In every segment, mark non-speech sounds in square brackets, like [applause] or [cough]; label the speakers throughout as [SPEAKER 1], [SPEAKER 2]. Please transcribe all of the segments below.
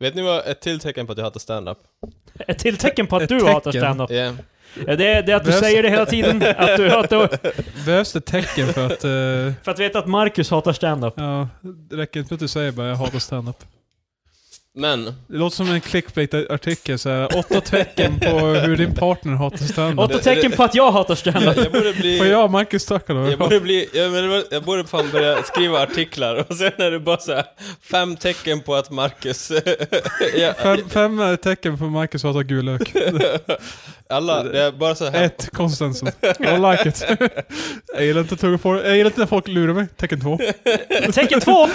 [SPEAKER 1] Vet ni vad ett till tecken på att jag hatar standup?
[SPEAKER 2] Ett till tecken på att
[SPEAKER 3] Ett
[SPEAKER 2] du
[SPEAKER 3] tecken.
[SPEAKER 2] hatar standup.
[SPEAKER 1] Yeah.
[SPEAKER 2] Ja, Det är, det är att du
[SPEAKER 3] Behövs-
[SPEAKER 2] säger det hela tiden, att du hatar...
[SPEAKER 3] Behövs det tecken för att... eh,
[SPEAKER 2] För att veta att Marcus hatar standup.
[SPEAKER 3] ja, det räcker inte med att du säger bara jag hatar standup.
[SPEAKER 1] Men,
[SPEAKER 3] Det låter som en clickbait-artikel såhär, åtta tecken på hur din partner hatar standup.
[SPEAKER 2] Åtta tecken på att jag hatar standup.
[SPEAKER 1] jag, jag borde bli...
[SPEAKER 3] Får jag och Marcus tacka då?
[SPEAKER 1] Jag borde bli, jag, men det var- jag borde fan börja skriva artiklar och sen är det bara så här, fem tecken på att Marcus... ja,
[SPEAKER 3] Fem, fem är tecken på att Marcus hatar gul lök.
[SPEAKER 1] alla, det är bara så här.
[SPEAKER 3] Ett, konsistensen. I like it. [laughs] Jag gillar inte, att tugga på- jag gillar inte när folk lurar mig. Tecken två.
[SPEAKER 2] Tecken två!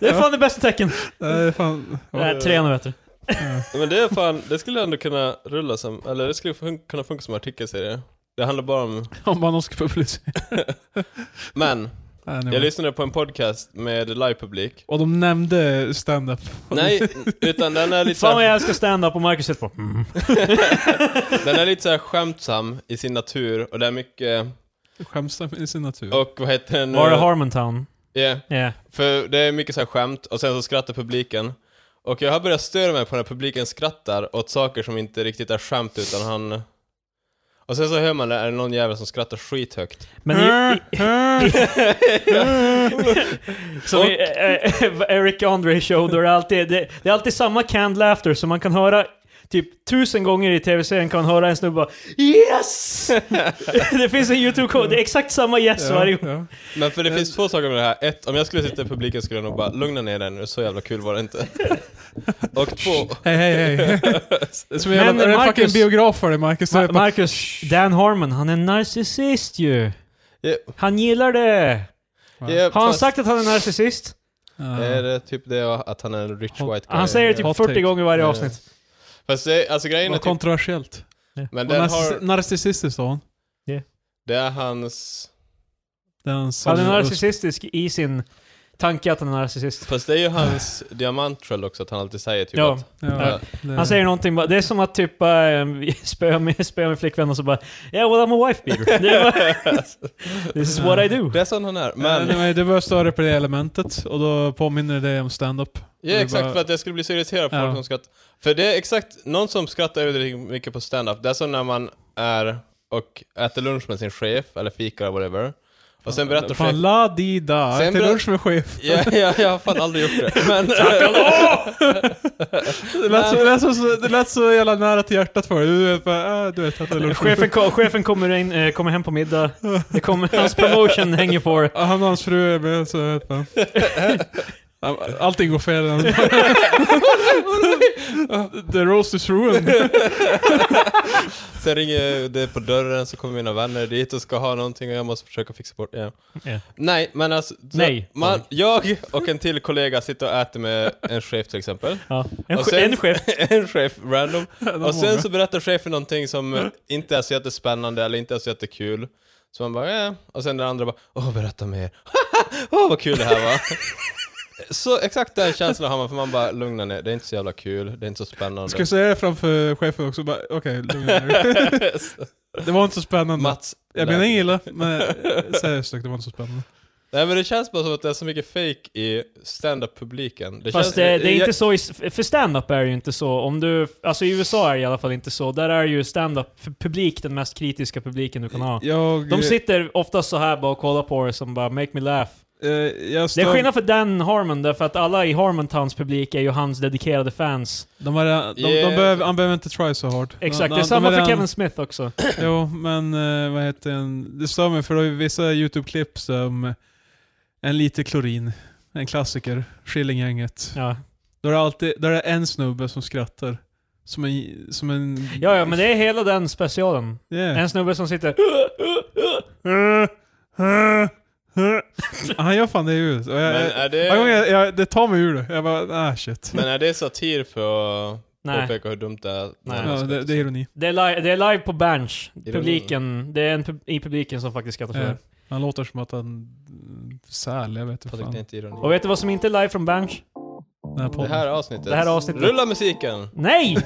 [SPEAKER 2] Det är fan det bästa tecken.
[SPEAKER 3] Nej, fan. Ja.
[SPEAKER 2] Nej, tre nu vet du.
[SPEAKER 1] Men det är fan, det skulle ändå kunna rulla som, eller det skulle fun- kunna funka som artikelserie. Det handlar bara om...
[SPEAKER 3] Om bara någon ska publicera.
[SPEAKER 1] Men,
[SPEAKER 3] Nej, nej,
[SPEAKER 1] jag lyssnade på en podcast med livepublik.
[SPEAKER 3] Och de nämnde stand-up.
[SPEAKER 1] Nej, utan den är lite så
[SPEAKER 2] Fan vad
[SPEAKER 1] här,
[SPEAKER 2] jag älskar standup och Marcus sitter på mm.
[SPEAKER 1] den är lite så här skämtsam i sin natur och det är mycket...
[SPEAKER 3] Skämtsam i sin natur.
[SPEAKER 1] Och vad heter den nu?
[SPEAKER 2] Var är Harmontown?
[SPEAKER 1] Ja.
[SPEAKER 2] Ja.
[SPEAKER 1] För det är mycket så här skämt, och sen så skrattar publiken. Och jag har börjat störa mig på när publiken skrattar åt saker som inte riktigt är skämt utan han... Och sen så hör man det, är det någon jävel som skrattar skithögt. [laughs]
[SPEAKER 2] Men
[SPEAKER 3] Mm.
[SPEAKER 2] i, i, som i, eh, eh, [laughs] Eric Andre show, då är det, alltid, det, det är alltid samma canned laughter som man kan höra typ tusen gånger i tv-serien kan man höra en snubbe bara [laughs] Yes! det finns en YouTube-kod, det är exakt samma yes varje gång.
[SPEAKER 3] ja.
[SPEAKER 1] Men för det finns två saker med det här. Ett, om jag skulle sitta i publiken skulle jag nog bara lugna ner dig nu, så jävla kul var det
[SPEAKER 3] [laughs]
[SPEAKER 1] inte. och två,
[SPEAKER 3] Hej, hej,
[SPEAKER 1] [laughs]
[SPEAKER 3] hej. Som jävla,
[SPEAKER 2] Men,
[SPEAKER 3] är det
[SPEAKER 2] Marcus-
[SPEAKER 3] fucking biograf för dig, Marcus?
[SPEAKER 2] Ma-
[SPEAKER 3] Ma-
[SPEAKER 2] Marcus, Dan Harmon, han är en narcissist ju.
[SPEAKER 1] Ja.
[SPEAKER 2] Han gillar det.
[SPEAKER 1] ja,
[SPEAKER 2] Har han
[SPEAKER 1] fast-
[SPEAKER 2] sagt att han är narcissist?
[SPEAKER 1] Är det typ det och att han är en rich
[SPEAKER 3] Han-
[SPEAKER 1] white guy?
[SPEAKER 2] Han säger det typ
[SPEAKER 3] Hot
[SPEAKER 2] 40
[SPEAKER 3] take. Eh,
[SPEAKER 2] gånger varje
[SPEAKER 1] Ja.
[SPEAKER 2] avsnitt.
[SPEAKER 1] Fast det, alltså grejen är
[SPEAKER 3] Vad
[SPEAKER 1] typ,
[SPEAKER 3] kontroversiellt.
[SPEAKER 1] men
[SPEAKER 3] Och
[SPEAKER 1] den
[SPEAKER 3] narcissi-
[SPEAKER 1] har,
[SPEAKER 3] Narcissistiskt sa hon.
[SPEAKER 1] det är hans...
[SPEAKER 3] Det är en
[SPEAKER 2] Han är
[SPEAKER 3] sån-
[SPEAKER 2] narcissistisk i sin tanke att han är narcissist.
[SPEAKER 1] Fast det är ju hans diamantrull också, att han alltid säger typ
[SPEAKER 2] Ja.
[SPEAKER 1] att...
[SPEAKER 3] Ja, det-
[SPEAKER 2] Han säger någonting bara, det är som att typ [laughs] äh, spöa med, spöa med flickvän och så bara Yeah well I'm a wife beater. Det är bara, [laughs] This is what I do.
[SPEAKER 1] Det är sån han är, men...
[SPEAKER 3] Men... Anyway, det börjar störa på det elementet och då påminner det dig om stand-up.
[SPEAKER 1] Ja
[SPEAKER 3] Och det
[SPEAKER 1] exakt,
[SPEAKER 3] bara-
[SPEAKER 1] för att jag skulle bli så irriterad på
[SPEAKER 3] Ja.
[SPEAKER 1] folk som skrattar. För det är exakt, någon som skrattar överdrivet mycket på stand-up, det är som när man är och äter lunch med sin chef, eller fika eller whatever. Och sen berättar chef...
[SPEAKER 2] [laughs]
[SPEAKER 3] Fan, la di da.
[SPEAKER 1] Sen
[SPEAKER 3] Till
[SPEAKER 1] berö-
[SPEAKER 3] lunch med chef.
[SPEAKER 1] Ja, ja, jag har fan aldrig gjort det.
[SPEAKER 2] [laughs]
[SPEAKER 1] Men,
[SPEAKER 3] [laughs] Det lät, så, det, lät så, det lät så jävla nära till hjärtat för dig. Du vet, bara, äh, du vet att det är lunch med
[SPEAKER 2] Chefen, ko- chefen kommer, in, eh, kommer hem på middag, det kommer, hans promotion hänger på det.
[SPEAKER 3] Ja, Han och hans fru är med, så jag vet fan. Ja, Allting går fel. The roast is ruined.
[SPEAKER 1] sen ringer det på dörren, så kommer mina vänner dit och ska ha någonting och jag måste försöka fixa bort det.
[SPEAKER 2] Ja.
[SPEAKER 1] Nej, men alltså... så
[SPEAKER 2] Nej.
[SPEAKER 1] Man, jag och en till kollega sitter och äter med en chef till exempel.
[SPEAKER 2] Ja. En,
[SPEAKER 1] Och
[SPEAKER 2] che-
[SPEAKER 1] sen-
[SPEAKER 2] en chef,
[SPEAKER 1] [laughs] en chef, random.
[SPEAKER 3] De
[SPEAKER 1] Och sen
[SPEAKER 3] många.
[SPEAKER 1] så berättar chefen någonting som inte är så jättespännande eller inte är så jättekul. Så man bara, eh. Och sen den andra bara, åh berätta mer. [laughs] åh vad kul det här
[SPEAKER 3] [laughs]
[SPEAKER 1] var. så exakt den känslan har man för man bara, lugna ner, det är inte så jävla kul, det är inte så spännande.
[SPEAKER 3] Ska jag säga det framför chefen också? Bara, Okej, lugna ner Det var inte så spännande.
[SPEAKER 1] Mats.
[SPEAKER 3] jag menar inget illa, men seriöst det var inte så spännande.
[SPEAKER 1] Nej men det känns bara som att det är så mycket fake i stand-up-publiken. Det
[SPEAKER 2] Fast
[SPEAKER 1] känns,
[SPEAKER 2] det, det är
[SPEAKER 1] jag-
[SPEAKER 2] inte så i, för stand-up är det ju inte så. Om du, alltså i USA är det i alla fall inte så. Där är ju stand-up för publik den mest kritiska publiken du kan ha.
[SPEAKER 3] Jag,
[SPEAKER 2] De sitter oftast så här bara och kollar på det som bara 'make me laugh'
[SPEAKER 3] eh, jag
[SPEAKER 2] Det
[SPEAKER 3] stör,
[SPEAKER 2] är skillnad för Dan Harmon därför att alla i Harmontowns publik är ju hans dedikerade fans.
[SPEAKER 3] de, har, redan- de,
[SPEAKER 1] Yeah.
[SPEAKER 3] de behöver, han behöver inte try så hard.
[SPEAKER 2] Exakt,
[SPEAKER 3] de,
[SPEAKER 2] det är
[SPEAKER 3] de-
[SPEAKER 2] samma
[SPEAKER 3] de
[SPEAKER 2] för
[SPEAKER 3] redan-
[SPEAKER 2] Kevin Smith också.
[SPEAKER 3] Jo, men eh, vad heter den? Det stör mig för det är vissa YouTube-klipp som En lite klorin, en klassiker, Skillinggänget.
[SPEAKER 2] Ja.
[SPEAKER 3] Då är det alltid, då är det en snubbe som skrattar. Som en... Som en
[SPEAKER 2] ja, ja, men det är hela den specialen.
[SPEAKER 3] Yeah. [laughs]
[SPEAKER 2] En snubbe som sitter...
[SPEAKER 3] Han gör fan det ljudet. Och jag,
[SPEAKER 1] Men eh, är
[SPEAKER 3] varje gång
[SPEAKER 1] det,
[SPEAKER 3] jag, jag, det tar mig ur det. Jag bara, ah shit.
[SPEAKER 1] men är det satir för att
[SPEAKER 2] Nej,
[SPEAKER 1] påpeka hur dumt det är?
[SPEAKER 2] Nej.
[SPEAKER 3] ja, det, det är ironi.
[SPEAKER 2] det är, live, det är live på bench.
[SPEAKER 1] det
[SPEAKER 2] Publiken, det är en pub- i publiken som faktiskt skrattar för
[SPEAKER 3] Ja.
[SPEAKER 2] det.
[SPEAKER 3] Eh, Han låter som att han... Säl, jag vet inte
[SPEAKER 1] Patrik,
[SPEAKER 3] fan.
[SPEAKER 1] det är inte ironi.
[SPEAKER 2] Och vet du vad som inte är live från bench?
[SPEAKER 3] Den här
[SPEAKER 1] Det
[SPEAKER 3] podden.
[SPEAKER 1] här avsnittet.
[SPEAKER 2] Det här avsnittet.
[SPEAKER 1] Rulla musiken!
[SPEAKER 2] Nej!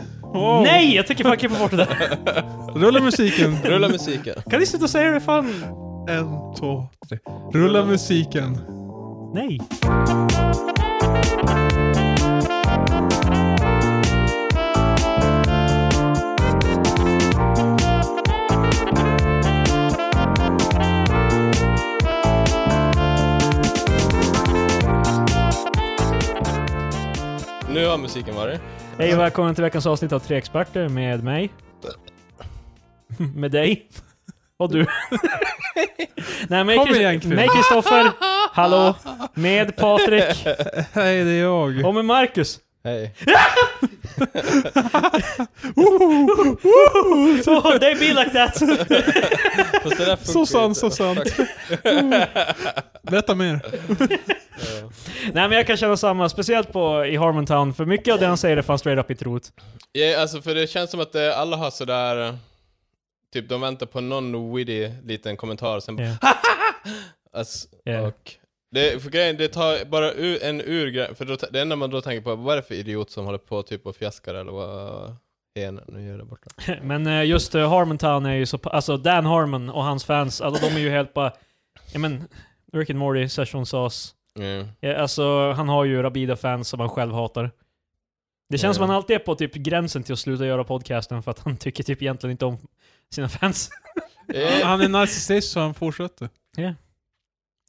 [SPEAKER 2] Nej! Jag tänker fan klippa bort det där.
[SPEAKER 3] Rulla musiken!
[SPEAKER 1] Rulla musiken.
[SPEAKER 2] Kan ni sluta säga det fan?
[SPEAKER 3] En, två, tre. Rulla musiken.
[SPEAKER 2] Nej.
[SPEAKER 1] Nu har musiken varit.
[SPEAKER 2] Hej och välkommen till veckans avsnitt av Tre Experter med mig. Med dig. Och du. Nej, med
[SPEAKER 3] Kom
[SPEAKER 2] Chris-
[SPEAKER 3] igen, kvinna.
[SPEAKER 2] Med Kristoffer. Hallå. Med Patrik.
[SPEAKER 3] Hej, det är jag.
[SPEAKER 2] Och med Marcus.
[SPEAKER 1] Hej.
[SPEAKER 2] Oh, they be like that.
[SPEAKER 1] Fast
[SPEAKER 3] [laughs]
[SPEAKER 1] det där funkar
[SPEAKER 3] Så sant,
[SPEAKER 1] inte.
[SPEAKER 3] så sant. [laughs] Berätta mer.
[SPEAKER 2] Nej men jag kan känna samma, speciellt på, i Harmontown, för mycket av det han säger är fan straight up i trot.
[SPEAKER 1] Ja, alltså för det känns som att eh, alla har sådär... eh, Typ de väntar på någon witty liten kommentar sen bara
[SPEAKER 2] Ja.
[SPEAKER 1] alltså,
[SPEAKER 2] Ja.
[SPEAKER 1] och det, för grejen, det tar bara u- en ur grej- för då, t- det enda man då tänker på, vad är det för idiot som håller på typ och fjäskar eller vad hen nu gör där borta?
[SPEAKER 2] Men eh, just eh, Harmontown är ju så, pa- alltså Dan Harmon och hans fans, alltså de är ju helt bara, ja men, Rick and Morty, Session Sauce.
[SPEAKER 1] Mm.
[SPEAKER 2] Ja, alltså han har ju Rabida-fans som han själv hatar. Det känns
[SPEAKER 1] Ja.
[SPEAKER 2] som han alltid är på typ gränsen till att sluta göra podcasten för att han [laughs] tycker typ egentligen inte om sina fans.
[SPEAKER 1] Eh,
[SPEAKER 3] Han är narcissist så han fortsätter.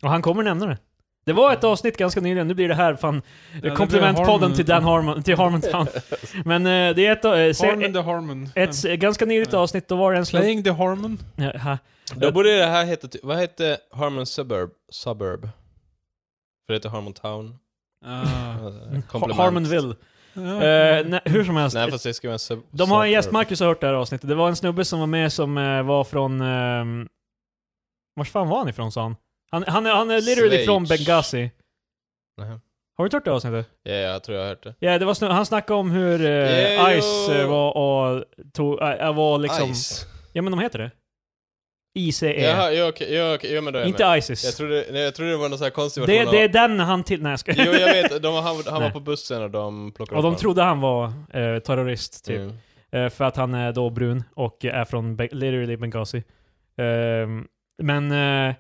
[SPEAKER 2] Och han kommer nämna det. Det var ett avsnitt ganska nyligen, nu blir det här fan
[SPEAKER 3] det blir
[SPEAKER 2] komplementpodden
[SPEAKER 3] Harmon-
[SPEAKER 2] till Dan Harmon, till
[SPEAKER 3] [laughs]
[SPEAKER 2] Harmontown. Men eh, det är ett, eh, se-
[SPEAKER 3] Harmon the Harmon.
[SPEAKER 2] Ett s- ganska nyligt
[SPEAKER 3] Ja.
[SPEAKER 2] avsnitt, då var det en slump...
[SPEAKER 3] Playing the Harmon.
[SPEAKER 2] Ja, ha.
[SPEAKER 1] Då borde det här heta, ty- vad hette Harmon Suburb? Suburb? För det heter Harmon Town.
[SPEAKER 3] Ah.
[SPEAKER 1] Komplement.
[SPEAKER 2] Harmonville.
[SPEAKER 3] Ja.
[SPEAKER 2] Eh, nej, hur som helst.
[SPEAKER 1] Nej fast det ska vara en sub-
[SPEAKER 2] de har en gäst,
[SPEAKER 1] suburb.
[SPEAKER 2] Marcus har hört det här avsnittet. Det var en snubbe som var med som eh, var från... Uh, vars fan var han ifrån sa han? Han, han, är- han är literally
[SPEAKER 1] Schweiz.
[SPEAKER 2] från Benghazi.
[SPEAKER 1] Nähä.
[SPEAKER 2] Har du inte hört det avsnittet?
[SPEAKER 1] Ja, jag tror jag har hört det.
[SPEAKER 2] Ja, det var snu- han snackade om hur eh,
[SPEAKER 1] Ja,
[SPEAKER 2] Ice
[SPEAKER 1] jo.
[SPEAKER 2] eh, var och tog, eh, var liksom...
[SPEAKER 1] Ice.
[SPEAKER 2] Ja men de heter det. ICE.
[SPEAKER 1] Jaha, jo, okej, jo, okej, jo men då är jag
[SPEAKER 2] inte
[SPEAKER 1] med.
[SPEAKER 2] ISIS.
[SPEAKER 1] Jag trodde, nej, jag trodde det var någon sån här konstig
[SPEAKER 2] det,
[SPEAKER 1] version av-
[SPEAKER 2] det är den han till... Nej jag skojar.
[SPEAKER 1] Jo, jag vet. De, han han var
[SPEAKER 2] Nej.
[SPEAKER 1] på bussen och de plockade
[SPEAKER 2] [laughs] Och
[SPEAKER 1] upp
[SPEAKER 2] de
[SPEAKER 1] honom.
[SPEAKER 2] trodde han var eh, terrorist, typ.
[SPEAKER 1] Mm.
[SPEAKER 2] Eh, för att han är då brun och är från Be- literally Benghazi. Ehm, men eh,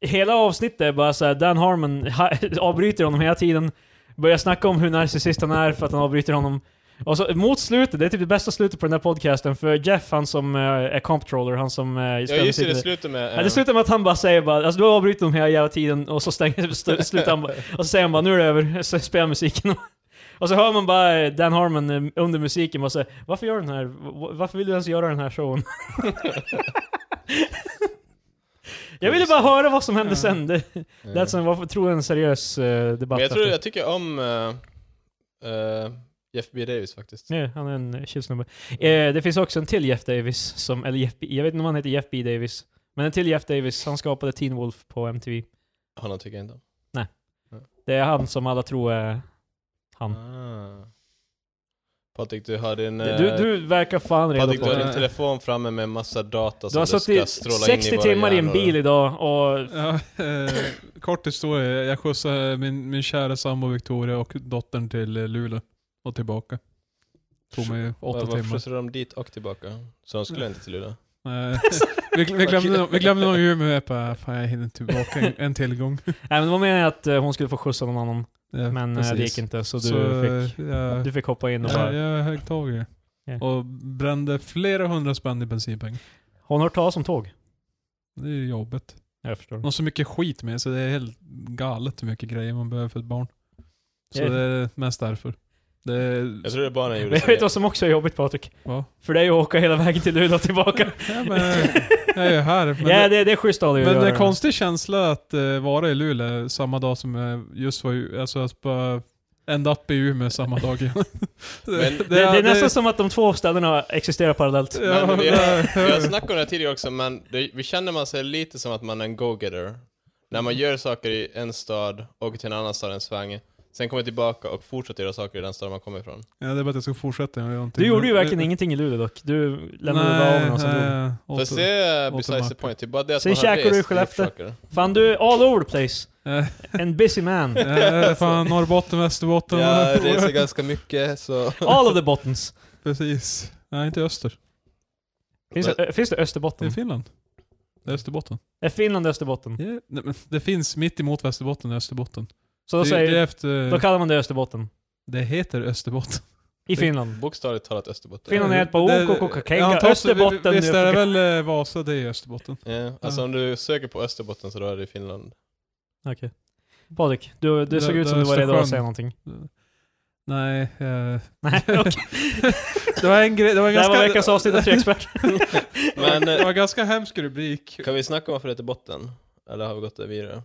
[SPEAKER 2] hela avsnittet är bara såhär, Dan Harmon ha, [laughs] avbryter honom hela tiden. Börjar snacka om hur narcissist han är för att han avbryter honom. Och så mot slutet, det är typ det bästa slutet på den här podcasten, för Jeff, han som eh, är comptroller, han som uh,
[SPEAKER 1] Ja, just det. Det slutar med...
[SPEAKER 2] Ja, det slutar med att han bara säger bara, alltså du har avbrutit dem hela jävla tiden och så stänger,
[SPEAKER 1] [laughs]
[SPEAKER 2] st- slutar han bara, och så säger han bara nu är det över, [laughs] så spelar musiken. Och så hör man bara eh, Dan Harmon eh, under musiken bara säga varför gör du den här, v- varför vill du ens göra den här showen? [laughs] jag ville bara höra vad som hände sen. Det,
[SPEAKER 1] eh,
[SPEAKER 2] det som var, tror jag, en seriös eh, debatt.
[SPEAKER 1] Men jag tror
[SPEAKER 2] efter.
[SPEAKER 1] jag tycker om eh, eh, Jeff B. Davis faktiskt.
[SPEAKER 2] Ja, han är en eh, chill snubbe. Eh, det finns också en till Jeff Davis, som, eller Jeff B, jag vet inte om han heter Jeff B. Davis, men en till Jeff Davis, han skapade Teen Wolf på MTV.
[SPEAKER 1] Honom tycker jag inte om.
[SPEAKER 2] Det är han som alla tror är han.
[SPEAKER 1] Ah. Patrik, du har din... eh,
[SPEAKER 2] Du, du verkar fan redo
[SPEAKER 1] Patrik,
[SPEAKER 2] på
[SPEAKER 1] du har
[SPEAKER 2] det.
[SPEAKER 1] din telefon framme med massa data
[SPEAKER 2] Du har
[SPEAKER 1] som du ska
[SPEAKER 2] suttit
[SPEAKER 1] stråla in i
[SPEAKER 2] 60
[SPEAKER 1] våra
[SPEAKER 2] timmar i en
[SPEAKER 1] hjärnor.
[SPEAKER 2] bil idag och...
[SPEAKER 3] Ja, eh, kort historia. Jag skjutsade min, min kära sambo Victoria och dottern till eh, Luleå och tillbaka. Tog mig åtta
[SPEAKER 1] Var- Varför
[SPEAKER 3] timmar.
[SPEAKER 1] skjutsade de dit och tillbaka? Så de
[SPEAKER 2] Mm.
[SPEAKER 1] skulle inte till Luleå?
[SPEAKER 3] Eh, vi, vi glömde, vi glömde nog Umeå. Jag bara, fan jag hinner tillbaka en,
[SPEAKER 2] [laughs]
[SPEAKER 3] en tillgång.
[SPEAKER 2] Nej men det var meningen att eh, hon skulle få skjutsa någon annan,
[SPEAKER 3] Ja,
[SPEAKER 2] men eh,
[SPEAKER 3] precis.
[SPEAKER 2] det gick inte så du,
[SPEAKER 3] eh,
[SPEAKER 2] fick,
[SPEAKER 3] jag-
[SPEAKER 2] du fick hoppa in och
[SPEAKER 3] Ja,
[SPEAKER 2] bara...
[SPEAKER 3] jag högg tag i det.
[SPEAKER 2] Ja.
[SPEAKER 3] Och brände flera hundra spänn i bensinpengar.
[SPEAKER 2] Hon har hört talas om tåg.
[SPEAKER 3] Det är ju jobbigt.
[SPEAKER 2] Jag förstår. [laughs]
[SPEAKER 3] De har så mycket skit med sig. Det är helt galet hur mycket grejer man behöver för ett barn. Så
[SPEAKER 2] Ja.
[SPEAKER 3] det är mest därför. Det är,
[SPEAKER 1] Jag tror det
[SPEAKER 2] [laughs]
[SPEAKER 1] bara när jag
[SPEAKER 2] Men
[SPEAKER 1] gjorde
[SPEAKER 2] jag vet vad som också är jobbigt Patrik?
[SPEAKER 3] va?
[SPEAKER 2] För dig att åka hela vägen till Luleå och tillbaka.
[SPEAKER 3] Ja, men, jag är ju här. [laughs] Men,
[SPEAKER 2] ja,
[SPEAKER 3] det,
[SPEAKER 2] det, det är schysst av dig att
[SPEAKER 3] men
[SPEAKER 2] göra
[SPEAKER 3] det är
[SPEAKER 2] det.
[SPEAKER 3] en konstig känsla att eh, vara i Luleå samma dag som jag just var i- alltså, att bara end up i Umeå samma
[SPEAKER 2] [laughs]
[SPEAKER 3] dag igen. [laughs]
[SPEAKER 1] Men-
[SPEAKER 2] Det, det är nästan som att de två ställena existerar parallellt.
[SPEAKER 3] Ja,
[SPEAKER 1] Men vi- [laughs]
[SPEAKER 3] det-
[SPEAKER 1] Vi har snackat om det här tidigare också, men det, vi känner man sig lite som att man är en go-getter. När man gör saker i en stad, åker till en annan stad en sväng, sen kommer tillbaka och fortsätter göra saker i den stad man kommer ifrån.
[SPEAKER 3] Ja, det är bara att jag ska fortsätta. Jag har inte-
[SPEAKER 2] Du gjorde ju
[SPEAKER 3] men-
[SPEAKER 2] verkligen ingenting i Luleå dock. Du lämnade
[SPEAKER 3] Nej, eh,
[SPEAKER 2] bara av honom som drog.
[SPEAKER 3] nej, åt-
[SPEAKER 1] Fast det är
[SPEAKER 3] åt
[SPEAKER 1] besides
[SPEAKER 3] en
[SPEAKER 1] the point, det är bara det att
[SPEAKER 2] Sen
[SPEAKER 1] man har
[SPEAKER 2] käkar du i
[SPEAKER 1] rest och
[SPEAKER 2] Skellefteå.
[SPEAKER 1] gjort
[SPEAKER 2] [laughs]
[SPEAKER 1] saker.
[SPEAKER 2] Fan du är all over the place.
[SPEAKER 3] Eh.
[SPEAKER 2] En busy man.
[SPEAKER 3] [laughs] Eh, fan, Norrbotten, Västerbotten.
[SPEAKER 1] Jag reser ganska mycket, så...
[SPEAKER 2] All of the bottens.
[SPEAKER 3] [laughs] Precis. Nej, inte öster.
[SPEAKER 2] Finns det, äh, finns det
[SPEAKER 3] Det är
[SPEAKER 2] Österbotten?
[SPEAKER 3] Finland. Det är Österbotten.
[SPEAKER 2] Är Finland Österbotten?
[SPEAKER 3] Ja, nej, men Det finns mitt emot Västerbotten och Österbotten.
[SPEAKER 2] Så då,
[SPEAKER 3] det, det, är
[SPEAKER 2] säger,
[SPEAKER 3] efter,
[SPEAKER 2] då kallar man det Österbotten.
[SPEAKER 3] det heter Österbotten.
[SPEAKER 2] I Finland.
[SPEAKER 1] Bokstavligt talat Österbotten.
[SPEAKER 2] Finland är ett par
[SPEAKER 3] Eh, Det-
[SPEAKER 2] ok, ok, ok,
[SPEAKER 3] jag antar att-
[SPEAKER 2] Österbotten,
[SPEAKER 3] Visst
[SPEAKER 2] nu-
[SPEAKER 3] är det väl eh, Vasa, det är Österbotten.
[SPEAKER 1] Ja, alltså
[SPEAKER 3] Ja.
[SPEAKER 1] om du söker på Österbotten så då är det i
[SPEAKER 2] [laughs]
[SPEAKER 1] Finland.
[SPEAKER 2] Okej. Patrik, du, du
[SPEAKER 3] Det-
[SPEAKER 2] såg ut
[SPEAKER 3] det
[SPEAKER 2] som du var redo
[SPEAKER 3] Östersjön. [laughs]
[SPEAKER 2] att säga någonting.
[SPEAKER 3] Nej. eh,
[SPEAKER 2] Nej, okej.
[SPEAKER 3] [laughs] det var en grej, det var en
[SPEAKER 2] Det här
[SPEAKER 3] ganska...
[SPEAKER 2] var veckans avsnitt
[SPEAKER 3] [laughs]
[SPEAKER 2] av Tre Experter.
[SPEAKER 1] Men
[SPEAKER 3] det
[SPEAKER 1] eh,
[SPEAKER 3] var en ganska hemsk rubrik.
[SPEAKER 1] kan vi snacka om varför det heter botten? Eller har vi gått vidare?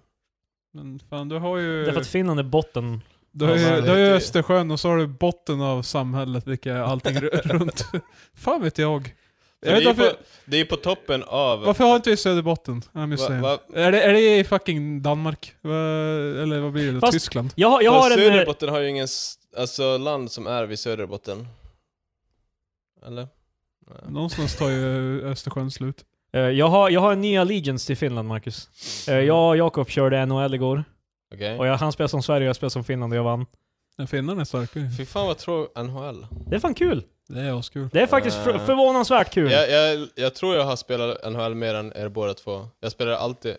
[SPEAKER 3] Men fan, du har ju...
[SPEAKER 2] Därför att Finland är botten.
[SPEAKER 3] Du har ju,
[SPEAKER 1] Ja,
[SPEAKER 3] du har ju
[SPEAKER 1] det-
[SPEAKER 3] Östersjön och så har du botten av samhället, vilket är allting ru-
[SPEAKER 2] [laughs]
[SPEAKER 3] runt. Fan vet jag.
[SPEAKER 1] Det
[SPEAKER 3] jag
[SPEAKER 1] är,
[SPEAKER 3] vet
[SPEAKER 1] ju
[SPEAKER 3] varför,
[SPEAKER 1] på, det är ju på toppen av...
[SPEAKER 3] varför har inte vi Söderbotten? I'm just
[SPEAKER 1] Va-
[SPEAKER 3] saying.
[SPEAKER 1] va-
[SPEAKER 3] Är, det, är det i fucking Danmark? Va, eller vad blir det?
[SPEAKER 2] Fast-
[SPEAKER 3] Tyskland?
[SPEAKER 2] Jag, har- jag
[SPEAKER 1] för
[SPEAKER 2] har en... eh,
[SPEAKER 1] Söderbotten har ju ingen, s- alltså land som är vid Söderbotten. Eller? Nej.
[SPEAKER 3] Någonstans tar ju Östersjön slut.
[SPEAKER 2] Eh, Jag har, jag har en ny allegiance till Finland, Marcus. Eh, Jag och Jakob körde NHL igår.
[SPEAKER 1] Mm. Okej.
[SPEAKER 2] Och jag, han spelade som Sverige och jag spelade som Finland och jag vann.
[SPEAKER 3] Men Finnarna är starkare.
[SPEAKER 1] Fy fan vad tråkigt, NHL.
[SPEAKER 2] Det är fan kul.
[SPEAKER 3] Det är askul.
[SPEAKER 2] Det är faktiskt fr-
[SPEAKER 1] Eh.
[SPEAKER 2] förvånansvärt kul.
[SPEAKER 1] Jag, jag, jag tror jag har spelat NHL mer än er båda två. Jag spelar alltid...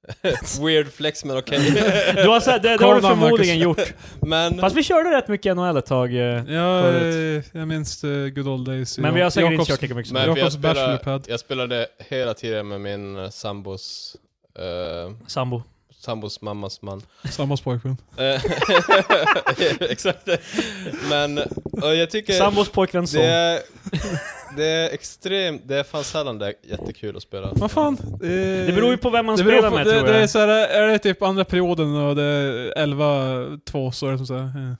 [SPEAKER 1] [laughs] Weird flex men okej.
[SPEAKER 2] Du har, sett- det, det har du
[SPEAKER 3] Kolla, Marcus.
[SPEAKER 1] [laughs]
[SPEAKER 2] förmodligen gjort.
[SPEAKER 1] men...
[SPEAKER 2] Fast vi körde rätt mycket NHL ett tag. eh,
[SPEAKER 3] Ja,
[SPEAKER 2] Förut.
[SPEAKER 3] eh, jag minns the good old days. i
[SPEAKER 2] Men vi har säkert
[SPEAKER 3] Jakobs-
[SPEAKER 2] inte kört lika mycket som
[SPEAKER 1] Men för jag,
[SPEAKER 3] Jakobs
[SPEAKER 1] spelade,
[SPEAKER 3] bachelorpad.
[SPEAKER 1] jag spelade hela tiden med min eh, sambos, eh,
[SPEAKER 2] sambo.
[SPEAKER 1] sambos mammas man.
[SPEAKER 3] Sambos pojkvän.
[SPEAKER 1] Eh, [laughs] Exakt. Men och jag tycker
[SPEAKER 3] eh,
[SPEAKER 2] Sambos pojkväns son.
[SPEAKER 1] det är, det är extremt, det är fan sällan det är jättekul att spela.
[SPEAKER 3] Vad fan? Det,
[SPEAKER 2] Det beror ju på vem man
[SPEAKER 3] Eh, det beror
[SPEAKER 2] spelar
[SPEAKER 3] på-
[SPEAKER 2] med
[SPEAKER 3] det,
[SPEAKER 2] tror
[SPEAKER 3] det är,
[SPEAKER 2] jag.
[SPEAKER 3] så här, är det typ andra perioden och det är 11-2 så är det som såhär...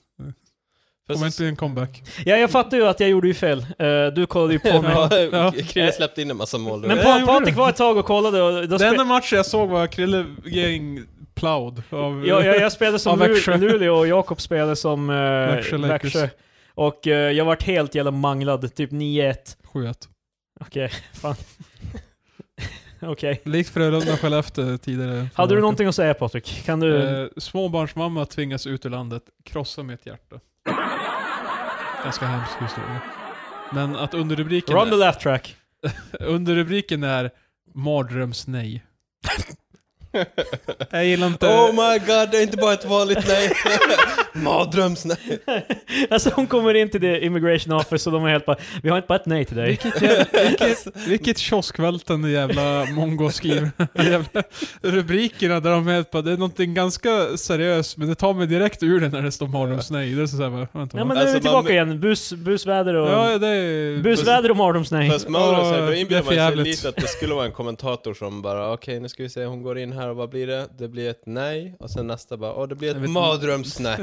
[SPEAKER 1] För
[SPEAKER 3] Kommer
[SPEAKER 1] så-
[SPEAKER 3] inte en comeback.
[SPEAKER 2] Ja, jag fattar ju att jag gjorde ju fel. Eh, Du kollade ju på mig.
[SPEAKER 1] Ja,
[SPEAKER 3] [laughs] Ja.
[SPEAKER 1] [laughs] Krille släppte in en massa mål.
[SPEAKER 2] Men
[SPEAKER 1] Men,
[SPEAKER 3] Ja,
[SPEAKER 2] pa
[SPEAKER 3] jag gjorde
[SPEAKER 2] Patrik
[SPEAKER 3] det.
[SPEAKER 2] var ett tag och kollade och då
[SPEAKER 3] Den
[SPEAKER 2] spe-
[SPEAKER 3] enda matchen jag såg var Krille getting plowed av...
[SPEAKER 2] jag, jag, jag spelade som
[SPEAKER 3] [laughs] Av Växjö.
[SPEAKER 2] Lu- Luleå och Jakob spelade som eh,
[SPEAKER 3] Växjö Lakers.
[SPEAKER 2] Växjö. Och eh, jag vart helt jävla manglad, typ 9-1.
[SPEAKER 3] 7-1.
[SPEAKER 2] Okej, fan. Okej.
[SPEAKER 3] Likt Frölunda och Skellefteå tidigare.
[SPEAKER 2] Hade du någonting att säga Patrik? Kan du...
[SPEAKER 3] Eh, småbarnsmamma tvingas ut ur landet. Krossa mitt hjärta. Ganska hemsk historia. Men att underrubriken
[SPEAKER 2] Run the
[SPEAKER 3] är,
[SPEAKER 2] laugh track. [laughs]
[SPEAKER 3] underrubriken är Mardrömsnej. jag gillar
[SPEAKER 1] [laughs]
[SPEAKER 3] inte...
[SPEAKER 1] oh my god, det är inte bara ett vanligt nej. [laughs] Mardröms nej.
[SPEAKER 2] alltså hon kommer in till the immigration office och de är helt bara Vi har inte bara ett nej till
[SPEAKER 3] [laughs]
[SPEAKER 2] dig.
[SPEAKER 1] [laughs]
[SPEAKER 3] Vilket, jävla, vilket, vilket kioskvältande jävla mongo [laughs] skriver. jävla rubrikerna där de är på, det är någonting ganska seriöst men det tar mig direkt ur det när det står mardrömsnej. Det är så här, bara, vänta,
[SPEAKER 2] Ja men
[SPEAKER 3] vad?
[SPEAKER 2] nu är
[SPEAKER 1] Alltså,
[SPEAKER 2] vi
[SPEAKER 1] man-
[SPEAKER 2] tillbaka igen. Bus, busväder och...
[SPEAKER 3] ja, det är...
[SPEAKER 2] busväder och mardrömsnej.
[SPEAKER 1] Fast Mardröms
[SPEAKER 3] Åh,
[SPEAKER 1] då
[SPEAKER 3] det är
[SPEAKER 1] inbillar
[SPEAKER 3] för
[SPEAKER 1] man sig
[SPEAKER 3] jävligt.
[SPEAKER 1] lite att det skulle vara en kommentator som bara okej nu ska vi se, hon går in här och vad blir det? Det blir ett nej och sen nästa bara åh det blir
[SPEAKER 3] Jag
[SPEAKER 1] ett
[SPEAKER 3] vet-
[SPEAKER 1] mardröms nej.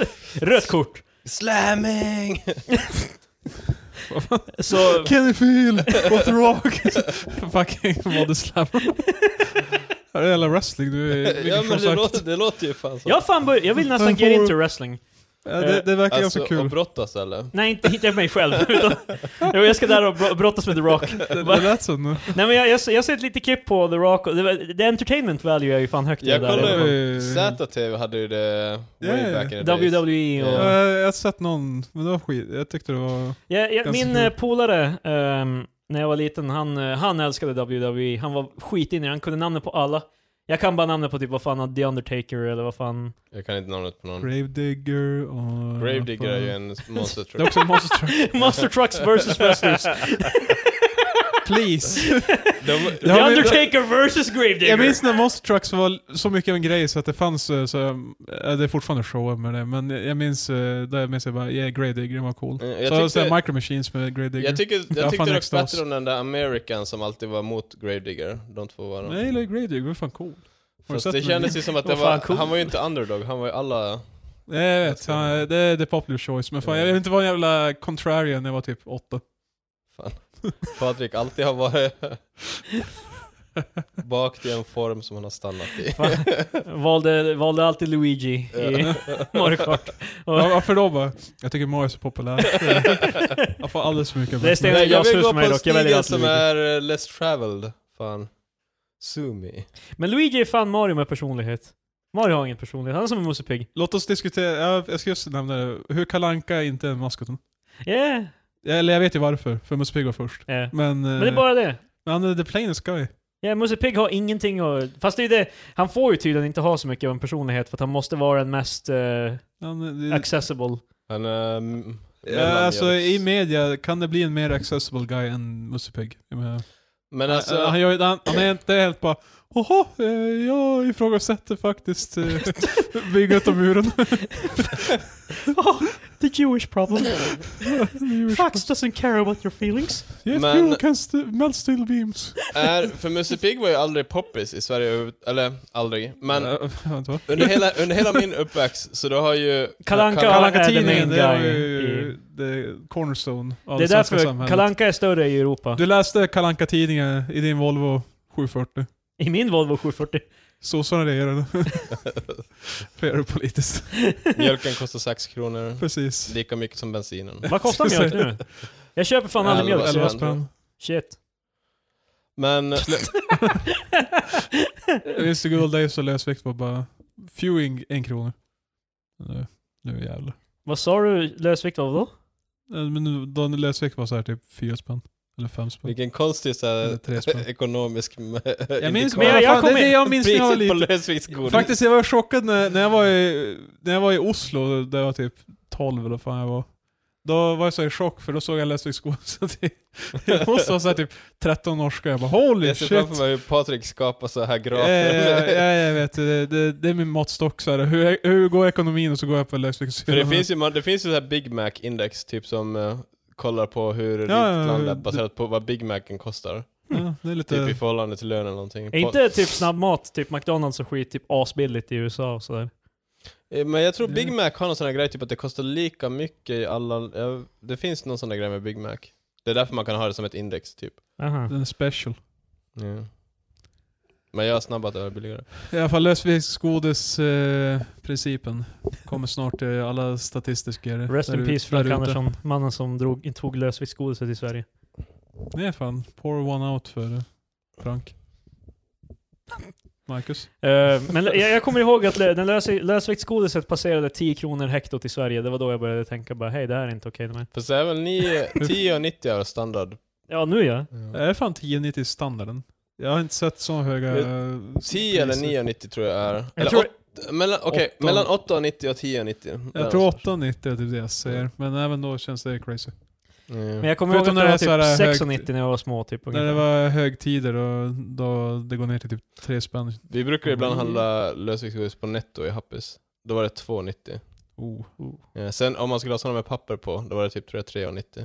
[SPEAKER 3] [laughs]
[SPEAKER 2] Rött kort.
[SPEAKER 1] Slamming!
[SPEAKER 2] [laughs] Så...
[SPEAKER 3] Can you feel what the rock? [laughs] Fucking body slam. Det är jävla wrestling du är...
[SPEAKER 1] ja men det låter, det låter ju fan så.
[SPEAKER 2] Jag, har fan bör- jag vill nästan
[SPEAKER 3] Men
[SPEAKER 2] get
[SPEAKER 3] får-
[SPEAKER 2] into wrestling.
[SPEAKER 3] Ja, det, det verkar
[SPEAKER 1] Alltså,
[SPEAKER 3] ganska
[SPEAKER 1] och
[SPEAKER 3] kul.
[SPEAKER 1] brottas eller?
[SPEAKER 2] Nej, inte hittar jag mig själv. [laughs] Utan, Jo, jag ska där och bro- brottas med The Rock.
[SPEAKER 3] Det,
[SPEAKER 2] Va?
[SPEAKER 3] det lät så nu.
[SPEAKER 2] Nej men jag, jag, jag har sett lite klipp på The Rock och det, var- det entertainment value är ju fan högt i
[SPEAKER 1] Jag
[SPEAKER 2] det där.
[SPEAKER 1] kollar ju,
[SPEAKER 3] Eh,
[SPEAKER 1] ZTV hade ju det way
[SPEAKER 3] Ja, ja,
[SPEAKER 1] back in the
[SPEAKER 2] E.
[SPEAKER 1] days.
[SPEAKER 2] WWE och...
[SPEAKER 1] Ja.
[SPEAKER 3] Jag, jag har sett någon, men det var skit. Jag tyckte det var...
[SPEAKER 2] Jag, jag,
[SPEAKER 3] Ganska
[SPEAKER 2] min
[SPEAKER 3] kul.
[SPEAKER 2] eh, polare, ehm, när jag var liten, han, eh, han älskade WWE. Han var skitinne, han kunde namnet på alla. Jag kan bara namnet på typ vad fan, han- The Undertaker eller
[SPEAKER 1] [laughs]
[SPEAKER 2] vad fan.
[SPEAKER 1] Jag kan inte namnet på
[SPEAKER 2] Mm.
[SPEAKER 1] någon.
[SPEAKER 3] Gravedigger och...
[SPEAKER 1] Gravedigger är ju
[SPEAKER 3] [laughs]
[SPEAKER 1] en monster
[SPEAKER 3] Det är
[SPEAKER 1] truck.
[SPEAKER 3] också en monster
[SPEAKER 1] [laughs]
[SPEAKER 3] truck.
[SPEAKER 2] Monster Trucks vs. Wrestlers.
[SPEAKER 3] Please.
[SPEAKER 1] De, eh,
[SPEAKER 3] Det
[SPEAKER 2] The
[SPEAKER 3] har vi-
[SPEAKER 2] Undertaker vs. Gravedigger.
[SPEAKER 3] Jag minns när Monster Trucks var så mycket av en grej så att det fanns, eh, så, eh, det är fortfarande shower med det, men jag minns, eh, där minns jag bara, yeah, Grey Digger var cool.
[SPEAKER 1] Mm, jag
[SPEAKER 3] så
[SPEAKER 1] tyckte-
[SPEAKER 3] så här, Micro Machines med Grey Digger.
[SPEAKER 1] jag, tycker,
[SPEAKER 3] Jag har
[SPEAKER 1] jag tyckte
[SPEAKER 3] fan
[SPEAKER 1] dock
[SPEAKER 3] extas.
[SPEAKER 1] bättre om den där American som alltid var mot Gravedigger. De två var
[SPEAKER 3] Nej, jag gillar Grey Digger, det var fan cool. Har du
[SPEAKER 1] Fast
[SPEAKER 3] sett
[SPEAKER 1] det
[SPEAKER 3] den?
[SPEAKER 1] kändes ju som att det
[SPEAKER 2] Vad
[SPEAKER 1] var,
[SPEAKER 2] fan, cool.
[SPEAKER 1] han var ju inte underdog, han var ju alla...
[SPEAKER 3] Nej, jag vet,
[SPEAKER 1] Alltså-
[SPEAKER 3] han, det är the popular choice, men fan,
[SPEAKER 1] Mm.
[SPEAKER 3] jag vill inte vara en jävla contrarian när jag var typ
[SPEAKER 1] [laughs]
[SPEAKER 3] åtta.
[SPEAKER 1] Patrik alltid har
[SPEAKER 3] [laughs]
[SPEAKER 1] varit bakt i en form som han har stannat i.
[SPEAKER 2] Fan, valde, valde alltid Luigi i [laughs] Mario Kart. Och,
[SPEAKER 3] Ja, Varför då bara? Jag tycker Mario är så populär. jag får alldeles för mycket.
[SPEAKER 2] Det är sten-
[SPEAKER 1] Nej, jag vill
[SPEAKER 2] glashus
[SPEAKER 1] gå
[SPEAKER 2] för mig
[SPEAKER 1] på
[SPEAKER 2] dock, jag väljer
[SPEAKER 1] stigen
[SPEAKER 2] alltid
[SPEAKER 1] som
[SPEAKER 2] Luigi.
[SPEAKER 1] är eh, less traveled. Fan. Sumi.
[SPEAKER 2] [laughs] men Luigi är fan Mario med personlighet. Mario har ingen personlighet, han är som en Musse Pigg.
[SPEAKER 3] Låt oss diskutera, ja, jag ska just nämna det, hur Kalanka är inte är maskoten.
[SPEAKER 2] Yeah.
[SPEAKER 3] Eller jag vet ju varför, för Musse Pigg var först.
[SPEAKER 2] yeah.
[SPEAKER 3] Men, eh,
[SPEAKER 2] Men det är bara det.
[SPEAKER 3] Men han är the plainest guy.
[SPEAKER 2] Ja, Musse Pigg har ingenting att... Fast det är ju det, han får ju tydligen inte ha så mycket av en personlighet för att han måste vara den mest eh,
[SPEAKER 3] Han, är-
[SPEAKER 2] accessible.
[SPEAKER 1] Han är... mm,
[SPEAKER 3] ja,
[SPEAKER 1] mellanmjölks.
[SPEAKER 3] alltså i media, kan det bli en mer accessible guy än Musse Pigg? Jag menar, eh,
[SPEAKER 1] Men alltså,
[SPEAKER 3] han, han, gör ju- han, han är inte helt bara Jaha, eh, jag
[SPEAKER 2] [laughs]
[SPEAKER 3] ifrågasätter faktiskt eh, bygget av muren.
[SPEAKER 2] Åh, [laughs] The Jewish
[SPEAKER 3] [laughs]
[SPEAKER 2] problem. Fox doesn't care about your feelings.
[SPEAKER 3] [laughs] Yes,
[SPEAKER 1] Men-
[SPEAKER 3] you can st- melt steel beams.
[SPEAKER 1] Är, för Musse Pigg var ju aldrig poppis i Sverige, överhuvud- eller aldrig, men
[SPEAKER 3] Äh, vänta, va?
[SPEAKER 1] under, hela, under hela min uppväxt så då har ju...
[SPEAKER 2] Kalanka
[SPEAKER 1] Kalanka-
[SPEAKER 2] har-
[SPEAKER 3] Kalle Tidningen,
[SPEAKER 2] main
[SPEAKER 3] det var
[SPEAKER 2] guy
[SPEAKER 3] ju the cornerstone av
[SPEAKER 2] det är
[SPEAKER 3] svenska
[SPEAKER 2] därför
[SPEAKER 3] samhället.
[SPEAKER 2] Kalanka är större i Europa.
[SPEAKER 3] Du läste Kalanka Tidningen i din Volvo 740.
[SPEAKER 2] I min Volvo 740.
[SPEAKER 3] Sossarna
[SPEAKER 1] [laughs]
[SPEAKER 3] regerade. Regerade politiskt.
[SPEAKER 1] Mjölken kostar 6 kronor,
[SPEAKER 3] Precis.
[SPEAKER 1] lika mycket som bensinen.
[SPEAKER 2] Vad
[SPEAKER 3] [laughs]
[SPEAKER 2] kostar mjölk nu? Jag köper fan aldrig
[SPEAKER 1] Elva-
[SPEAKER 2] mjölk. så
[SPEAKER 1] elva
[SPEAKER 2] jag-
[SPEAKER 1] spänn.
[SPEAKER 2] Shit.
[SPEAKER 1] Men...
[SPEAKER 3] Jag minns the good old days så lösvikt var bara Fewing en krona. Nu, nu jävlar.
[SPEAKER 2] Vad sa du lösvikt var då?
[SPEAKER 3] Äh, Men nu, då lösvikt var så här typ fyra spänn. Eller fem spänn.
[SPEAKER 1] Vilken konstig så
[SPEAKER 3] Eller
[SPEAKER 1] här,
[SPEAKER 3] tre spänn.
[SPEAKER 1] ekonomisk [laughs]
[SPEAKER 3] Jag minns,
[SPEAKER 2] men
[SPEAKER 3] men
[SPEAKER 2] jag-
[SPEAKER 3] jag,
[SPEAKER 2] jag
[SPEAKER 3] fan, det är
[SPEAKER 2] kommer-
[SPEAKER 3] det jag minns när jag var
[SPEAKER 1] Priset på
[SPEAKER 3] liten.
[SPEAKER 1] lösviktsgodis.
[SPEAKER 3] Faktiskt, jag var chockad när, när, jag var i, när jag var i Oslo, där jag var typ 12 eller vad fan jag var. Då var jag så i chock för då såg jag [laughs] lösviktsgodis. Jag måste vara såhär typ 13 norska. Jag bara holy
[SPEAKER 1] Jag ser
[SPEAKER 3] shit.
[SPEAKER 1] framför mig hur Patrik skapar så här
[SPEAKER 3] Ja,
[SPEAKER 1] grafer.
[SPEAKER 3] Eh, ja, ja, jag vet. Det, det, det är min måttstock. Så här. Hur, hur går ekonomin? Och så går jag på
[SPEAKER 1] För det
[SPEAKER 3] lösviktsgodis.
[SPEAKER 1] finns ju, man- det finns ju så här Big Mac-index, typ som eh, kollar på hur rikt
[SPEAKER 3] ja, ja,
[SPEAKER 1] land är
[SPEAKER 3] det-
[SPEAKER 1] baserat på vad Big Macen kostar.
[SPEAKER 3] Ja, det
[SPEAKER 1] Typ i
[SPEAKER 3] är lite...
[SPEAKER 1] förhållande till lönen eller någonting.
[SPEAKER 2] Är inte typ snabbmat, typ McDonalds och skit, typ asbilligt i USA och sådär?
[SPEAKER 1] Eh, Men jag tror
[SPEAKER 3] Ja.
[SPEAKER 1] Big Mac har någon sån här grej, typ att det kostar lika mycket i alla... ja, Det finns någon sån här grej med Big Mac. Det är därför man kan ha det som ett index, typ.
[SPEAKER 2] Aha.
[SPEAKER 3] Den är special.
[SPEAKER 1] Ja. Men jag har snabbat över billigare.
[SPEAKER 3] I alla fall lösviktsgodis-principen eh, kommer snart till alla statistiker.
[SPEAKER 2] Rest
[SPEAKER 3] där
[SPEAKER 2] in
[SPEAKER 3] ut-
[SPEAKER 2] peace
[SPEAKER 3] där
[SPEAKER 2] Frank
[SPEAKER 3] ute.
[SPEAKER 2] Andersson, mannen som drog, tog lösviktsgodiset i Sverige.
[SPEAKER 3] Det är fan, pour one out för eh, Frank. Marcus?
[SPEAKER 2] Eh, men jag, jag kommer ihåg att lö- den lös- lösviktsgodiset passerade 10 kronor hektot i Sverige. Det var då jag började tänka bara hej, det här är inte okej okay.
[SPEAKER 1] För så är väl
[SPEAKER 3] [laughs]
[SPEAKER 1] ni 10 och 90 är standard?
[SPEAKER 2] Ja, nu ja.
[SPEAKER 3] Är det fan 10,90 standarden? Jag har inte sett så höga...
[SPEAKER 1] Jag-
[SPEAKER 3] eh,
[SPEAKER 1] 10 eller
[SPEAKER 3] priser.
[SPEAKER 1] 9 och 90 tror jag är.
[SPEAKER 2] Jag
[SPEAKER 1] Eller
[SPEAKER 2] tror,
[SPEAKER 1] åt- mellan, okej,
[SPEAKER 3] Åtta.
[SPEAKER 1] mellan 8 och 90 och 10 och 90.
[SPEAKER 3] Jag tror 8,90 är typ det jag säger, men även då känns det crazy.
[SPEAKER 2] men jag kommer ihåg
[SPEAKER 3] Förutom
[SPEAKER 2] att det
[SPEAKER 3] när
[SPEAKER 2] var
[SPEAKER 3] det är så här
[SPEAKER 2] typ
[SPEAKER 3] högt-
[SPEAKER 2] 6,90 när jag var små typ.
[SPEAKER 3] När det
[SPEAKER 2] ungefär.
[SPEAKER 3] var högtider och då det går ner till typ 3 spänn.
[SPEAKER 1] Vi brukar ibland
[SPEAKER 2] Mm.
[SPEAKER 1] handla lösviktsgodis på netto i Happis. Då var det 2,90.
[SPEAKER 3] Oh.
[SPEAKER 1] Ja, sen om man skulle ha sådana med papper på, då var det typ tror jag 3,90.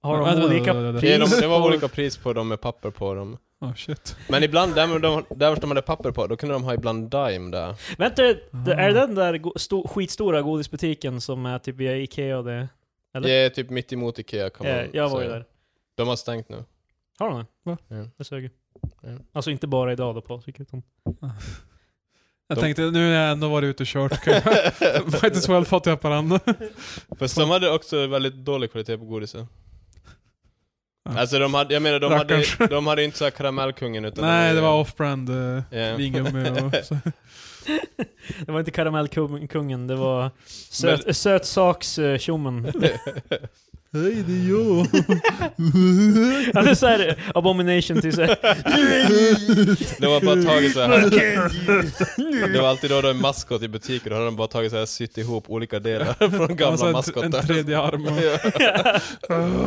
[SPEAKER 2] Har de
[SPEAKER 3] Vänta, vänta,
[SPEAKER 2] olika
[SPEAKER 3] vänta, vänta.
[SPEAKER 1] Det, är de,
[SPEAKER 2] pris
[SPEAKER 1] det var
[SPEAKER 2] på-
[SPEAKER 1] olika pris på dem med papper på dem.
[SPEAKER 3] Oh, shit.
[SPEAKER 1] Men ibland, där, med de, där vart de hade papper på, då kunde de ha ibland Dime där.
[SPEAKER 2] Vänta, det
[SPEAKER 3] Ah.
[SPEAKER 2] är det den där go- sto- skitstora godisbutiken som är typ via Ikea och det? Eller?
[SPEAKER 1] Det är typ mitt emot Ikea kan man
[SPEAKER 2] Eh, jag var ju
[SPEAKER 1] säga.
[SPEAKER 2] där.
[SPEAKER 1] De har stängt
[SPEAKER 2] [laughs]
[SPEAKER 1] nu.
[SPEAKER 2] Har de det?
[SPEAKER 3] Va?
[SPEAKER 1] Ja.
[SPEAKER 2] Det suger.
[SPEAKER 1] Ja.
[SPEAKER 2] Alltså inte bara idag då Patrik, utan...
[SPEAKER 3] Jag
[SPEAKER 1] De-
[SPEAKER 3] tänkte nu när jag ändå varit ute och kört kan [laughs] jag
[SPEAKER 1] [laughs]
[SPEAKER 3] might as well fått till Haparanda.
[SPEAKER 1] Fast de hade också väldigt dålig kvalitet på godiset.
[SPEAKER 3] Ja.
[SPEAKER 1] Alltså de hade, jag menar de hade,
[SPEAKER 3] Rackarns.
[SPEAKER 1] de hade inte så här karamellkungen utan de
[SPEAKER 3] Nej,
[SPEAKER 1] hade-
[SPEAKER 3] det var off-brand eh,
[SPEAKER 1] Ja.
[SPEAKER 3] vingummi och så.
[SPEAKER 2] Det var inte karamellkungen, det [laughs] var söt, sötsaks-tjommen.
[SPEAKER 3] [laughs]
[SPEAKER 1] [laughs]
[SPEAKER 2] [laughs]
[SPEAKER 3] Hej, det är [laughs] jag!
[SPEAKER 2] Han är såhär abomination till såhär...
[SPEAKER 1] Det var bara tagit så här. Det var alltid då de är maskot i butiker, då hade de bara tagit så här sytt ihop olika delar [laughs] från
[SPEAKER 3] Han har så
[SPEAKER 1] gamla
[SPEAKER 3] här Alltså, en
[SPEAKER 1] maskotar.
[SPEAKER 3] tredje arm.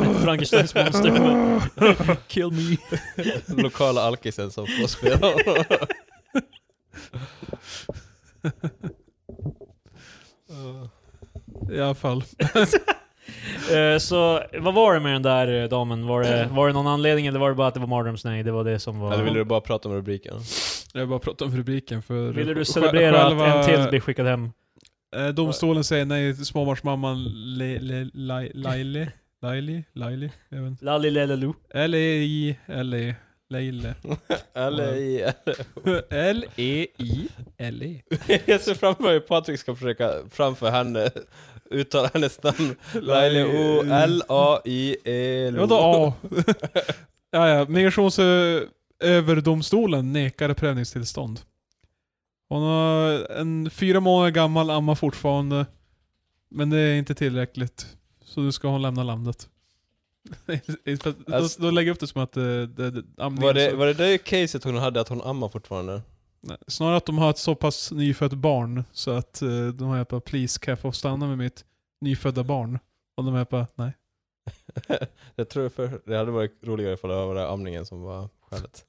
[SPEAKER 3] och-
[SPEAKER 2] [laughs] Frankensteins monster. [laughs] bara, Kill me.
[SPEAKER 1] [laughs] Lokala alkisen som får spela.
[SPEAKER 3] I alla fall.
[SPEAKER 2] Eh, så vad var det med den där eh, damen? Var det, var det någon anledning eller var det bara att det var mardrömsnej? Det var det som var...
[SPEAKER 1] Eller ville du bara prata om rubriken?
[SPEAKER 3] Jag bara prata om rubriken för...
[SPEAKER 2] Ville du
[SPEAKER 3] sj-
[SPEAKER 2] celebrera
[SPEAKER 3] själva-
[SPEAKER 2] att en till blir skickad hem?
[SPEAKER 3] Eh, Domstolen säger nej till småbarnsmamman Le- Le- Lai- Laili. Laili? Laili? Jag vet inte. E
[SPEAKER 2] Lalli lalalu.
[SPEAKER 3] L-E-I. L-E. [laughs] Leile.
[SPEAKER 1] Eller i... [laughs]
[SPEAKER 3] L-E-I. L-E.
[SPEAKER 1] Jag ser framför mig hur Patrik ska försöka framför henne uttala hennes namn. Laila O L A I E L O.
[SPEAKER 3] Vadå A? ja, ja. Migrationsöverdomstolen nekar prövningstillstånd. Hon har en fyra månader gammal amma fortfarande. Men det är inte tillräckligt. Så nu ska hon lämna landet. [laughs] För att-
[SPEAKER 1] Alltså-
[SPEAKER 3] då, då lägger jag upp det som att eh, det, det, amningen
[SPEAKER 1] Var det,
[SPEAKER 3] så-
[SPEAKER 1] var det det caset hon hade, att hon ammar fortfarande?
[SPEAKER 3] Nej, Snarare att de har ett så pass nyfött barn så att eh, de har bara 'Please, kan jag få stanna med mitt nyfödda barn?' Och de har bara 'Nej'
[SPEAKER 1] Jag tror för, det hade varit roligare ifall det var det amningen som var skälet.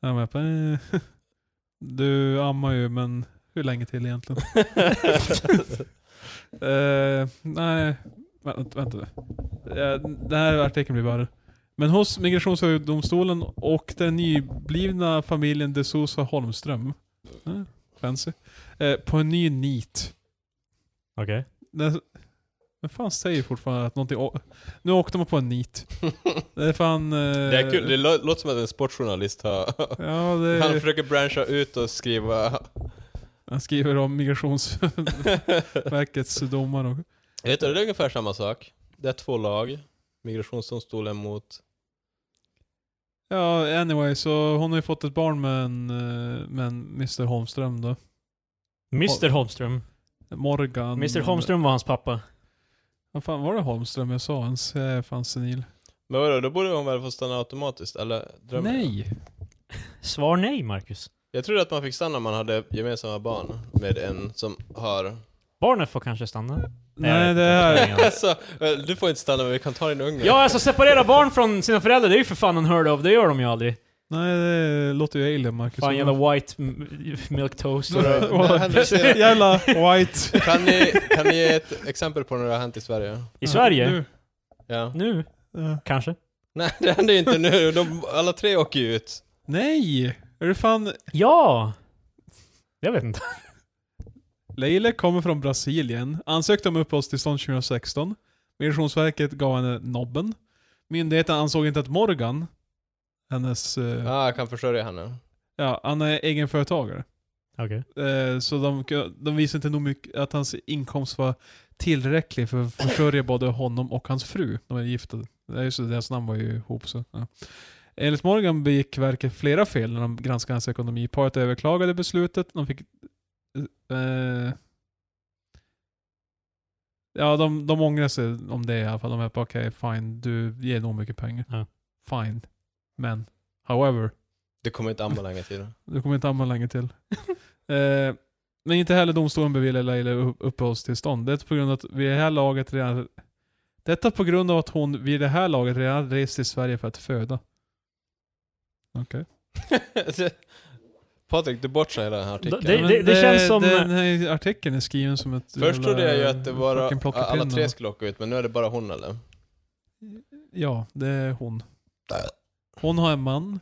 [SPEAKER 3] De är bara, eh, [laughs]
[SPEAKER 1] [laughs]
[SPEAKER 3] Du ammar ju men hur länge till egentligen? Eh, nej, vänta, vänta nu. Eh, Den här artikeln blir värre. Men hos Migrationsöverdomstolen och den nyblivna familjen De Sosa Holmström. Eh, fancy. Eh, på en ny nit.
[SPEAKER 2] Okej.
[SPEAKER 3] Den, men fan säger fortfarande att någonting... å- Nu åkte man på en nit. [laughs] Det är fan... Eh, Eh,
[SPEAKER 1] Det är kul, det lå- låter som att en sportjournalist har...
[SPEAKER 3] Ja, det,
[SPEAKER 1] Han
[SPEAKER 3] han,
[SPEAKER 1] försöker branscha ut och
[SPEAKER 3] [laughs]
[SPEAKER 1] skriva...
[SPEAKER 3] skriver om Migrationsverkets domar och...
[SPEAKER 1] Vet du, det är ungefär samma sak. Det är två lag. Migrationsdomstolen mot...
[SPEAKER 3] Ja, anyway, så hon har ju fått ett barn med en, eh, med en Mr Holmström då.
[SPEAKER 2] Mr Holmström.
[SPEAKER 3] Morgan...
[SPEAKER 2] Mr Holmström var hans pappa.
[SPEAKER 3] Vad fan var det Holmström jag sa ens? Jag är fan senil.
[SPEAKER 1] Men vadå, då borde hon väl få stanna automatiskt? Eller drömmer jag?
[SPEAKER 3] Nej!
[SPEAKER 2] Svar nej, Marcus.
[SPEAKER 1] Jag trodde att man fick stanna om man hade gemensamma barn med en som har...
[SPEAKER 2] Barnet får kanske stanna. jag
[SPEAKER 3] Nej,
[SPEAKER 2] vet
[SPEAKER 3] det
[SPEAKER 2] inte.
[SPEAKER 3] här...
[SPEAKER 1] Alltså, eh, du får inte stanna men vi kan ta din unge.
[SPEAKER 2] Ja, alltså separera barn från sina föräldrar, det är ju för fan unheard of. Det gör de ju aldrig.
[SPEAKER 3] Nej, det låter ju alien Marcus.
[SPEAKER 2] Fan jävla white m- milk toast.
[SPEAKER 1] Några- det har hänt i Sverige.
[SPEAKER 3] [laughs] jävla white.
[SPEAKER 1] Kan ni, kan ni ge ett exempel på när det har hänt i Sverige?
[SPEAKER 2] I Sverige?
[SPEAKER 3] Nu.
[SPEAKER 1] Ja.
[SPEAKER 2] Nu?
[SPEAKER 3] Ja.
[SPEAKER 2] Kanske?
[SPEAKER 1] Nej, det händer ju inte nu. De, alla tre åker ju ut.
[SPEAKER 3] Nej! Är det fan...
[SPEAKER 2] Ja! Jag vet inte.
[SPEAKER 3] Leila kommer från Brasilien, ansökte om uppehållstillstånd 2016. Migrationsverket gav henne nobben. Myndigheten ansåg inte att Morgan, hennes... eh,
[SPEAKER 1] Ja, jag kan försörja henne.
[SPEAKER 3] Ja, han är egenföretagare.
[SPEAKER 2] Okej.
[SPEAKER 3] Eh, Så de, de visade inte nog mycket att hans inkomst var tillräcklig för att försörja både honom och hans fru. De är gifta. Det är ju så, deras namn var ju ihop så. Ja. Enligt Morgan begick verket flera fel när de granskade hans ekonomi. Paret överklagade beslutet. De fick... Eh, ja, de, de ångrar sig om det i alla fall. De är på okej, fine. Du ger nog mycket pengar.
[SPEAKER 2] Ja.
[SPEAKER 3] Fine. Men, however.
[SPEAKER 1] Du kommer inte amma länge till.
[SPEAKER 3] Du kommer inte amma
[SPEAKER 2] [laughs]
[SPEAKER 3] länge till. eh, men inte heller domstolen beviljar Laila upp- uppehållstillstånd. Det är på grund av att vid det här laget redan... Detta på grund av att hon vid det här laget redan rest till Sverige för att föda.
[SPEAKER 1] [laughs] Patrik, du bortsade hela den här artikeln.
[SPEAKER 2] Det-
[SPEAKER 3] Men
[SPEAKER 2] det känns som-
[SPEAKER 3] Den här artikeln är skriven som ett...
[SPEAKER 1] Först
[SPEAKER 3] jävla
[SPEAKER 1] trodde jag ju att det var
[SPEAKER 3] fucking plockepinn
[SPEAKER 1] alla tre
[SPEAKER 3] eller-
[SPEAKER 1] skulle åka ut, men nu är det bara hon eller?
[SPEAKER 3] Ja, det är hon. Hon har en man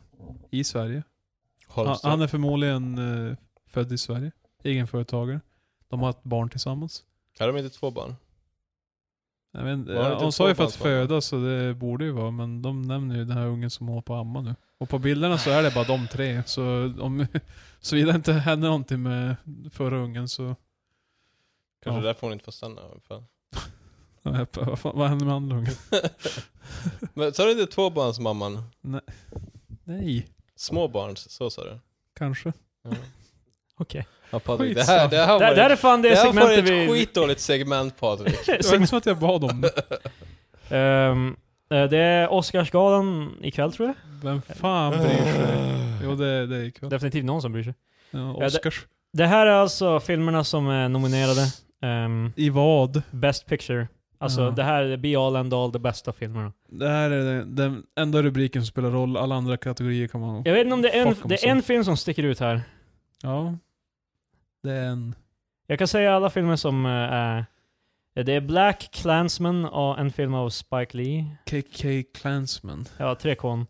[SPEAKER 3] i Sverige. Han,
[SPEAKER 1] Holmström.
[SPEAKER 3] han är förmodligen eh, född i Sverige. Egenföretagare. De har ett barn tillsammans.
[SPEAKER 1] Har de inte två barn?
[SPEAKER 3] Jag vet, inte,
[SPEAKER 1] Var det
[SPEAKER 3] ja,
[SPEAKER 1] inte
[SPEAKER 3] hon sa ju för att
[SPEAKER 1] tvåbarnsfamilj?
[SPEAKER 3] föda så det borde ju vara, men de nämner ju den här ungen som håller på att amma nu. Och på bilderna så är det bara de tre, så om [laughs] såvida inte hände någonting med förra ungen så...
[SPEAKER 1] Kanske
[SPEAKER 3] Ja.
[SPEAKER 1] därför hon inte får stanna. i alla fall.
[SPEAKER 3] Ja, [laughs] Vad, fan, vad hände med andra ungen?
[SPEAKER 1] Men sa du inte tvåbarnsmamman?
[SPEAKER 3] Nej,
[SPEAKER 1] Småbarns, så sa du?
[SPEAKER 3] kanske.
[SPEAKER 1] Ja.
[SPEAKER 2] Okej.
[SPEAKER 1] Ja, Patrik, det här, det här
[SPEAKER 2] Där,
[SPEAKER 1] var
[SPEAKER 2] där är fan det,
[SPEAKER 1] det här var
[SPEAKER 2] segmentet
[SPEAKER 1] ett
[SPEAKER 2] vi... [laughs]
[SPEAKER 1] skitdåligt segment Patrik.
[SPEAKER 3] Det var inte som att jag bad om det.
[SPEAKER 2] Ehm, eh, det är Oscarsgalan ikväll tror jag.
[SPEAKER 3] Vem fan bryr sig?
[SPEAKER 1] [laughs]
[SPEAKER 3] Jo, det, det är ikväll.
[SPEAKER 2] Definitivt någon som bryr sig.
[SPEAKER 3] Ja,
[SPEAKER 2] det-
[SPEAKER 3] Oscars.
[SPEAKER 2] Det här är alltså filmerna som är nominerade. Ehm,
[SPEAKER 3] I vad?
[SPEAKER 2] Best Picture. Alltså
[SPEAKER 3] Ja.
[SPEAKER 2] det här är be all and all, de bästa filmerna.
[SPEAKER 3] Det här är den, den enda rubriken som spelar roll, alla andra kategorier kan man...
[SPEAKER 2] Jag vet inte om det är en,
[SPEAKER 3] Fuck om
[SPEAKER 2] det är
[SPEAKER 3] så.
[SPEAKER 2] en film som sticker ut här.
[SPEAKER 3] Ja. Det är en...
[SPEAKER 2] Jag kan säga alla filmer som eh, är... Det är Black Klansman och en film av Spike Lee.
[SPEAKER 3] KK Klansman.
[SPEAKER 2] Ja, tre kon.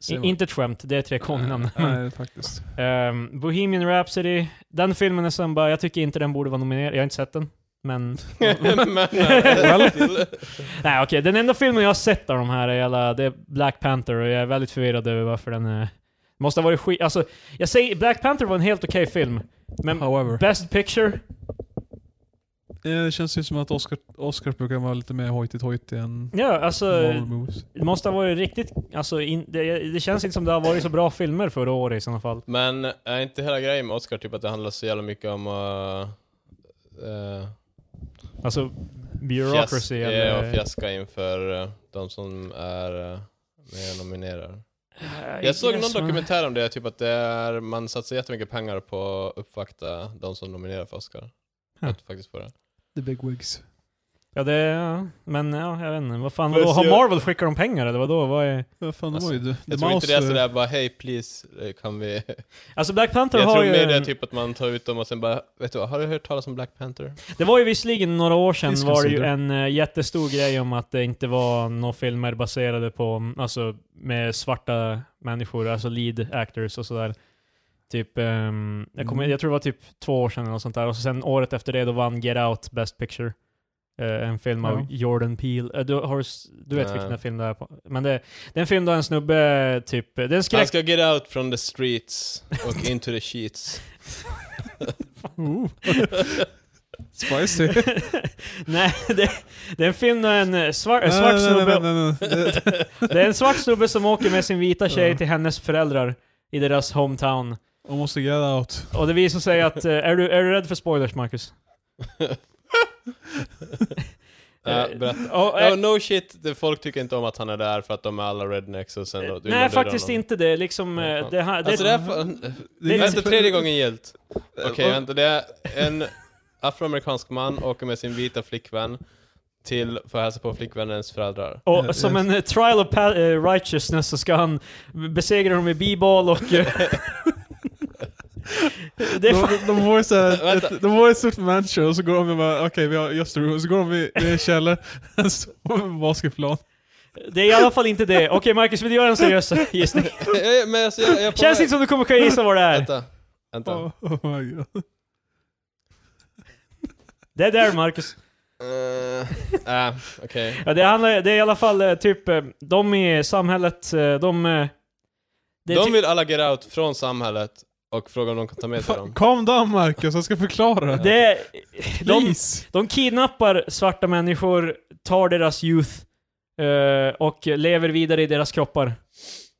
[SPEAKER 3] Se
[SPEAKER 2] I,
[SPEAKER 3] vad-
[SPEAKER 2] inte ett skämt, det är tre kon i namnet. men-
[SPEAKER 3] Nej, faktiskt.
[SPEAKER 2] [laughs] Ehm, Bohemian Rhapsody. Den filmen är som bara, jag tycker inte den borde vara nominerad. Jag har inte sett den.
[SPEAKER 3] [laughs]
[SPEAKER 2] Men...
[SPEAKER 1] [laughs] Men, [laughs] eh,
[SPEAKER 2] Nej okej, den enda filmen jag har sett av de här är jävla, det är Black Panther och jag är väldigt förvirrad över varför den är... Måste ha varit skit... Alltså, jag säger, Black Panther var en helt okej film. Men
[SPEAKER 3] However.
[SPEAKER 2] Best Picture?
[SPEAKER 3] Eh, Det känns ju som att Oscar, Oscar brukar vara lite mer hojtigt hojtigt än
[SPEAKER 2] Ja, alltså...
[SPEAKER 3] normal movies.
[SPEAKER 2] Det måste ha varit riktigt... Alltså, in, det, det känns inte som det har varit så bra filmer förra året i sådana fall.
[SPEAKER 1] Men är inte hela grejen med Oscar typ att det handlar så jävla mycket om uh, uh,
[SPEAKER 2] Alltså, bureaucracy
[SPEAKER 1] ja,
[SPEAKER 2] eller...
[SPEAKER 1] eh, och fiaska inför eh, de som är uh, med och nominerar. Jag såg någon dokumentär om det, typ att det är, man satsar jättemycket pengar på att uppvakta de som nominerar för Oscar.
[SPEAKER 2] Huh.
[SPEAKER 1] Att faktiskt få det.
[SPEAKER 3] The big wigs.
[SPEAKER 2] Ja, det... ja, Men ja, jag vet inte. Vad fan,
[SPEAKER 1] Fast
[SPEAKER 2] vadå? Har
[SPEAKER 1] jag-
[SPEAKER 2] Marvel skickat dem pengar eller vadå? Vad är...
[SPEAKER 3] Vad fan,
[SPEAKER 1] Alltså,
[SPEAKER 3] oj du. The
[SPEAKER 1] Jag tror inte det är
[SPEAKER 3] Mouse,
[SPEAKER 1] sådär bara hej please, eh, kan
[SPEAKER 2] [laughs]
[SPEAKER 1] vi...
[SPEAKER 2] Alltså Black Panther
[SPEAKER 1] Jag
[SPEAKER 2] har
[SPEAKER 1] tror
[SPEAKER 2] ju...
[SPEAKER 1] mer det är typ att man tar ut dem och sen bara, vet du vad, har du hört talas om Black Panther?
[SPEAKER 2] Det var ju visserligen några år sedan
[SPEAKER 3] Discus
[SPEAKER 2] var det ju
[SPEAKER 3] sidor.
[SPEAKER 2] en eh, jättestor grej om att det inte var några filmer baserade på, mm, alltså med svarta människor, alltså lead actors och sådär. Typ, ehm, jag, kommer,
[SPEAKER 3] Mm.
[SPEAKER 2] jag tror det var typ två år sedan eller något sånt där. Och så sen året efter det då vann Get Out Best Picture. Eh, en film av
[SPEAKER 3] Ja.
[SPEAKER 2] Jordan Peele. Eh, du, har, du s- du vet
[SPEAKER 1] Nej.
[SPEAKER 2] vilken film det är på. Men det, det är en film där en snubbe eh, typ, det är en
[SPEAKER 1] Han
[SPEAKER 2] skräck...
[SPEAKER 1] ska get out from the streets och into the sheets.
[SPEAKER 2] [laughs]
[SPEAKER 3] Ooh. eh,
[SPEAKER 1] [laughs]
[SPEAKER 3] Spicy.
[SPEAKER 2] nej, det, det är en film där en eh, svar, en
[SPEAKER 3] Nej,
[SPEAKER 2] svart
[SPEAKER 3] nej,
[SPEAKER 2] snubbe
[SPEAKER 3] nej, nej, nej,
[SPEAKER 1] [laughs]
[SPEAKER 3] nej. Det-
[SPEAKER 2] Det är en svart snubbe som åker med sin vita tjej
[SPEAKER 3] Ja.
[SPEAKER 2] till hennes föräldrar i deras hometown.
[SPEAKER 3] Man måste get out.
[SPEAKER 2] Och det visar sig att... eh, Är du, är du rädd för spoilers, Marcus?
[SPEAKER 1] Ja, berätta.
[SPEAKER 2] Och, eh,
[SPEAKER 1] Ja, no shit, det- folk tycker inte om att han är där för att de är alla rednecks och sen då, vill de
[SPEAKER 2] nej,
[SPEAKER 1] döda
[SPEAKER 2] faktiskt
[SPEAKER 1] honom.
[SPEAKER 2] inte det. Liksom, eh,
[SPEAKER 1] Ja, fan.
[SPEAKER 2] det, här- det,
[SPEAKER 1] Alltså det är Eh, fan...
[SPEAKER 2] Det är
[SPEAKER 1] vänta,
[SPEAKER 2] liksom-
[SPEAKER 1] tredje gången gillt. Okej, vänta, det är en afroamerikansk man åker med sin vita flickvän till för att hälsa på flickvännens föräldrar.
[SPEAKER 2] och
[SPEAKER 3] Ja,
[SPEAKER 2] som
[SPEAKER 3] ja.
[SPEAKER 2] en eh, trial of pa- eh, righteousness så ska han besegra dem i b-ball och... eh, [laughs] det är
[SPEAKER 3] De,
[SPEAKER 2] fan,
[SPEAKER 3] de, de har ju såhär,
[SPEAKER 1] Vänta.
[SPEAKER 3] ett, de har ett stort mansion och så går de och bara okej vi har just a room, så går de i i en källare, [laughs] så har de en basketplan.
[SPEAKER 2] det är i alla fall inte det. Okej Marcus, vill du göra en seriös
[SPEAKER 1] [laughs]
[SPEAKER 2] gissning?
[SPEAKER 1] [laughs] Eh, Men alltså, jag, jag är på
[SPEAKER 2] Känns
[SPEAKER 1] väg.
[SPEAKER 2] inte som du kommer kunna gissa vad det är.
[SPEAKER 1] Vänta, vänta.
[SPEAKER 3] Oh, oh my god.
[SPEAKER 2] Det är där Marcus.
[SPEAKER 1] Eh, äh, okej.
[SPEAKER 2] Ja, det, handlar, det är i alla fall eh, typ, eh, de i samhället, eh, de... eh, Det är
[SPEAKER 1] De
[SPEAKER 2] typ-
[SPEAKER 1] vill alla get out från samhället och fråga om de kan ta med sig
[SPEAKER 3] Fan,
[SPEAKER 1] dem.
[SPEAKER 3] Calm down Marcus, jag ska förklara.
[SPEAKER 2] det är, de,
[SPEAKER 3] Please!
[SPEAKER 2] de kidnappar svarta människor, tar deras youth eh, och lever vidare i deras kroppar.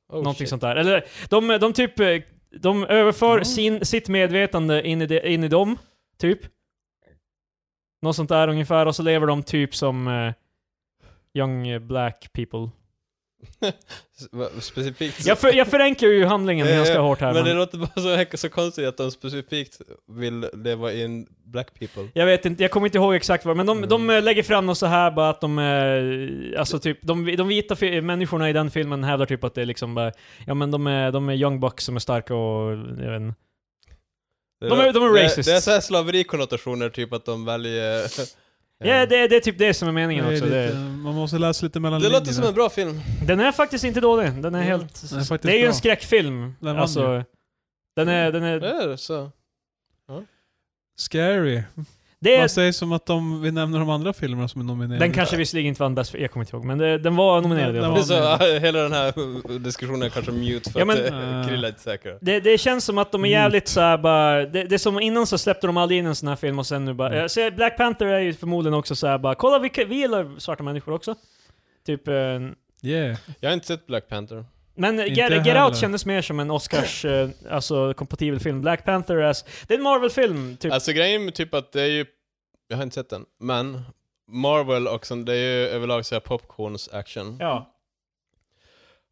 [SPEAKER 1] Oh,
[SPEAKER 2] någonting
[SPEAKER 1] shit. Ah.
[SPEAKER 2] sånt där. Eller de, de typ, eh, de överför
[SPEAKER 3] Mm.
[SPEAKER 2] sin, sitt medvetande in i, de, in i dem, typ. Något sånt där ungefär, och så lever de typ som eh, young eh, black people.
[SPEAKER 1] S- va- Specifikt.
[SPEAKER 2] Jag, för, jag förenklar ju handlingen
[SPEAKER 1] Ja, ja,
[SPEAKER 2] ganska hårt här.
[SPEAKER 1] men det låter bara så, så konstigt att de specifikt vill leva in black people.
[SPEAKER 2] Jag vet inte, jag kommer inte ihåg exakt vad, men de,
[SPEAKER 1] Mm.
[SPEAKER 2] de eh, lägger fram något så här bara att de, eh, alltså typ, de, de vita fi- människorna i den filmen hävdar typ att det är liksom bara, ja men de är, de är young bucks som är starka och, jag vet inte.
[SPEAKER 1] Det
[SPEAKER 2] De är- de är
[SPEAKER 1] det-
[SPEAKER 2] racists.
[SPEAKER 1] Det är såhär slaverikonnotationer, typ att de väljer...
[SPEAKER 2] Ja, det, det är typ det som är meningen
[SPEAKER 3] Det är
[SPEAKER 2] också.
[SPEAKER 3] lite,
[SPEAKER 2] Det,
[SPEAKER 3] man måste läsa lite mellan
[SPEAKER 1] det
[SPEAKER 3] linjerna.
[SPEAKER 1] låter som en bra film.
[SPEAKER 2] den är faktiskt inte dålig, den
[SPEAKER 1] Mm.
[SPEAKER 2] är helt...
[SPEAKER 3] Den är faktiskt
[SPEAKER 2] det är ju
[SPEAKER 3] bra.
[SPEAKER 2] en skräckfilm.
[SPEAKER 3] Den vann
[SPEAKER 2] alltså, den är, den
[SPEAKER 1] Det
[SPEAKER 2] är,
[SPEAKER 1] är så.
[SPEAKER 3] Scary.
[SPEAKER 2] det
[SPEAKER 3] Man
[SPEAKER 2] är,
[SPEAKER 3] säger som att de, vi nämner de andra filmerna som är nominerade.
[SPEAKER 2] den kanske visserligen inte vann bäst, för- jag kommer inte ihåg, men det, den var nominerad i
[SPEAKER 3] Den
[SPEAKER 2] alla
[SPEAKER 1] Det är
[SPEAKER 2] fall.
[SPEAKER 1] så äh, [laughs] hela den här diskussionen är kanske mute för
[SPEAKER 2] Ja, men- eh,
[SPEAKER 1] att äh, Krilla är inte säker.
[SPEAKER 2] Det, det känns som att de är
[SPEAKER 3] Mm.
[SPEAKER 2] jävligt såhär bara, det, det är som innan så släppte de aldrig in en sån här film och sen nu bara,
[SPEAKER 3] Mm.
[SPEAKER 2] jag ser Black Panther är ju förmodligen också såhär bara, kolla vi, kan- vi gillar svarta människor också. Typ, eh,
[SPEAKER 3] Yeah.
[SPEAKER 1] Jag har inte sett Black Panther.
[SPEAKER 2] men Get,
[SPEAKER 3] Inte
[SPEAKER 2] Get
[SPEAKER 3] heller.
[SPEAKER 2] Out kändes mer som en Oscars, eh, alltså kompatibel film. Black Panther är, s- det är en Marvel-film typ.
[SPEAKER 1] Alltså grejen med typ att det är ju... Jag har inte sett den, men Marvel och sånt, det är ju överlag såhär popcorns-action.
[SPEAKER 2] ja.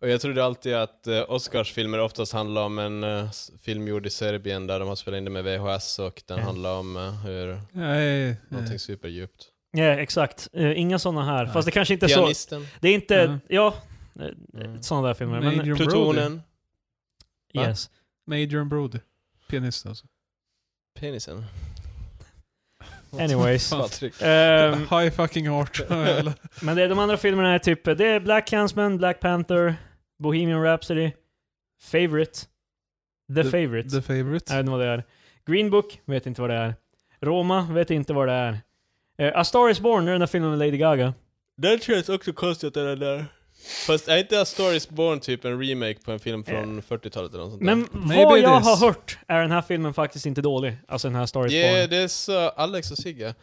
[SPEAKER 1] Och jag trodde alltid att eh, Oscarsfilmer oftast handlar om en eh, s- film gjord i Serbien där de har spelat in det med VHS och den
[SPEAKER 2] Mm.
[SPEAKER 1] handlar om eh, hur
[SPEAKER 3] Nej,
[SPEAKER 1] någonting superdjupt.
[SPEAKER 2] Ja, exakt. Eh, inga sådana här.
[SPEAKER 3] Nej.
[SPEAKER 2] Fast det kanske inte är så,
[SPEAKER 1] Pianisten,
[SPEAKER 2] det är inte,
[SPEAKER 3] Mm.
[SPEAKER 2] ja,
[SPEAKER 1] Mm.
[SPEAKER 2] sådana där filmer. Men,
[SPEAKER 3] Major Brody.
[SPEAKER 1] plutonen, va?
[SPEAKER 2] yes.
[SPEAKER 3] Major Brody. Pianist alltså.
[SPEAKER 1] penisen. [laughs]
[SPEAKER 3] [laughs]
[SPEAKER 2] Anyways.
[SPEAKER 1] Patrik.
[SPEAKER 2] Ehm,
[SPEAKER 3] High fucking
[SPEAKER 2] [laughs]
[SPEAKER 3] heart. Eller-
[SPEAKER 2] Men det, de andra filmerna är typ, det är Black Klansman, Black Panther, Bohemian Rhapsody, Favorite, The, Favorite.
[SPEAKER 3] The favorite.
[SPEAKER 2] Jag vet inte vad det är. Green Book, vet inte vad det är. Roma, vet inte vad det är. Eh, A Star Is Born, det är den där filmen med Lady Gaga.
[SPEAKER 1] Den känns också konstigt att den är där. Fast är inte A Star Is Born typ en remake på en film från 40-talet eller något sånt där?
[SPEAKER 2] Men
[SPEAKER 3] Maybe
[SPEAKER 2] vad
[SPEAKER 3] it
[SPEAKER 2] jag
[SPEAKER 3] is.
[SPEAKER 2] har hört är den här filmen faktiskt inte dålig. Alltså den här A Star Is
[SPEAKER 1] Yeah,
[SPEAKER 2] Born.
[SPEAKER 1] det är så Alex och Sigge.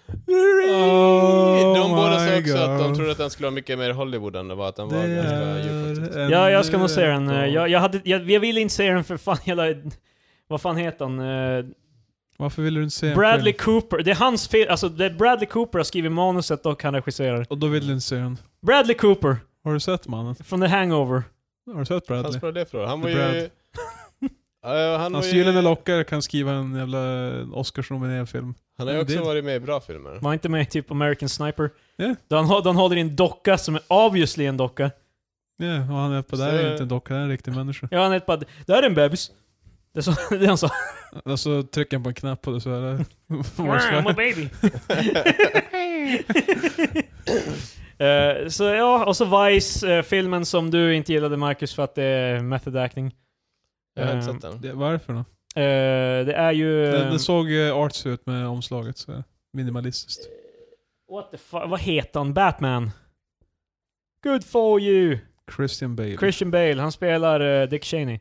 [SPEAKER 3] Oh
[SPEAKER 1] de båda sa
[SPEAKER 3] my
[SPEAKER 1] också att de
[SPEAKER 3] God.
[SPEAKER 1] trodde att den skulle vara mycket mer Hollywood än det var, att den var
[SPEAKER 3] Det
[SPEAKER 1] ganska djup
[SPEAKER 3] är
[SPEAKER 1] faktiskt.
[SPEAKER 3] en-
[SPEAKER 2] Ja, jag ska nog se den. Eh,
[SPEAKER 3] Ja.
[SPEAKER 2] Jag, jag, hade, jag, jag ville inte se den för fan [laughs] hela... Vad fan heter han? Eh,
[SPEAKER 3] Varför vill du inte se en
[SPEAKER 2] Bradley
[SPEAKER 3] film?
[SPEAKER 2] Cooper. Det är hans film. Alltså det är Bradley Cooper har skrivit manuset och han regisserar.
[SPEAKER 3] Och då vill du inte se den.
[SPEAKER 2] Bradley Cooper
[SPEAKER 3] Har du sett mannen?
[SPEAKER 2] från The Hangover.
[SPEAKER 3] Har du sett
[SPEAKER 1] Vad fan
[SPEAKER 3] Bradley?
[SPEAKER 1] spelar det för roll? Han var
[SPEAKER 3] The
[SPEAKER 1] ju... Eh, han, var
[SPEAKER 3] Hans
[SPEAKER 1] ju,
[SPEAKER 3] gyllene lockare kan skriva en jävla Oscarsnominerad film.
[SPEAKER 1] han har ju också
[SPEAKER 3] Det-
[SPEAKER 1] varit med i bra filmer.
[SPEAKER 2] Var inte med i typ American Sniper?
[SPEAKER 3] Ja.
[SPEAKER 2] Då han, hå- då han håller i en docka som är obviously en docka.
[SPEAKER 3] Ja, och han är på det här
[SPEAKER 1] Så-
[SPEAKER 3] är ju inte en docka, det är en riktig människa.
[SPEAKER 2] Ja, han är bara det här är en bebis. Det, sa, [laughs] det han sa.
[SPEAKER 3] Och så trycker han Alltså, på en knapp och så eh, är [laughs] det...
[SPEAKER 2] I'm a baby. [laughs] Eh, så ja, och så Vice, eh, filmen som du inte gillade Marcus för att det är method acting.
[SPEAKER 1] Jag har inte
[SPEAKER 2] Eh,
[SPEAKER 1] sett den.
[SPEAKER 3] det, varför då?
[SPEAKER 2] eh, det är ju...
[SPEAKER 3] Det,
[SPEAKER 2] eh,
[SPEAKER 3] det såg eh, arts ut med omslaget, så minimalistiskt.
[SPEAKER 2] What the fuck? Vad heter han? Batman? Good for you!
[SPEAKER 3] Christian Bale.
[SPEAKER 2] Christian Bale, han spelar eh, Dick Cheney.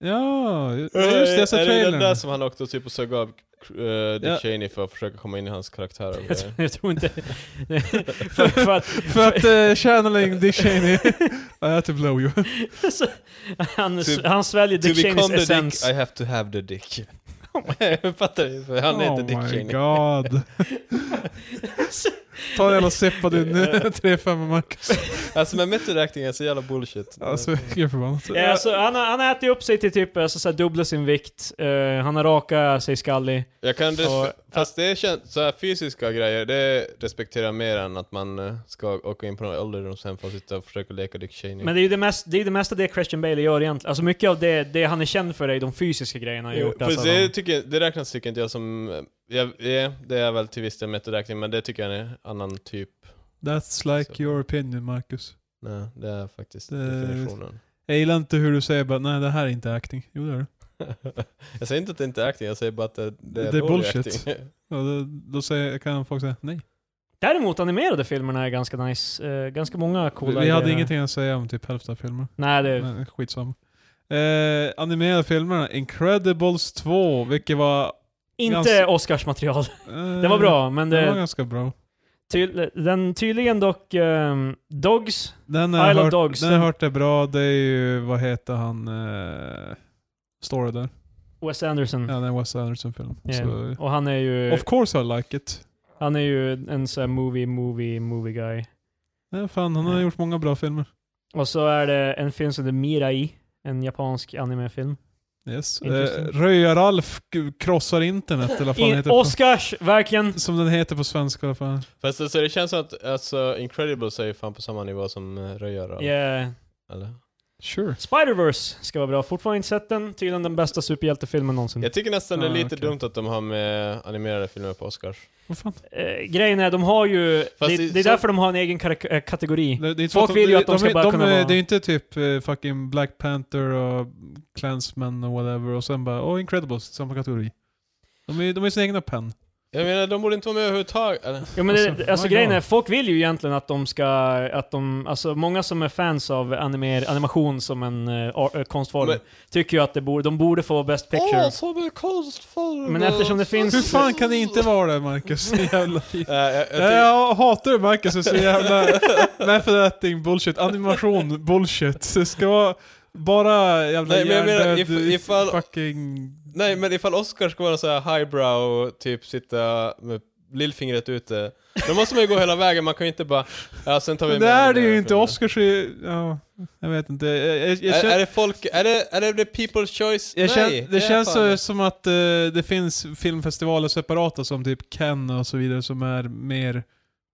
[SPEAKER 3] ja, ju- ja, just det, jag
[SPEAKER 1] Eh, är
[SPEAKER 3] såg
[SPEAKER 1] det den där
[SPEAKER 3] trailern.
[SPEAKER 1] som han åkte och typ och sög av eh, Dick
[SPEAKER 3] Ja.
[SPEAKER 1] Cheney för att försöka komma in i hans karaktär?
[SPEAKER 3] [laughs]
[SPEAKER 1] och
[SPEAKER 2] Jag
[SPEAKER 1] grejer?
[SPEAKER 2] tror- [laughs] Jag tror inte... för, för att,
[SPEAKER 3] För att uh, channeling Dick Cheney,
[SPEAKER 1] [laughs]
[SPEAKER 3] I had to blow you.
[SPEAKER 2] [laughs] så, han,
[SPEAKER 1] To-
[SPEAKER 2] han sväljer
[SPEAKER 1] To
[SPEAKER 2] Dick Cheneys
[SPEAKER 1] become the
[SPEAKER 2] essens.
[SPEAKER 1] dick, I have to have the dick. [laughs] Jag fattar inte, för han heter Dick
[SPEAKER 3] Oh my
[SPEAKER 1] Cheney. [laughs]
[SPEAKER 3] god. Ta en jävla sipp av din [laughs] 3-5 Marcus.
[SPEAKER 1] Alltså men method acting är så jävla bullshit.
[SPEAKER 3] Alltså, jag är förbannad.
[SPEAKER 2] Ja, alltså, han, har- han äter ju upp sig till typ alltså, så här, dubbla sin vikt, Eh, han har rakat sig skallig.
[SPEAKER 1] Jag kan res-
[SPEAKER 2] Och-
[SPEAKER 1] fast det känns, så här fysiska grejer, det respekterar jag mer än att man eh, ska åka in på någon ålderdomshem för att sitta och försöka leka Dick Cheney.
[SPEAKER 2] Men det är ju det, mest, det, är ju det mesta det Christian Bale gör egentligen. Alltså mycket av det, det han är känd för är ju de fysiska grejerna han
[SPEAKER 1] Jo,
[SPEAKER 2] gjort.
[SPEAKER 1] för
[SPEAKER 2] Alltså,
[SPEAKER 1] det,
[SPEAKER 2] han-
[SPEAKER 1] tycker, jag- det räknas tycker inte jag som, eh, jag, ja, det är väl till viss del method acting, men det tycker jag är en annan typ.
[SPEAKER 3] That's like your opinion Marcus.
[SPEAKER 1] Nej, det är faktiskt
[SPEAKER 3] Det-
[SPEAKER 1] definitionen. [laughs]
[SPEAKER 3] Jag gillar inte hur du säger bara nej det här är inte acting. Jo det är det.
[SPEAKER 1] jag säger inte att det inte är acting, jag säger bara att det, det är,
[SPEAKER 3] Det är
[SPEAKER 1] dålig
[SPEAKER 3] bullshit.
[SPEAKER 1] acting.
[SPEAKER 3] Ja, då, då säger, kan folk säga nej.
[SPEAKER 2] Däremot animerade filmerna är ganska nice. Eh, ganska många
[SPEAKER 3] Vi,
[SPEAKER 2] coola
[SPEAKER 3] vi hade
[SPEAKER 2] grejer.
[SPEAKER 3] ingenting att säga om typ hälften av filmerna.
[SPEAKER 2] Nej, det,
[SPEAKER 3] Men skitsamma. Eh, animerade filmerna, Incredibles 2, vilket var...
[SPEAKER 2] Inte
[SPEAKER 3] Ganska-
[SPEAKER 2] Oscarsmaterial.
[SPEAKER 3] Eh,
[SPEAKER 2] Den var bra, men
[SPEAKER 3] Den var
[SPEAKER 2] det,
[SPEAKER 3] ganska bra.
[SPEAKER 2] ty, den tydligen dock... ehm, Dogs?
[SPEAKER 3] Den
[SPEAKER 2] I
[SPEAKER 3] har
[SPEAKER 2] Love
[SPEAKER 3] hört,
[SPEAKER 2] Dogs,
[SPEAKER 3] den har
[SPEAKER 2] den-
[SPEAKER 3] hört är bra, det är ju, vad heter han, eh, står det där?
[SPEAKER 2] Wes Anderson.
[SPEAKER 3] Ja, det är en Wes Anderson-film.
[SPEAKER 2] Yeah.
[SPEAKER 3] Så,
[SPEAKER 2] Och han är ju...
[SPEAKER 3] of course I like it.
[SPEAKER 2] Han är ju en sån här movie, movie, movie guy.
[SPEAKER 3] Nej, fan, han har
[SPEAKER 2] Ja.
[SPEAKER 3] gjort många bra filmer.
[SPEAKER 2] Och så är det en film som heter Mirai. En japansk animefilm.
[SPEAKER 3] Yes. Eh,
[SPEAKER 2] Intressant.
[SPEAKER 3] Röja-Ralf k- krossar internet, eller vad fan
[SPEAKER 2] I,
[SPEAKER 3] heter det?
[SPEAKER 2] Oscars, verkligen!
[SPEAKER 3] Som den heter på svenska i alla fall.
[SPEAKER 1] [laughs] Fast alltså, det känns som att alltså, Incredibles är ju fan på samma nivå som eh, Röja Ralf,
[SPEAKER 2] Yeah.
[SPEAKER 1] eller?
[SPEAKER 3] Sure.
[SPEAKER 2] Spider-Verse ska vara bra. Fortfarande inte sett den. Tydligen den bästa superhjältefilmen någonsin.
[SPEAKER 1] Jag tycker nästan det är
[SPEAKER 3] Ah,
[SPEAKER 1] lite
[SPEAKER 3] okej.
[SPEAKER 1] dumt att de har med animerade filmer på Oscars.
[SPEAKER 3] Vad fan?
[SPEAKER 2] Eh, grejen är, de har ju... Det,
[SPEAKER 1] det-
[SPEAKER 2] det är
[SPEAKER 1] så-
[SPEAKER 2] därför de har en egen karak- eh, kategori.
[SPEAKER 3] Det, det är inte
[SPEAKER 2] Folk
[SPEAKER 3] så
[SPEAKER 2] vill ju att de ska bara kunna
[SPEAKER 3] är-
[SPEAKER 2] vara-
[SPEAKER 3] Det är inte typ eh, fucking Black Panther och Clansman och whatever och sen bara oh Incredibles, samma kategori. De är, de är sin egna penn.
[SPEAKER 1] Jag menar, de borde inte vara med överhuvudtaget. eller?
[SPEAKER 2] Ja, men
[SPEAKER 3] Alltså,
[SPEAKER 2] alltså, det, alltså
[SPEAKER 3] my
[SPEAKER 2] grejen
[SPEAKER 3] God.
[SPEAKER 2] är, folk vill ju egentligen att de ska, att de, alltså många som är fans av animer, animation som en eh, ar- eh, konstform
[SPEAKER 1] Men-
[SPEAKER 2] tycker ju att det borde, de borde få Best Picture.
[SPEAKER 1] som en konstform!
[SPEAKER 2] Men eftersom det finns-
[SPEAKER 3] Hur fan kan det inte vara
[SPEAKER 1] [laughs]
[SPEAKER 3] det Marcus? jävla skit.
[SPEAKER 1] Äh, jag,
[SPEAKER 3] jag,
[SPEAKER 1] jag,
[SPEAKER 3] hatar det Marcus, det är så jävla [laughs] method acting bullshit, animation bullshit. Det ska vara bara jävla
[SPEAKER 1] Nej, men jag menar,
[SPEAKER 3] hjärndöd
[SPEAKER 1] if- ifall-
[SPEAKER 3] fucking...
[SPEAKER 1] nej, men ifall Oscar ska vara så här highbrow, typ sitta med lillfingret ute, då måste man ju gå hela vägen, man kan ju inte bara... Ja, sen tar vi
[SPEAKER 3] Men det
[SPEAKER 1] med
[SPEAKER 3] är det ju
[SPEAKER 1] animerade
[SPEAKER 3] inte,
[SPEAKER 1] filmer.
[SPEAKER 3] Oscars är ju- ja, jag vet inte. Jag, jag, jag
[SPEAKER 1] Är,
[SPEAKER 3] känner-
[SPEAKER 1] är det folk... Är det, är det the people's choice?
[SPEAKER 3] Jag
[SPEAKER 1] nej!
[SPEAKER 3] kän, det,
[SPEAKER 1] är
[SPEAKER 3] känns
[SPEAKER 1] fan-
[SPEAKER 3] så, som att eh, det finns filmfestivaler separata som typ Cannes och så vidare som är mer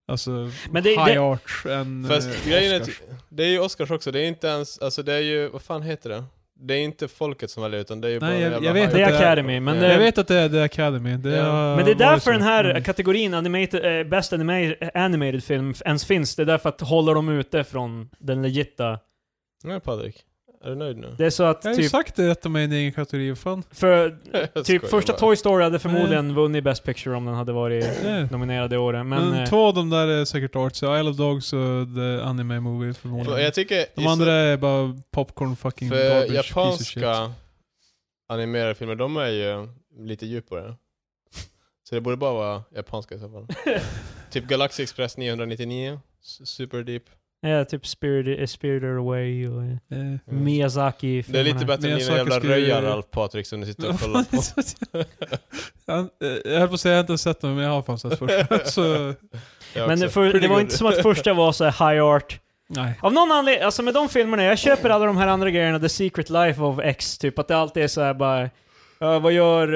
[SPEAKER 3] alltså,
[SPEAKER 2] Men det-
[SPEAKER 3] high
[SPEAKER 2] det-
[SPEAKER 3] art än
[SPEAKER 1] Fast
[SPEAKER 3] eh,
[SPEAKER 1] grejen är,
[SPEAKER 3] Oscars.
[SPEAKER 1] att- det är ju Oscars också, det är inte ens, alltså det är ju, vad fan heter det? Det är inte folket som väljer utan det är ju
[SPEAKER 3] Nej,
[SPEAKER 1] bara en
[SPEAKER 3] jag-
[SPEAKER 1] jävla
[SPEAKER 3] jag vet
[SPEAKER 1] hype.
[SPEAKER 2] Det är
[SPEAKER 3] inte.
[SPEAKER 2] Academy, men,
[SPEAKER 1] Ja.
[SPEAKER 2] eh,
[SPEAKER 3] Jag vet att det är The Academy. Det
[SPEAKER 1] Ja.
[SPEAKER 2] men
[SPEAKER 3] har
[SPEAKER 2] det är
[SPEAKER 3] varit
[SPEAKER 2] därför
[SPEAKER 3] så.
[SPEAKER 2] den här
[SPEAKER 3] Mm.
[SPEAKER 2] kategorin, animated, eh, Best anima- Animated Film, f- ens finns. Det är därför att hålla dem ute från den legitta.
[SPEAKER 1] Nej Patrik, är du nöjd nu?
[SPEAKER 2] Det är så att
[SPEAKER 3] Jag har ju
[SPEAKER 2] typ,
[SPEAKER 3] sagt det att de är i en egen kategori, vad fan.
[SPEAKER 2] för,
[SPEAKER 1] Jag
[SPEAKER 2] typ
[SPEAKER 1] skojar
[SPEAKER 2] första
[SPEAKER 1] bara.
[SPEAKER 2] Toy Story hade förmodligen vunnit Best Picture om den hade varit
[SPEAKER 3] Ja. Mm,
[SPEAKER 2] nominerad det året. Men,
[SPEAKER 3] Men,
[SPEAKER 2] eh,
[SPEAKER 3] två av de där är säkert arts, Isle of Dogs och The Anime Movie
[SPEAKER 1] För
[SPEAKER 3] förmodligen.
[SPEAKER 1] Jag tycker,
[SPEAKER 3] De andra är bara popcorn fucking
[SPEAKER 1] för
[SPEAKER 3] garbage piece of shit.
[SPEAKER 1] japanska animerade filmer, de är ju lite djupare. Så det borde bara vara japanska i så fall. typ Galaxy Express 999, s- super deep.
[SPEAKER 2] ja, typ Spirit, eh, Spirited Away och... eh,
[SPEAKER 3] Eh.
[SPEAKER 1] Mm.
[SPEAKER 2] Miyazaki
[SPEAKER 1] Det är lite bättre än
[SPEAKER 3] Men
[SPEAKER 1] dina
[SPEAKER 3] saker
[SPEAKER 1] jävla
[SPEAKER 3] skulle-
[SPEAKER 1] röjar Ralf Patrik som du sitter
[SPEAKER 3] [laughs]
[SPEAKER 1] och kollar på. [laughs]
[SPEAKER 3] Jag eh, jag höll på att säga att jag inte har sett
[SPEAKER 1] [laughs]
[SPEAKER 3] dem, men jag har fan sett först. så,
[SPEAKER 1] Jag
[SPEAKER 2] Men
[SPEAKER 1] också.
[SPEAKER 2] det,
[SPEAKER 1] [laughs]
[SPEAKER 2] för,
[SPEAKER 1] Pretty
[SPEAKER 2] det var
[SPEAKER 1] good.
[SPEAKER 2] inte som att första var så här high art.
[SPEAKER 3] Nej.
[SPEAKER 2] Av någon anledning, alltså med de filmerna, jag köper alla de här andra grejerna, The Secret Life of X, typ att det alltid är så här bara... ja, vad gör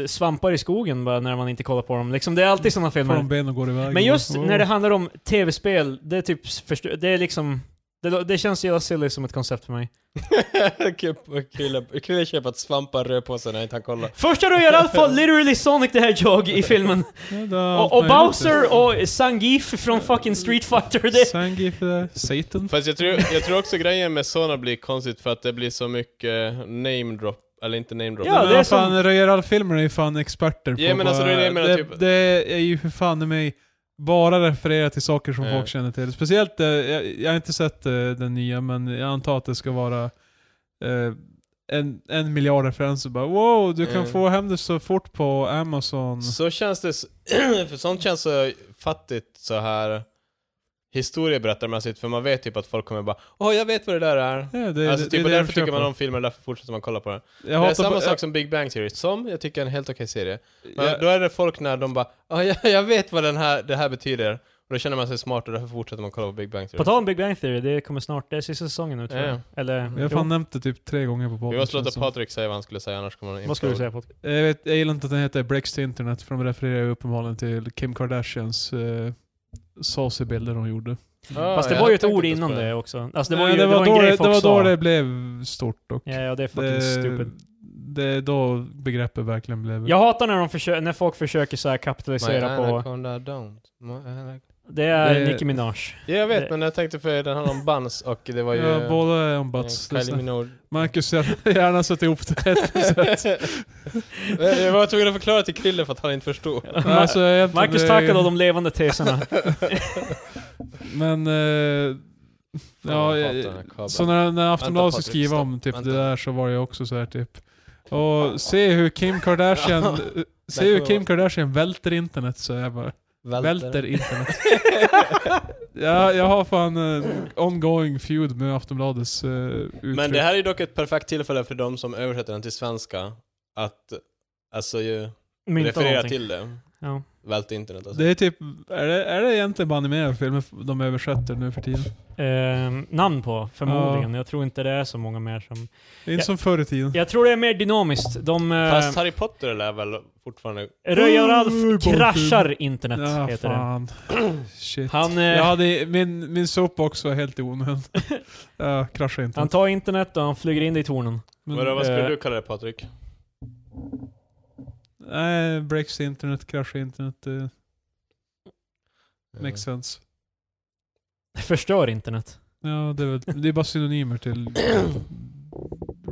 [SPEAKER 2] eh, svampar i skogen bara, när man inte kollar på dem? Liksom, det är alltid sådana
[SPEAKER 3] Får de
[SPEAKER 2] filmer.
[SPEAKER 3] ben och går iväg.
[SPEAKER 2] Men just
[SPEAKER 3] Oh.
[SPEAKER 2] när det handlar om tv-spel, det är typ... förstö- Det är liksom... Det, det känns jävla silly som ett koncept för mig.
[SPEAKER 1] Krille Krille köper att svampar rör på sig när inte han kollar.
[SPEAKER 2] Första du gör i alla fall literally Sonic the Hedgehog i filmen.
[SPEAKER 3] Ja, det är allt
[SPEAKER 2] Och, och
[SPEAKER 3] möjligt.
[SPEAKER 2] Bowser och Sangif från fucking Street Fighter. Det,
[SPEAKER 3] Zangief där. Satan.
[SPEAKER 1] Fast jag tror, jag tror också grejen med såna blir konstigt för att det blir så mycket namedrop, eller inte namedrop.
[SPEAKER 2] Ja,
[SPEAKER 3] Ja,
[SPEAKER 2] det
[SPEAKER 3] det
[SPEAKER 2] är
[SPEAKER 3] fan,
[SPEAKER 2] som-
[SPEAKER 3] Royal-filmer är ju fan experter på
[SPEAKER 1] Ja, men alltså,
[SPEAKER 3] bara-
[SPEAKER 1] det är det jag menar,
[SPEAKER 3] det,
[SPEAKER 1] typ-
[SPEAKER 3] det är ju för fan i mig bara referera till saker som
[SPEAKER 1] Ja.
[SPEAKER 3] folk känner till. Speciellt, eh, jag, jag har inte sett eh, den nya, men jag antar att det ska vara eh, en, en miljard referenser. Bara, wow, du kan
[SPEAKER 1] Ja.
[SPEAKER 3] få hem det så fort på Amazon.
[SPEAKER 1] Så känns det, s- [clears throat] för sånt känns så fattigt så här historieberättarmässigt, för man vet typ att folk kommer bara Åh, jag vet vad det där är.
[SPEAKER 3] Ja, det,
[SPEAKER 1] alltså typ,
[SPEAKER 3] det- det
[SPEAKER 1] och
[SPEAKER 3] är det jag
[SPEAKER 1] därför tycker man
[SPEAKER 3] försöker
[SPEAKER 1] om filmer, därför fortsätter man kolla på den.
[SPEAKER 3] på. Jag
[SPEAKER 1] det är
[SPEAKER 3] hatar
[SPEAKER 1] samma
[SPEAKER 3] på-
[SPEAKER 1] sak som Big Bang Theory, som jag tycker är en helt okej serie. Men
[SPEAKER 3] jag,
[SPEAKER 1] då är det folk när de bara "Ja, jag, jag vet vad den här, det här betyder. Och då känner man sig smart och därför fortsätter man kolla på Big Bang Theory.
[SPEAKER 2] på tal om Big Bang Theory, det kommer snart, det är sista säsongen nu tror
[SPEAKER 1] Ja,
[SPEAKER 2] jag.
[SPEAKER 1] ja.
[SPEAKER 2] Eller...
[SPEAKER 3] jag har fan nämnt det typ tre gånger på podden.
[SPEAKER 1] Mm. Vi måste
[SPEAKER 3] känns det
[SPEAKER 1] låta
[SPEAKER 3] som. Eh,
[SPEAKER 1] Patrik säga vad han skulle säga, annars kommer han
[SPEAKER 2] jo. Vad skulle du säga Patrik?
[SPEAKER 3] Jag, vet, jag gillar inte att den heter Breaks to Internet, för de refererar ju uppenbarligen till Kim Kardashians eh, saucy bilder hon gjorde.
[SPEAKER 1] Ah,
[SPEAKER 2] Fast det
[SPEAKER 1] jag
[SPEAKER 2] var ju ett
[SPEAKER 1] tänkte
[SPEAKER 2] ord
[SPEAKER 1] inte
[SPEAKER 2] innan
[SPEAKER 1] på
[SPEAKER 2] det också. Alltså det var
[SPEAKER 3] Nej,
[SPEAKER 2] ju
[SPEAKER 3] det
[SPEAKER 2] det var
[SPEAKER 3] då,
[SPEAKER 2] en
[SPEAKER 3] det,
[SPEAKER 2] grej
[SPEAKER 3] det
[SPEAKER 2] folk
[SPEAKER 3] var då
[SPEAKER 2] sa.
[SPEAKER 3] det blev stort dock.
[SPEAKER 2] Ja, ja, det är fucking
[SPEAKER 3] det,
[SPEAKER 2] stupid.
[SPEAKER 3] det är då begreppet verkligen blev...
[SPEAKER 2] Jag hatar när, de försö- när folk försöker så här kapitalisera
[SPEAKER 1] My
[SPEAKER 2] på...
[SPEAKER 1] anaconda don't. My anaconda.
[SPEAKER 2] Det är
[SPEAKER 3] Det-
[SPEAKER 2] Nicki
[SPEAKER 3] [laughs]
[SPEAKER 2] Minaj.
[SPEAKER 1] Ja, jag vet,
[SPEAKER 2] Det-
[SPEAKER 1] men jag tänkte för den handlar om buns och det var ju...
[SPEAKER 3] ja, båda är om
[SPEAKER 1] eh,
[SPEAKER 3] butts.
[SPEAKER 1] Kylie Minogue.
[SPEAKER 3] Marcus jag hade gärna satt ihop det
[SPEAKER 2] [laughs]
[SPEAKER 3] här på sätt.
[SPEAKER 1] [laughs] jag var tvungen att förklara till Krille för att han inte förstod.
[SPEAKER 3] Men alltså, egentligen,
[SPEAKER 2] [laughs] Marcus
[SPEAKER 3] det-
[SPEAKER 2] tackade av de
[SPEAKER 1] [laughs]
[SPEAKER 2] levande teserna.
[SPEAKER 3] Men... Eh, ja,
[SPEAKER 1] jag hatar
[SPEAKER 3] eh,
[SPEAKER 1] den här kabeln.
[SPEAKER 3] så när, när Aftonbladet
[SPEAKER 1] Patrik,
[SPEAKER 3] skulle skriva
[SPEAKER 1] stopp.
[SPEAKER 3] om typ
[SPEAKER 1] Vänta.
[SPEAKER 3] det där så var det också så här typ... Och se hur Kim Kardashian... se hur
[SPEAKER 1] kommer
[SPEAKER 3] Kim
[SPEAKER 1] vara-
[SPEAKER 3] Kardashian välter internet så jag bara... Välter internet. ja, jag har fan eh, ongoing feud med Aftonbladets eh, uttryck.
[SPEAKER 1] [laughs] Men det här är ju dock ett perfekt tillfälle för de som översätter den till svenska att alltså ju
[SPEAKER 2] Mynta
[SPEAKER 1] referera
[SPEAKER 2] någonting.
[SPEAKER 1] till det.
[SPEAKER 2] Ja.
[SPEAKER 1] Vält internet alltså.
[SPEAKER 3] Det är typ, är det, är det egentligen bara animerade filmer de översätter nu för tiden?
[SPEAKER 2] Ehm, namn på, förmodligen. Jag tror inte det är så många mer som...
[SPEAKER 3] Det är inte
[SPEAKER 2] Ja.
[SPEAKER 3] som förr i tiden.
[SPEAKER 2] Jag tror det är mer dynamiskt. De... eh,
[SPEAKER 1] Fast Harry Potter är väl fortfarande...
[SPEAKER 2] Röja Ralf
[SPEAKER 3] Barnfilm.
[SPEAKER 2] kraschar internet,
[SPEAKER 3] Ja,
[SPEAKER 2] heter
[SPEAKER 1] [clears throat]
[SPEAKER 2] det.
[SPEAKER 3] fan. Shit.
[SPEAKER 2] Han, eh,
[SPEAKER 3] jag hade, min, min soapbox var helt
[SPEAKER 2] [laughs]
[SPEAKER 3] i onödan. ja, kraschade inte.
[SPEAKER 2] Han tar internet och han flyger in det i tornen.
[SPEAKER 3] Men,
[SPEAKER 1] Vadå, vad skulle
[SPEAKER 2] eh,
[SPEAKER 1] du kalla det Patrik?
[SPEAKER 3] Nej, breaks the internet, kraschar internet. eh, makes sense.
[SPEAKER 2] [laughs] Förstör internet.
[SPEAKER 3] Ja, det är, väl- det är bara synonymer till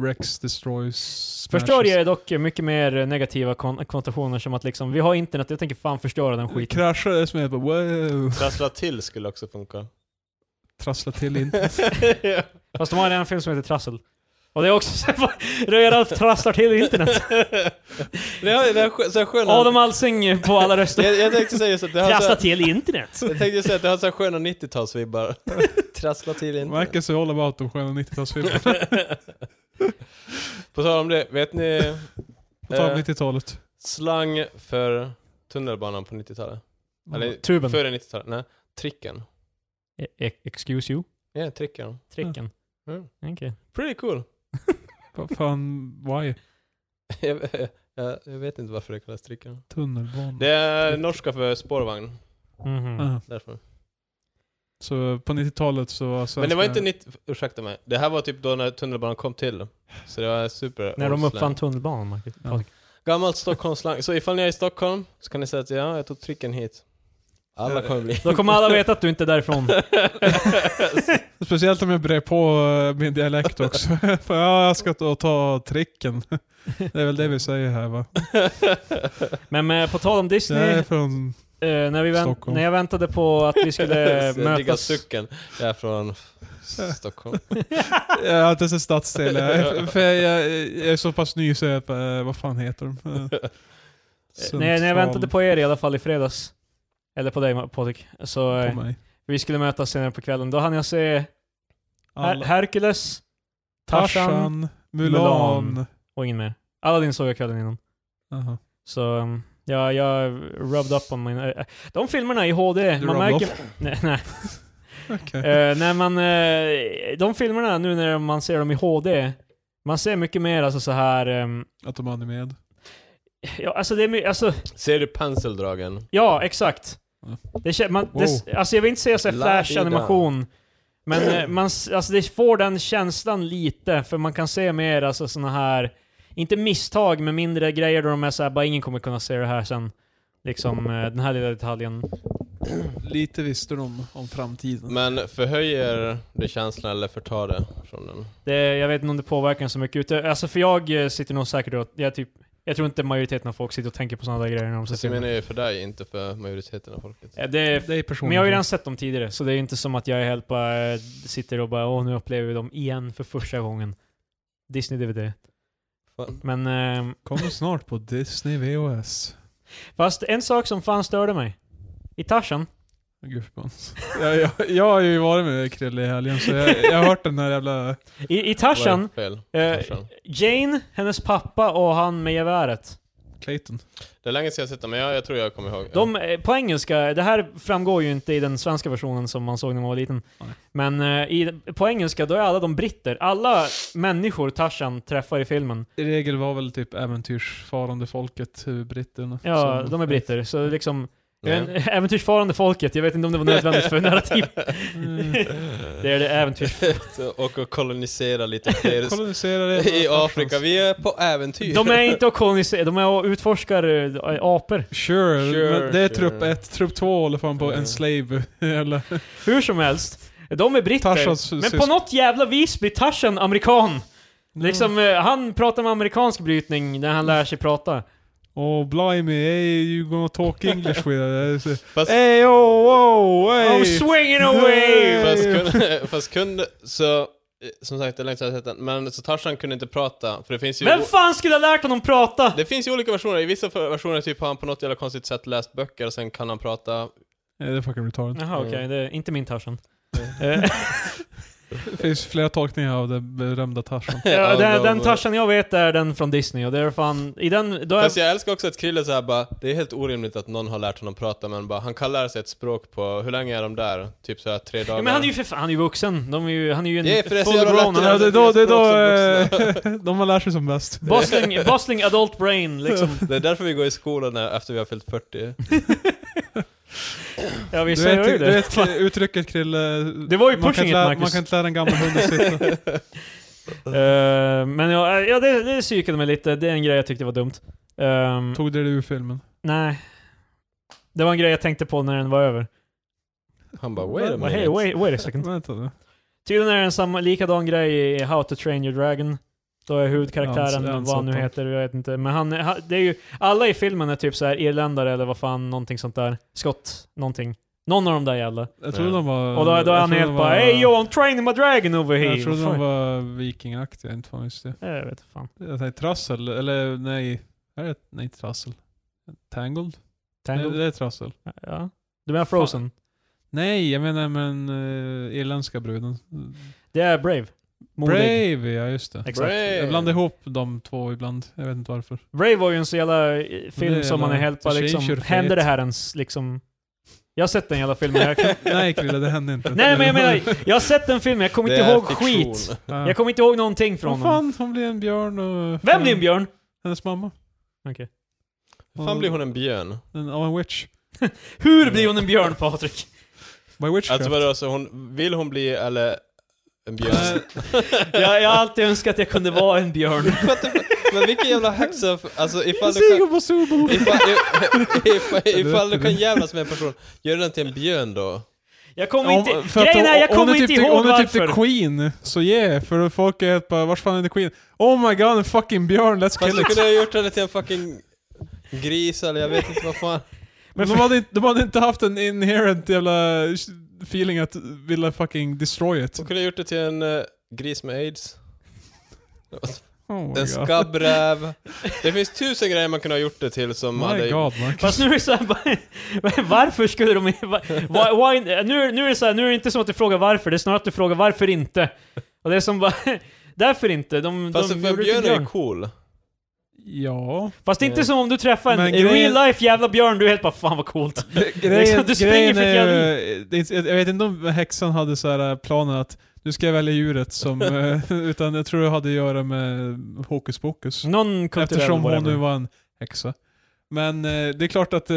[SPEAKER 3] Rex destroys. smashes.
[SPEAKER 2] Förstör ger dock mycket mer negativa kon- konnotationer som att liksom, vi har internet, jag tänker fan förstöra den skiten.
[SPEAKER 3] Kraschar det som är bara wow.
[SPEAKER 1] Trassla till skulle också funka.
[SPEAKER 3] Trassla
[SPEAKER 1] [laughs]
[SPEAKER 3] till internet.
[SPEAKER 1] Ja.
[SPEAKER 2] [laughs] Fast de har en film som heter Trassel. Och det är också [laughs] så Röja Ralf trasslar till [laughs] internet.
[SPEAKER 1] det har- det har skö- så här skön...
[SPEAKER 2] Adam Alsing på alla röster.
[SPEAKER 1] jag, jag tänkte säga just att det har så
[SPEAKER 2] Trassla
[SPEAKER 1] här,
[SPEAKER 2] till internet.
[SPEAKER 1] [laughs] Jag tänkte säga att det har så här sköna 90-talsvibbar. [laughs] Trassla till internet.
[SPEAKER 3] Marcus är all about de sköna
[SPEAKER 1] [laughs]
[SPEAKER 3] 90-talsfilmerna.
[SPEAKER 1] På tal om det, vet ni
[SPEAKER 3] På tal om
[SPEAKER 1] Eh.
[SPEAKER 3] 90-talet.
[SPEAKER 1] slang för tunnelbanan på 90-talet?
[SPEAKER 3] Mm.
[SPEAKER 1] Eller
[SPEAKER 2] Tuben.
[SPEAKER 1] före 90-talet? Nej, tricken.
[SPEAKER 2] E- excuse you?
[SPEAKER 1] Ja, tricken.
[SPEAKER 2] Tricken.
[SPEAKER 1] Mm.
[SPEAKER 2] Okej.
[SPEAKER 1] Pretty cool. [laughs]
[SPEAKER 3] Vad fan, why?
[SPEAKER 1] jag, jag, jag vet inte varför det kallas
[SPEAKER 3] Mm.
[SPEAKER 1] tricken.
[SPEAKER 3] Tunnelbanan.
[SPEAKER 1] Det är norska för spårvagn,
[SPEAKER 2] Mhm.
[SPEAKER 3] Aha.
[SPEAKER 1] därför.
[SPEAKER 3] Så på 90-talet så var svenska...
[SPEAKER 1] Men det var inte 90... Ursäkta mig. Det här var typ då när tunnelbanan kom till. Så det var super old
[SPEAKER 2] När de
[SPEAKER 1] slang.
[SPEAKER 2] uppfann tunnelbanan, Marcus.
[SPEAKER 3] Ja.
[SPEAKER 1] Gammalt Stockholmsslang. Så ifall ni är i Stockholm så kan ni säga att ja, jag tog tricken hit. Alla kommer bli...
[SPEAKER 2] Då kommer alla veta att du inte är därifrån.
[SPEAKER 3] Speciellt om jag brer på eh, min dialekt också. [laughs] För ja, jag ska ta, ta tricken. [laughs] Det är väl det vi säger här va?
[SPEAKER 2] Men med, på tal om
[SPEAKER 3] Jag
[SPEAKER 2] Disney,
[SPEAKER 3] är från...
[SPEAKER 2] eh, när, vi vänt,
[SPEAKER 3] Stockholm.
[SPEAKER 2] när jag väntade på [laughs] att
[SPEAKER 1] [laughs]
[SPEAKER 2] vi skulle
[SPEAKER 1] Jag diggar
[SPEAKER 2] mötas...
[SPEAKER 1] sucken. Jag är från Stockholm.
[SPEAKER 3] Jag har inte sett stadsdel.
[SPEAKER 1] [laughs]
[SPEAKER 3] Jag, är- för jag, jag är så pass ny så jag bara, eh, vad fan heter de? Eh,
[SPEAKER 2] Eh, När, när jag
[SPEAKER 3] Central-
[SPEAKER 2] väntade på er i alla fall i fredags, eller på dig Ma- Patrik, så eh,
[SPEAKER 3] på mig.
[SPEAKER 2] vi skulle mötas senare på kvällen. Då hann jag se Her-
[SPEAKER 3] Alla-
[SPEAKER 2] Hercules, Tarzan
[SPEAKER 3] Tarzan, Mulan.
[SPEAKER 2] Mulan. och ingen mer. Aladdin såg jag kvällen innan.
[SPEAKER 3] Aha.
[SPEAKER 2] Så um, ja, jag rubbed up on min... eh, De filmerna i HD,
[SPEAKER 3] Du
[SPEAKER 2] man [laughs]
[SPEAKER 3] rubbed
[SPEAKER 2] märker... Nej, nej. Eh, när man, eh, de filmerna nu när man ser dem i HD, man ser mycket mer alltså så här ehm,
[SPEAKER 3] Att de är animerade.
[SPEAKER 2] ja, alltså det är my- alltså,
[SPEAKER 1] Ser du penseldragen?
[SPEAKER 2] ja exakt.
[SPEAKER 3] Ja.
[SPEAKER 2] Det, kä- man, det, s-
[SPEAKER 3] Wow.
[SPEAKER 2] alltså jag vill inte säga så här
[SPEAKER 1] La
[SPEAKER 2] flash-animation, men eh, man, s- alltså det får den känslan lite, för man kan se mer alltså såna här, inte misstag, men mindre grejer där de är så här, bara ingen kommer kunna se det här sen. Liksom eh, den här lilla detaljen.
[SPEAKER 3] Lite visste de om framtiden.
[SPEAKER 1] Men förhöjer det känslan eller förtar det från den? Alltså,
[SPEAKER 2] Det, jag vet inte om det påverkar en så mycket. Ute, alltså för jag eh, sitter nog säkert och, jag, typ, jag tror inte majoriteten av folk sitter och tänker på sådana där grejer när de
[SPEAKER 1] Så
[SPEAKER 2] ser
[SPEAKER 1] Alltså, jag
[SPEAKER 2] filmer.
[SPEAKER 1] menar ju för dig, inte för majoriteten av folket.
[SPEAKER 2] Eh, Det är,
[SPEAKER 3] det är personen.
[SPEAKER 2] men jag har ju redan sett dem tidigare, så det är ju inte som att jag är helt bara eh, sitter och bara åh nu upplever vi dem igen för första gången. Disney-DVD.
[SPEAKER 1] Fan.
[SPEAKER 2] Men ehm,
[SPEAKER 3] Kommer snart på Disney VHS.
[SPEAKER 2] fast en sak som fan störde mig. I Tarzan.
[SPEAKER 3] Gud
[SPEAKER 2] [laughs]
[SPEAKER 3] förbannat. jag, jag, jag har ju varit med Krille i helgen så jag, jag har hört den där jävla...
[SPEAKER 2] I, i
[SPEAKER 1] Vad är
[SPEAKER 2] Tarzan,
[SPEAKER 1] fel?
[SPEAKER 2] eh,
[SPEAKER 1] Tarzan.
[SPEAKER 2] Jane, hennes pappa och han med geväret.
[SPEAKER 3] Clayton.
[SPEAKER 1] Det är länge sedan jag sett dem, men jag, jag tror jag kommer ihåg.
[SPEAKER 2] De, eh, på engelska, det här framgår ju inte i den svenska versionen som man såg när man var liten.
[SPEAKER 3] Nej.
[SPEAKER 2] Men eh, i, på engelska, då är alla de britter. Alla människor Tarzan träffar i filmen,
[SPEAKER 3] I regel var väl typ äventyrsfarande folket eh, britterna.
[SPEAKER 2] ja,
[SPEAKER 3] som-
[SPEAKER 2] de är britter. Så det är liksom,
[SPEAKER 1] Ja.
[SPEAKER 2] en- äventyrsfarande folket, jag vet inte om det var nödvändigt
[SPEAKER 1] [laughs]
[SPEAKER 2] för narrativ. [laughs]
[SPEAKER 3] Mm.
[SPEAKER 2] det är det äventyrs...
[SPEAKER 1] Så, och och kolonisera lite
[SPEAKER 2] [laughs]
[SPEAKER 1] fler
[SPEAKER 3] Koloniserade
[SPEAKER 1] i Afrika. Vi är på äventyr.
[SPEAKER 2] De är inte och koloniserar, de är och utforskar eh, apor.
[SPEAKER 3] Sure,
[SPEAKER 1] Sure,
[SPEAKER 3] men det
[SPEAKER 1] sure.
[SPEAKER 3] är trupp ett. Trupp två håller fan på
[SPEAKER 1] Ja.
[SPEAKER 3] en slave. [laughs] Eller
[SPEAKER 2] Hur som helst, de är britter.
[SPEAKER 3] Tarzans
[SPEAKER 2] men på
[SPEAKER 3] syster.
[SPEAKER 2] något jävla vis blir Tarzan amerikan.
[SPEAKER 1] Mm.
[SPEAKER 2] Liksom, eh, han pratar med amerikansk brytning när han lär sig prata.
[SPEAKER 3] Oh blimey, hey you gonna talk English with us?
[SPEAKER 1] Fast-
[SPEAKER 3] Hey oh oh
[SPEAKER 2] I'm
[SPEAKER 3] hey!
[SPEAKER 2] swinging away!
[SPEAKER 1] Fast kunde, [laughs] fast kunde, så, eh, som sagt det är länge sedan jag sett den, men så Tarzan kunde inte prata, för det finns ju...
[SPEAKER 2] Vem fan skulle ha lärt honom prata?
[SPEAKER 1] det finns ju olika versioner, i vissa för- versioner typ har han på något jävla konstigt sätt läst böcker och sen kan han prata.
[SPEAKER 3] Nej, det är fucking retarded.
[SPEAKER 2] Jaha, okej.
[SPEAKER 1] Mm.
[SPEAKER 2] Det är inte
[SPEAKER 1] [laughs]
[SPEAKER 2] min Tarzan. Eh,
[SPEAKER 3] Det finns flera tolkningar av den berömda Tarzan.
[SPEAKER 2] [laughs] Ja,
[SPEAKER 1] av
[SPEAKER 2] den,
[SPEAKER 1] dem.
[SPEAKER 2] den Tarzan jag vet är den från Disney och det är fan... I den... Då är,
[SPEAKER 1] Fast jag älskar också att Krille såhär bara, det är helt orimligt att någon har lärt honom prata men bara, han kan lära sig ett språk på, hur länge är de där? Typ såhär tre dagar?
[SPEAKER 2] ja, men han är ju för fan, han är ju vuxen. De är ju, han är ju en
[SPEAKER 1] Ja, för det är så jävla
[SPEAKER 2] full-grown.
[SPEAKER 1] lätt
[SPEAKER 2] Han
[SPEAKER 3] Ja,
[SPEAKER 2] är-
[SPEAKER 3] det är då, det är då
[SPEAKER 1] Språk som
[SPEAKER 3] eh, [laughs] de har lärt sig som bäst.
[SPEAKER 2] Bustling, bustling adult brain liksom.
[SPEAKER 1] [laughs] Det är därför vi går i skolan när, efter vi har fyllt
[SPEAKER 2] [laughs]
[SPEAKER 1] 40.
[SPEAKER 2] Ja, vi
[SPEAKER 3] Du
[SPEAKER 2] säger ju
[SPEAKER 3] vet, du
[SPEAKER 2] det. [laughs]
[SPEAKER 3] vet uttrycket Krille...
[SPEAKER 2] Det var ju pushing
[SPEAKER 3] man kan,
[SPEAKER 2] it,
[SPEAKER 3] inte lära,
[SPEAKER 2] Marcus.
[SPEAKER 3] man kan inte lära en gammal hund
[SPEAKER 2] [laughs]
[SPEAKER 3] att sitta.
[SPEAKER 2] Eh, men ja, ja det, det psykade mig lite. Det är en grej jag tyckte var dumt. Ehm,
[SPEAKER 3] Tog det ur filmen.
[SPEAKER 2] nej. Det var en grej jag tänkte på när den var över.
[SPEAKER 1] Han bara, wait a
[SPEAKER 2] Bara, Hey,
[SPEAKER 1] minute.
[SPEAKER 2] wait, wait a second.
[SPEAKER 3] Vänta nu.
[SPEAKER 2] Tydligen är det en samma, likadan grej i How to Train Your Dragon. Då är
[SPEAKER 3] Ja, han-
[SPEAKER 2] huvudkaraktären,
[SPEAKER 3] han
[SPEAKER 2] vad han nu
[SPEAKER 3] satan.
[SPEAKER 2] heter, jag vet inte. Men han, är- han, det är ju, alla i filmen är typ så här irländare eller vad fan, någonting sånt där. Skott, någonting. Någon av de där jävla.
[SPEAKER 3] Jag trodde
[SPEAKER 1] Ja.
[SPEAKER 3] de var...
[SPEAKER 2] Och då, då är
[SPEAKER 3] jag
[SPEAKER 2] han
[SPEAKER 3] trodde
[SPEAKER 2] helt
[SPEAKER 3] de
[SPEAKER 2] bara
[SPEAKER 3] var-
[SPEAKER 2] Hey yo, I'm training my dragon over here.
[SPEAKER 3] Jag trodde
[SPEAKER 2] Vad
[SPEAKER 3] de
[SPEAKER 2] fan?
[SPEAKER 3] var vikingaktiga, inte fan just det.
[SPEAKER 2] Jag vet fan.
[SPEAKER 3] Jag tänkte trassel, eller nej. Är det, nej, inte trassel. Tangled?
[SPEAKER 2] Tangled?
[SPEAKER 3] Nej, det är trassel.
[SPEAKER 2] Ja. Du menar Frozen?
[SPEAKER 3] Nej, jag menar men uh, irländska bruden.
[SPEAKER 2] Det är Brave. Modig. Eh,
[SPEAKER 3] Brave, ja just det.
[SPEAKER 2] Exakt. Brave.
[SPEAKER 1] Brave.
[SPEAKER 3] Jag blandar ihop de två ibland. Jag vet inte varför.
[SPEAKER 2] var ju en så jävla eh, film
[SPEAKER 3] Det är
[SPEAKER 2] som man är
[SPEAKER 3] jävla-
[SPEAKER 2] helt bara
[SPEAKER 3] det
[SPEAKER 2] liksom,
[SPEAKER 3] känns ju
[SPEAKER 2] händer det
[SPEAKER 3] fet.
[SPEAKER 2] här ens liksom? Jag har sett den jävla filmen. Jag,
[SPEAKER 3] [laughs] Nej Krille, det hände inte.
[SPEAKER 2] nej men jag menar, jag har sett den filmen, jag kommer
[SPEAKER 1] Det
[SPEAKER 2] inte
[SPEAKER 1] är
[SPEAKER 2] ihåg
[SPEAKER 1] fiktion.
[SPEAKER 2] skit. [laughs]
[SPEAKER 3] Ja.
[SPEAKER 2] Jag kommer inte ihåg någonting från
[SPEAKER 3] Vad
[SPEAKER 2] honom.
[SPEAKER 3] fan, hon blir en björn och...
[SPEAKER 2] Vem blir en björn?
[SPEAKER 3] Hennes mamma.
[SPEAKER 2] Okej.
[SPEAKER 1] Hur fan blir hon en björn?
[SPEAKER 3] En, av en witch.
[SPEAKER 2] Hur blir hon en björn Patrik?
[SPEAKER 3] By witchcraft.
[SPEAKER 1] Alltså vadå, så hon, vill hon bli eller en björn?
[SPEAKER 3] Eh,
[SPEAKER 2] Jag, jag har alltid önskat att jag kunde vara
[SPEAKER 1] [laughs]
[SPEAKER 2] en björn.
[SPEAKER 1] What the fuck? Men vilken jävla häxa, f- alltså ifall du kan...
[SPEAKER 3] Sigurd på Subo! [laughs]
[SPEAKER 1] Ifall, ifall, ifall du kan jävlas med en person, gör den till en björn då?
[SPEAKER 2] Jag kommer
[SPEAKER 3] Om-
[SPEAKER 2] inte...
[SPEAKER 3] för att
[SPEAKER 2] Grejen är, jag
[SPEAKER 3] om- om
[SPEAKER 2] kommer
[SPEAKER 3] du
[SPEAKER 2] inte
[SPEAKER 3] typ,
[SPEAKER 2] ihåg
[SPEAKER 3] Om du typ
[SPEAKER 2] varför.
[SPEAKER 3] är Queen, så yeah. För folk är helt bara, vart fan är det Queen? Oh my god, en fucking björn, let's
[SPEAKER 1] Fast
[SPEAKER 3] kill
[SPEAKER 1] du
[SPEAKER 3] it.
[SPEAKER 1] kunde ha gjort henne till en fucking gris eller jag vet inte vad fan.
[SPEAKER 3] Men de, hade, inte- de hade inte haft en inherent jävla feeling att vilja fucking destroy it.
[SPEAKER 1] Hon kunde ha gjort det till en eh, gris med aids.
[SPEAKER 3] Oh my
[SPEAKER 1] En
[SPEAKER 3] god.
[SPEAKER 1] skabbräv. Det finns tusen grejer man kunde ha gjort det till som
[SPEAKER 3] My
[SPEAKER 1] hade...
[SPEAKER 3] god Marcus.
[SPEAKER 2] Fast nu är det [laughs] såhär bara... Varför skulle de... va- Why, why, nu, nu är det såhär, nu är det inte som att du frågar varför, det är snarare att du frågar varför inte. Och det är som bara... [laughs] Därför inte. De,
[SPEAKER 1] Fast
[SPEAKER 2] de
[SPEAKER 1] för en
[SPEAKER 2] gjorde det till
[SPEAKER 1] björn är ju cool.
[SPEAKER 3] Ja.
[SPEAKER 2] Fast inte
[SPEAKER 1] Mm.
[SPEAKER 2] som om du träffar en
[SPEAKER 3] Men
[SPEAKER 2] i
[SPEAKER 3] grejen-
[SPEAKER 2] real life jävla björn, du är helt bara 'Fan vad coolt'
[SPEAKER 3] Grejen,
[SPEAKER 2] du springer
[SPEAKER 3] grejen
[SPEAKER 2] för
[SPEAKER 3] är
[SPEAKER 2] fjällen.
[SPEAKER 3] ju, det är, inte- jag vet inte om häxan hade så här äh, planen att nu ska jag välja
[SPEAKER 2] [laughs]
[SPEAKER 3] djuret som, eh, utan jag tror det hade att göra med hokus pokus.
[SPEAKER 2] Någon kulturell
[SPEAKER 3] Eftersom hon
[SPEAKER 2] whatever.
[SPEAKER 3] nu var en häxa. Men eh, det är klart att eh,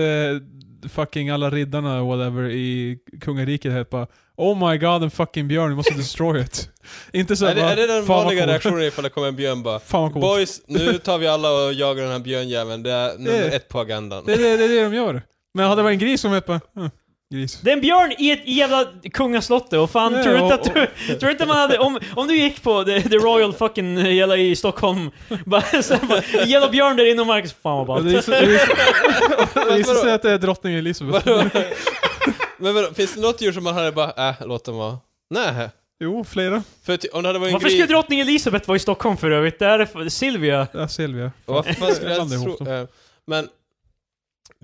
[SPEAKER 3] fucking alla riddarna whatever i kungariket här bara Oh my god en fucking björn, vi måste destroy it. [laughs] inte så
[SPEAKER 1] Är
[SPEAKER 3] här
[SPEAKER 1] det,
[SPEAKER 3] bara,
[SPEAKER 1] är det den
[SPEAKER 3] "Fan vad
[SPEAKER 1] vanliga
[SPEAKER 3] coolt."
[SPEAKER 1] reaktionen ifall det kommer en björn bara
[SPEAKER 3] Fan vad coolt.
[SPEAKER 1] Boys, nu tar vi alla och jagar den här björnjäveln, det är nummer
[SPEAKER 3] Eh.
[SPEAKER 1] ett på agendan.
[SPEAKER 3] Det, är det, det är det de gör. Men hade det varit en gris som hette bara, "Hm, gris.
[SPEAKER 2] Det är en björn i ett jävla kungaslottet och fan,
[SPEAKER 3] Ja,
[SPEAKER 2] tror du inte
[SPEAKER 3] och-
[SPEAKER 2] att du, tror du inte man hade, om, om du gick på the, the Royal fucking eh, jävla i Stockholm, [laughs] bara, så, bara en jävla björn där inne och Marcus, fan vad
[SPEAKER 3] Ja,
[SPEAKER 2] ballt.
[SPEAKER 3] Det visar
[SPEAKER 1] [laughs]
[SPEAKER 3] det visar- det visar
[SPEAKER 1] Vadå?
[SPEAKER 3] sig att det är drottning Elizabeth.
[SPEAKER 1] Vadå? Men vadå, finns det något djur som man hade bara, äh, låt dem vara? Nej.
[SPEAKER 3] Jo, flera.
[SPEAKER 1] För ty- om det hade varit en
[SPEAKER 2] Varför skulle
[SPEAKER 1] gris...
[SPEAKER 2] drottning Elisabeth vara i Stockholm för övrigt? Där är för- Silvia.
[SPEAKER 3] Ja, Silvia.
[SPEAKER 1] Varför fan skulle jag
[SPEAKER 3] Blanda
[SPEAKER 1] ens
[SPEAKER 3] ihop
[SPEAKER 1] tro...
[SPEAKER 3] dem.
[SPEAKER 1] eh, Men...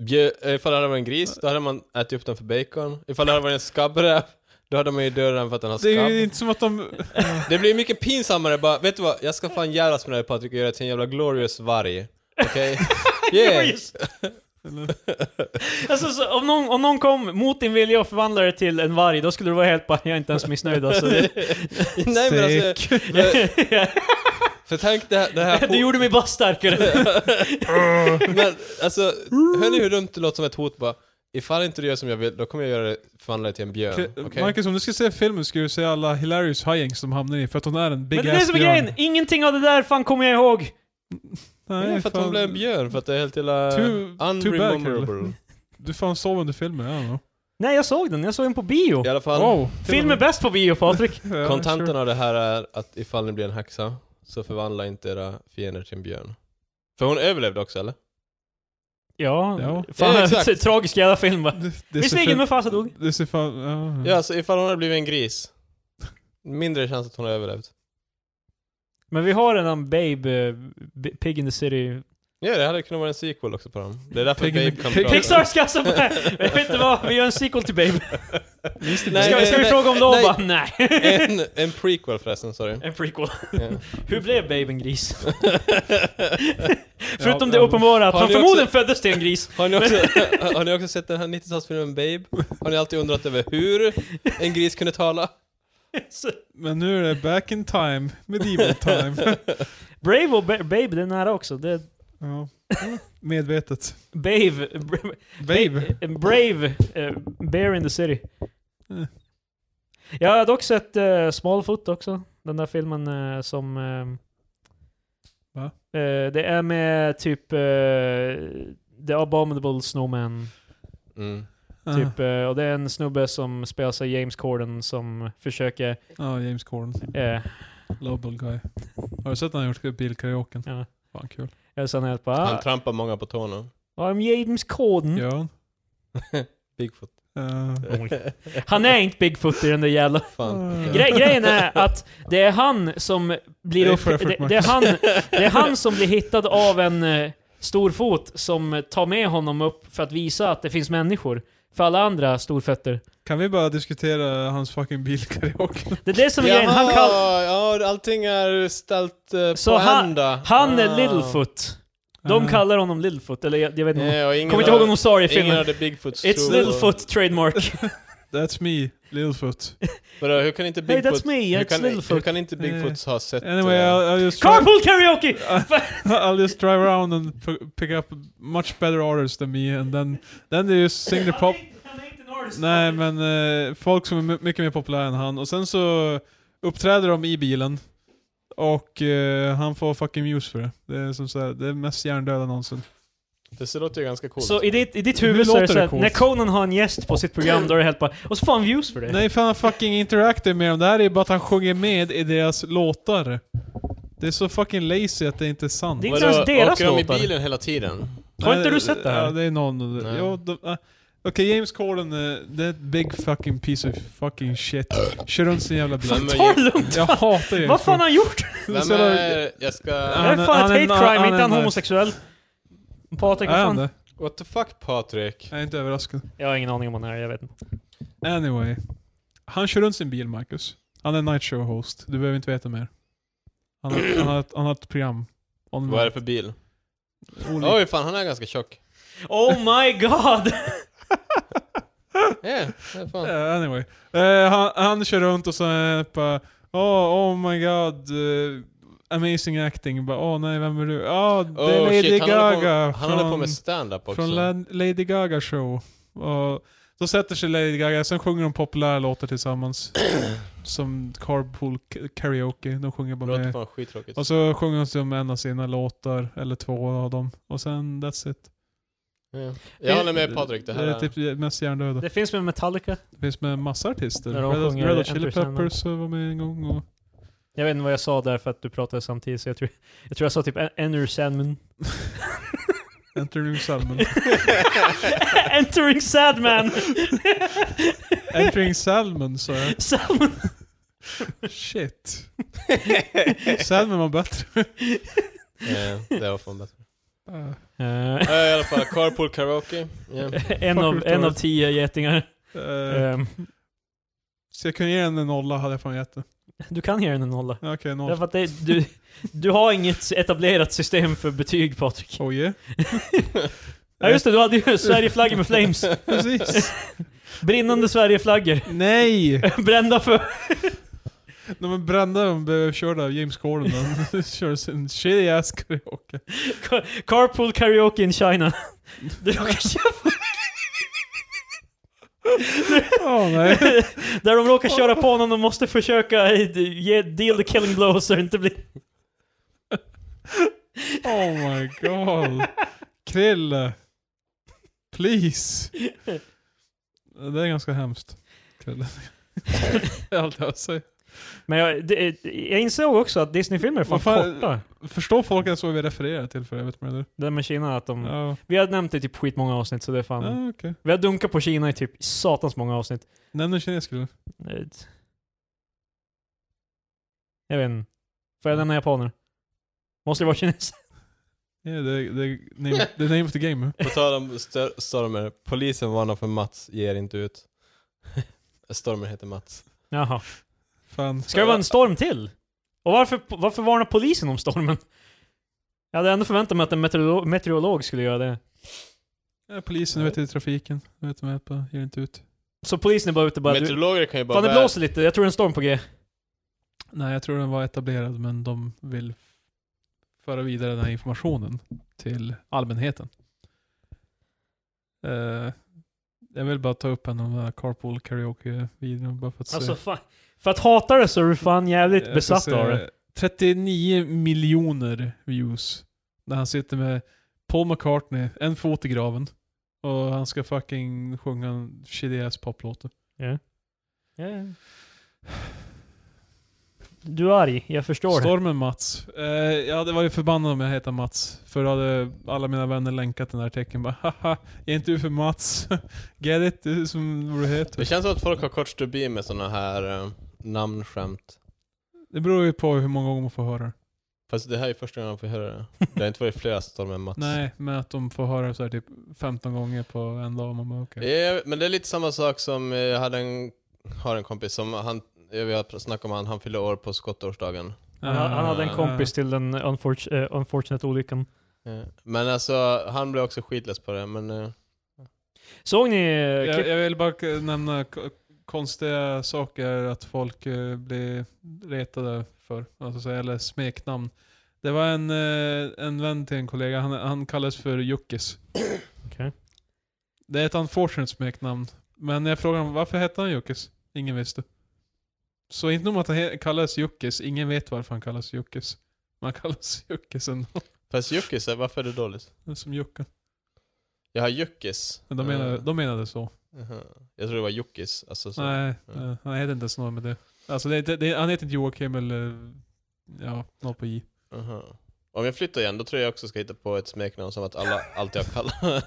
[SPEAKER 1] Bjö, eh, ifall det hade varit en gris, då hade man ätit upp den för bacon. Ifall det hade varit en skabbräv, då hade man ju dödat den för att den har
[SPEAKER 3] Det är ju
[SPEAKER 1] skabb.
[SPEAKER 3] inte som att de...
[SPEAKER 1] Det blir mycket pinsammare bara, vet du vad? Jag ska fan jävlas med dig Patrik och göra dig till en jävla glorious varg.
[SPEAKER 3] [laughs]
[SPEAKER 1] Okej?
[SPEAKER 2] [laughs]
[SPEAKER 1] Yeah!
[SPEAKER 3] Eller,
[SPEAKER 2] Alltså, så, om, någon, om någon kom mot din vilja och förvandlade dig till en varg, då skulle du vara helt bara, jag är inte ens missnöjd
[SPEAKER 3] [laughs]
[SPEAKER 2] alltså. Det,
[SPEAKER 1] [laughs] Nej men alltså, för, för tänk det här... Det
[SPEAKER 3] [laughs]
[SPEAKER 1] här
[SPEAKER 2] [laughs] det gjorde mig bara starkare.
[SPEAKER 1] Men alltså, hör ni hur dumt det låter som ett hot bara? Ifall inte du gör som jag vill, då kommer jag göra det, förvandla dig till en björn. Okej?
[SPEAKER 3] Marcus, om du ska se filmen skulle du se alla Hilarious Hijinks de hamnar i för att hon är en big
[SPEAKER 2] Men det är det
[SPEAKER 3] ass
[SPEAKER 2] som är
[SPEAKER 3] björn.
[SPEAKER 2] grejen, ingenting av det där fan kommer jag ihåg.
[SPEAKER 1] Nej, för att hon blev en björn, för att det är helt jävla...
[SPEAKER 3] Too- too bad,
[SPEAKER 1] Unrememberable.
[SPEAKER 3] Du fan sov under filmen, I don't know.
[SPEAKER 2] Nej, jag såg den. Jag såg den på bio.
[SPEAKER 1] I alla fall,
[SPEAKER 3] Wow.
[SPEAKER 2] Film är bäst på bio,
[SPEAKER 3] [laughs]
[SPEAKER 2] Patrik.
[SPEAKER 3] Ja,
[SPEAKER 1] kontentan av det här är att ifall ni blir en häxa, så förvandla inte era fiender till en björn. För hon överlevde också, eller?
[SPEAKER 2] Ja,
[SPEAKER 3] Ja.
[SPEAKER 2] fan,
[SPEAKER 1] Ja, exakt.
[SPEAKER 2] [laughs] tragisk jävla film va?
[SPEAKER 3] sure. Det- det ser
[SPEAKER 2] Visserligen,
[SPEAKER 3] fan-
[SPEAKER 2] men fasen dog.
[SPEAKER 3] Det ser fan... Ja.
[SPEAKER 1] Ja, så ifall hon hade blivit en gris, mindre chans att hon har överlevt.
[SPEAKER 2] Men vi har redan Babe, eh, B- Pig in the City.
[SPEAKER 1] Ja, det hade kunnat vara en sequel också på dem. Det är därför
[SPEAKER 3] Pig in the-
[SPEAKER 1] Babe kan
[SPEAKER 3] Pig-
[SPEAKER 1] prata.
[SPEAKER 2] Pixar ska [laughs] alltså bara, jag vet inte vad, vi gör en sequel till Babe.
[SPEAKER 1] Nej,
[SPEAKER 2] ska, vi- ska vi
[SPEAKER 1] nej,
[SPEAKER 2] fråga om lov?
[SPEAKER 1] nej.
[SPEAKER 2] Bara, Nej. [laughs]
[SPEAKER 1] En, en prequel förresten, sorry.
[SPEAKER 2] En prequel.
[SPEAKER 1] Ja.
[SPEAKER 2] Hur blev Babe en gris?
[SPEAKER 1] [laughs]
[SPEAKER 2] Förutom
[SPEAKER 3] Ja,
[SPEAKER 2] det
[SPEAKER 3] ja.
[SPEAKER 2] uppenbara att
[SPEAKER 1] Har
[SPEAKER 2] han
[SPEAKER 1] ni också-
[SPEAKER 2] förmodligen föddes till en gris. [laughs]
[SPEAKER 1] Har ni, också, [laughs] har ni också sett den här 90-talsfilmen Babe? Har ni alltid undrat över hur en gris kunde tala?
[SPEAKER 2] Så-
[SPEAKER 3] Men nu är det back in time, medieval time.
[SPEAKER 2] Brave och ba- Babe, det är nära också. Det är
[SPEAKER 3] ja. Medvetet.
[SPEAKER 2] Babe. Br-
[SPEAKER 3] Babe.
[SPEAKER 2] Eh, Brave eh, Bear in the City.
[SPEAKER 1] Eh.
[SPEAKER 3] Mm.
[SPEAKER 2] Jag har dock sett eh, Smallfoot också. Den där filmen eh, som... eh,
[SPEAKER 3] Va?
[SPEAKER 2] eh, det är med typ eh, The Abominable Snowman.
[SPEAKER 1] Mm.
[SPEAKER 3] Ah.
[SPEAKER 2] Typ, eh, och det är en snubbe som spelas av James Corden som försöker...
[SPEAKER 3] Ja, James Corden.
[SPEAKER 2] Eh,
[SPEAKER 3] Lovable guy. Har du sett när han gjort bilkaraoken?
[SPEAKER 2] ja.
[SPEAKER 3] Fan kul.
[SPEAKER 2] Jag sa helt bara...
[SPEAKER 1] Han
[SPEAKER 2] "Ah,
[SPEAKER 1] trampar många på tårna.
[SPEAKER 2] I'm James Corden.
[SPEAKER 3] Gör han?
[SPEAKER 1] Bigfoot.
[SPEAKER 3] Eh,
[SPEAKER 2] [laughs] Han är inte Bigfoot i den
[SPEAKER 1] [laughs]
[SPEAKER 2] där jävla
[SPEAKER 1] Fan.
[SPEAKER 3] Mm.
[SPEAKER 1] Ja.
[SPEAKER 2] Gre grejen är att det är han som blir...
[SPEAKER 3] Det är
[SPEAKER 2] upp-
[SPEAKER 3] för effort,
[SPEAKER 2] det, det, är
[SPEAKER 3] Marcus.
[SPEAKER 2] han, det är han som blir hittad av en eh, storfot som tar med honom upp för att visa att det finns människor. För alla andra storfötter.
[SPEAKER 3] kan vi bara diskutera hans fucking bilkaraoke?
[SPEAKER 2] Det är det som är
[SPEAKER 1] Jaha,
[SPEAKER 2] grejen. Han, kall,
[SPEAKER 1] ja, allting är ställt eh,
[SPEAKER 2] Så
[SPEAKER 1] på
[SPEAKER 2] han-
[SPEAKER 1] ända.
[SPEAKER 2] han är
[SPEAKER 1] Ah.
[SPEAKER 2] Littlefoot. De
[SPEAKER 3] Eh,
[SPEAKER 2] kallar honom Littlefoot, eller jag, jag vet inte.
[SPEAKER 1] Ja, och ingen
[SPEAKER 2] Kommer inte
[SPEAKER 1] av-
[SPEAKER 2] ihåg om de sa det i
[SPEAKER 1] Eh, Ingen
[SPEAKER 2] filmen.
[SPEAKER 1] hade Bigfoots
[SPEAKER 2] It's
[SPEAKER 1] tro.
[SPEAKER 2] Littlefoot
[SPEAKER 3] [laughs]
[SPEAKER 2] trademark.
[SPEAKER 3] That's me, Littlefoot.
[SPEAKER 1] Vadå, hur kan inte
[SPEAKER 2] Hey,
[SPEAKER 1] Bigfoot...
[SPEAKER 2] that's me,
[SPEAKER 1] hur,
[SPEAKER 2] it's
[SPEAKER 1] kan, hur
[SPEAKER 2] Littlefoot.
[SPEAKER 1] kan inte Bigfoots ha sett...
[SPEAKER 3] Anyway,
[SPEAKER 1] eh,
[SPEAKER 3] I'll, I'll, just drive,
[SPEAKER 2] Carpool karaoke!
[SPEAKER 3] [laughs] I'll just drive around and p- pick up much better orders than me and then, then they just sing the pop... Nej men eh, folk som är my- mycket mer populära än han. Och sen så uppträder de i bilen. Och eh, han får fucking muse för det. Det är som såhär, det är mest hjärndöda någonsin.
[SPEAKER 1] Det så låter ju ganska coolt.
[SPEAKER 2] Så i ditt, i ditt
[SPEAKER 3] Hur
[SPEAKER 2] huvud så är det
[SPEAKER 3] låter det
[SPEAKER 2] såhär,
[SPEAKER 3] coolt?
[SPEAKER 2] när Conan har en gäst på sitt program, då är det helt bara Och så får han views för det.
[SPEAKER 3] Nej fan han fucking interactive med dem. Det här är ju bara att han sjunger med i deras låtar. Det är så fucking lazy att det inte är sant.
[SPEAKER 2] Det är
[SPEAKER 1] Vadå,
[SPEAKER 2] inte ens deras
[SPEAKER 1] åker de i
[SPEAKER 2] låtar.
[SPEAKER 1] bilen hela tiden?
[SPEAKER 2] Har
[SPEAKER 3] Nej,
[SPEAKER 2] inte du sett det här?
[SPEAKER 3] Ja, det är någon...
[SPEAKER 1] Nej.
[SPEAKER 3] Jo, de, äh, Okej, James Corden, eh, det är ett big fucking piece of fucking shit. Kör runt sin jävla bil.
[SPEAKER 1] Vem är-
[SPEAKER 2] Ta det
[SPEAKER 3] [laughs]
[SPEAKER 2] lugnt!
[SPEAKER 3] Jag hatar James
[SPEAKER 2] Vad fan har han gjort?
[SPEAKER 1] Vem
[SPEAKER 3] Så jävla-
[SPEAKER 1] är... Jag
[SPEAKER 2] Det
[SPEAKER 1] ska...
[SPEAKER 2] är
[SPEAKER 3] Han-
[SPEAKER 2] fan
[SPEAKER 3] han är
[SPEAKER 2] ett
[SPEAKER 3] en-
[SPEAKER 2] hate crime,
[SPEAKER 3] han
[SPEAKER 2] inte
[SPEAKER 3] är
[SPEAKER 2] han
[SPEAKER 3] en-
[SPEAKER 2] homosexuell? Patrik, vad
[SPEAKER 3] Är han
[SPEAKER 2] fan?
[SPEAKER 3] det?
[SPEAKER 1] What the fuck, Patrik?
[SPEAKER 3] Jag är inte överraskad.
[SPEAKER 2] Jag har ingen aning om han är, jag vet
[SPEAKER 3] [laughs]
[SPEAKER 2] inte.
[SPEAKER 3] Anyway. Han kör runt sin bil, Marcus. Han är night show host. Du behöver inte veta mer. Han har, han har, ett, han har ett program. On
[SPEAKER 1] Vad är det för bil?
[SPEAKER 3] Olik.
[SPEAKER 1] Oj, fan han är ganska tjock.
[SPEAKER 2] Oh my god!
[SPEAKER 1] Yeah, det är fan.
[SPEAKER 3] Eh, anyway. Eh, han, han kör runt och så är det bara oh, oh my god. eh, amazing acting. Bara, Åh oh, nej, vem är du? Ja, det är
[SPEAKER 1] Oh,
[SPEAKER 3] Lady
[SPEAKER 1] shit, han håller på,
[SPEAKER 3] Gaga.
[SPEAKER 1] han håller på
[SPEAKER 3] från-
[SPEAKER 1] med stand-up också.
[SPEAKER 3] Från Lan- Lady Gaga show. Och då sätter sig Lady Gaga, sen sjunger de populära
[SPEAKER 1] [clears throat]
[SPEAKER 3] låtar tillsammans. som carpool k- karaoke. De sjunger bara
[SPEAKER 1] Låter
[SPEAKER 3] med.
[SPEAKER 1] fan skittråkigt.
[SPEAKER 3] Och så sjunger de som en av sina låtar, eller två av dem. Och sen that's it.
[SPEAKER 1] Ja. Jag håller med Patrik, det här
[SPEAKER 3] är
[SPEAKER 1] är...
[SPEAKER 3] typ det mest hjärndöda.
[SPEAKER 2] Det finns med Metallica.
[SPEAKER 3] Det finns med massa artister.
[SPEAKER 2] När de
[SPEAKER 3] Red Hot-
[SPEAKER 2] sjunger
[SPEAKER 3] Red Hot
[SPEAKER 2] Enter
[SPEAKER 3] Chili
[SPEAKER 2] Sandman.
[SPEAKER 3] Peppers eh, var med en gång och...
[SPEAKER 2] Jag vet inte vad jag sa där för att du pratade samtidigt, så jag tror jag, tror jag sa typ en- Enter
[SPEAKER 3] [laughs]
[SPEAKER 2] Sandman. [laughs]
[SPEAKER 3] Enter New Salmon. [laughs]
[SPEAKER 2] Entering Sadman!
[SPEAKER 3] Entering Salmon sa jag. [laughs]
[SPEAKER 2] Salmon!
[SPEAKER 3] Shit. Salmon var bättre.
[SPEAKER 1] Eh, det var fan bättre.
[SPEAKER 3] Eh,
[SPEAKER 2] [laughs] Eh,
[SPEAKER 1] Eh, I alla fall, carpool karaoke.
[SPEAKER 3] Ehm,
[SPEAKER 2] [laughs]
[SPEAKER 1] Yeah.
[SPEAKER 2] en, av, en av tio getingar.
[SPEAKER 3] eh,
[SPEAKER 2] Ehm,
[SPEAKER 3] Så jag kunde ge den en nolla hade jag fan gett den.
[SPEAKER 2] du kan ge den en nolla.
[SPEAKER 3] Ja, Okej, noll.
[SPEAKER 2] Därför att det, du, du har inget etablerat system för betyg Patrik.
[SPEAKER 3] Oh yeah.
[SPEAKER 2] Ja just det, du hade
[SPEAKER 3] [laughs]
[SPEAKER 2] ju Sverigeflaggor med flames.
[SPEAKER 3] Precis.
[SPEAKER 2] Brinnande Sverigeflaggor. [laughs]
[SPEAKER 3] Nej!
[SPEAKER 2] Brända för...
[SPEAKER 3] De är brända och blev körda av James Corden. De [laughs] kör sin shitty ass karaoke.
[SPEAKER 2] Ca- Carpool karaoke in China. Du råkar köra,
[SPEAKER 3] Åh [laughs] nej.
[SPEAKER 2] där de råkar köra på någon och måste försöka eh, ge deal the killing blow så det inte blir...
[SPEAKER 3] Oh my god. Krille. Please. Det är ganska hemskt. Krille. Det är allt [laughs] jag alltså- har att säga.
[SPEAKER 2] Men jag, det, jag insåg också att Disney-filmer är fan,
[SPEAKER 3] Vad fan-
[SPEAKER 2] korta.
[SPEAKER 3] Förstår folk ens vad vi refererar till för jag vet inte.
[SPEAKER 2] Det där med Kina, att de...
[SPEAKER 3] Ja,
[SPEAKER 2] Vi har nämnt det i typ skitmånga avsnitt så det är fan...
[SPEAKER 3] Mm. ja okej.
[SPEAKER 2] Vi har dunkat på Kina i typ satans många avsnitt.
[SPEAKER 3] Nämn en kines krille.
[SPEAKER 2] Eh, Jag vet inte. Får jag nämna japaner? Måste det vara kines? [laughs]
[SPEAKER 3] Yeah, the, the, name, the name of the game.
[SPEAKER 1] På tal om stö- stormer, polisen varnar för Mats, ger inte ut. [laughs] Stormer heter Mats.
[SPEAKER 2] Jaha.
[SPEAKER 3] Fan.
[SPEAKER 2] Ska det vara en storm till? Och varför, varför varnar polisen om stormen? Jag hade ändå förväntat mig att en meteorolog, meteorolog skulle göra det.
[SPEAKER 3] Ja, polisen vet i trafiken. De vet de är på. Ger inte ut.
[SPEAKER 2] Så polisen är bara ute och bara... Du,
[SPEAKER 1] Meteorologer kan ju bara...
[SPEAKER 2] fan det
[SPEAKER 1] vä-
[SPEAKER 2] blåser lite, jag tror det är en storm på G.
[SPEAKER 3] Nej, jag tror den var etablerad men de vill föra vidare den här informationen till allmänheten. Eh, jag vill bara ta upp en av de här carpool karaoke-videon bara för att
[SPEAKER 2] Alltså
[SPEAKER 3] se.
[SPEAKER 2] fan. För att hata det så är du fan jävligt
[SPEAKER 3] Jag ska
[SPEAKER 2] besatt
[SPEAKER 3] se
[SPEAKER 2] av det.
[SPEAKER 3] 39 miljoner views. När han sitter med Paul McCartney, en fot i graven. Och han ska fucking sjunga en shitty ass poplåt.
[SPEAKER 2] Du är arg, jag förstår det.
[SPEAKER 3] Stormen Mats. Eh, jag hade varit förbannad om jag hette Mats. För då hade alla mina vänner länkat den här tecken. Bara, Haha, är inte du för Mats? [laughs] Get it? Du är som vad du
[SPEAKER 1] Det
[SPEAKER 3] heter.
[SPEAKER 1] känns som att folk har kort stubin med såna här eh, namnskämt.
[SPEAKER 3] Det beror ju på hur många gånger man får höra det.
[SPEAKER 1] Fast det här är första gången man får höra det. Det har inte varit flera stormar än Mats.
[SPEAKER 3] Nej, men att de får höra det så här typ 15 gånger på en dag. Man bara, okej.
[SPEAKER 1] Eh, Men det är lite samma sak som eh, jag hade en, har en kompis som han, jag har snackat om han, han fyllde år på skottårsdagen.
[SPEAKER 2] Han, han hade en
[SPEAKER 3] Eh,
[SPEAKER 1] Ah.
[SPEAKER 2] kompis till den unfor- eh, unfortunate olyckan.
[SPEAKER 1] Eh, Men alltså, han blev också skitless på det, men... eh,
[SPEAKER 2] Såg ni eh,
[SPEAKER 3] Jag,
[SPEAKER 2] klipp-
[SPEAKER 3] jag vill bara k- nämna k- konstiga saker att folk eh, blir retade för, alltså, så- eller smeknamn. Det var en, eh, en vän till en kollega, han, han kallades för Juckis.
[SPEAKER 2] Okej.
[SPEAKER 3] Det är ett unfortunate smeknamn. Men jag frågade honom, varför hette han Juckis? Ingen visste. Så inte nog att han he- kallades Juckis, ingen vet varför han kallas Juckis. Man kallas Juckis ändå, [laughs]
[SPEAKER 1] Fast Juckis, eh, varför är det dåligt?
[SPEAKER 3] som Jocke.
[SPEAKER 1] Jag har Juckis.
[SPEAKER 3] Men De menade, de menade så.
[SPEAKER 1] Aha. Jag tror det var Juckis. Alltså, Eh, så.
[SPEAKER 3] Nej,
[SPEAKER 1] Ja.
[SPEAKER 3] eh, han heter inte ens något med det. Alltså det, det, det, han heter inte Joakim eller... eh, Ja, något på J.
[SPEAKER 1] Aha. Om jag flyttar igen, då tror jag också ska hitta på ett smeknamn som att alla alltid har
[SPEAKER 3] [laughs]
[SPEAKER 1] kallat.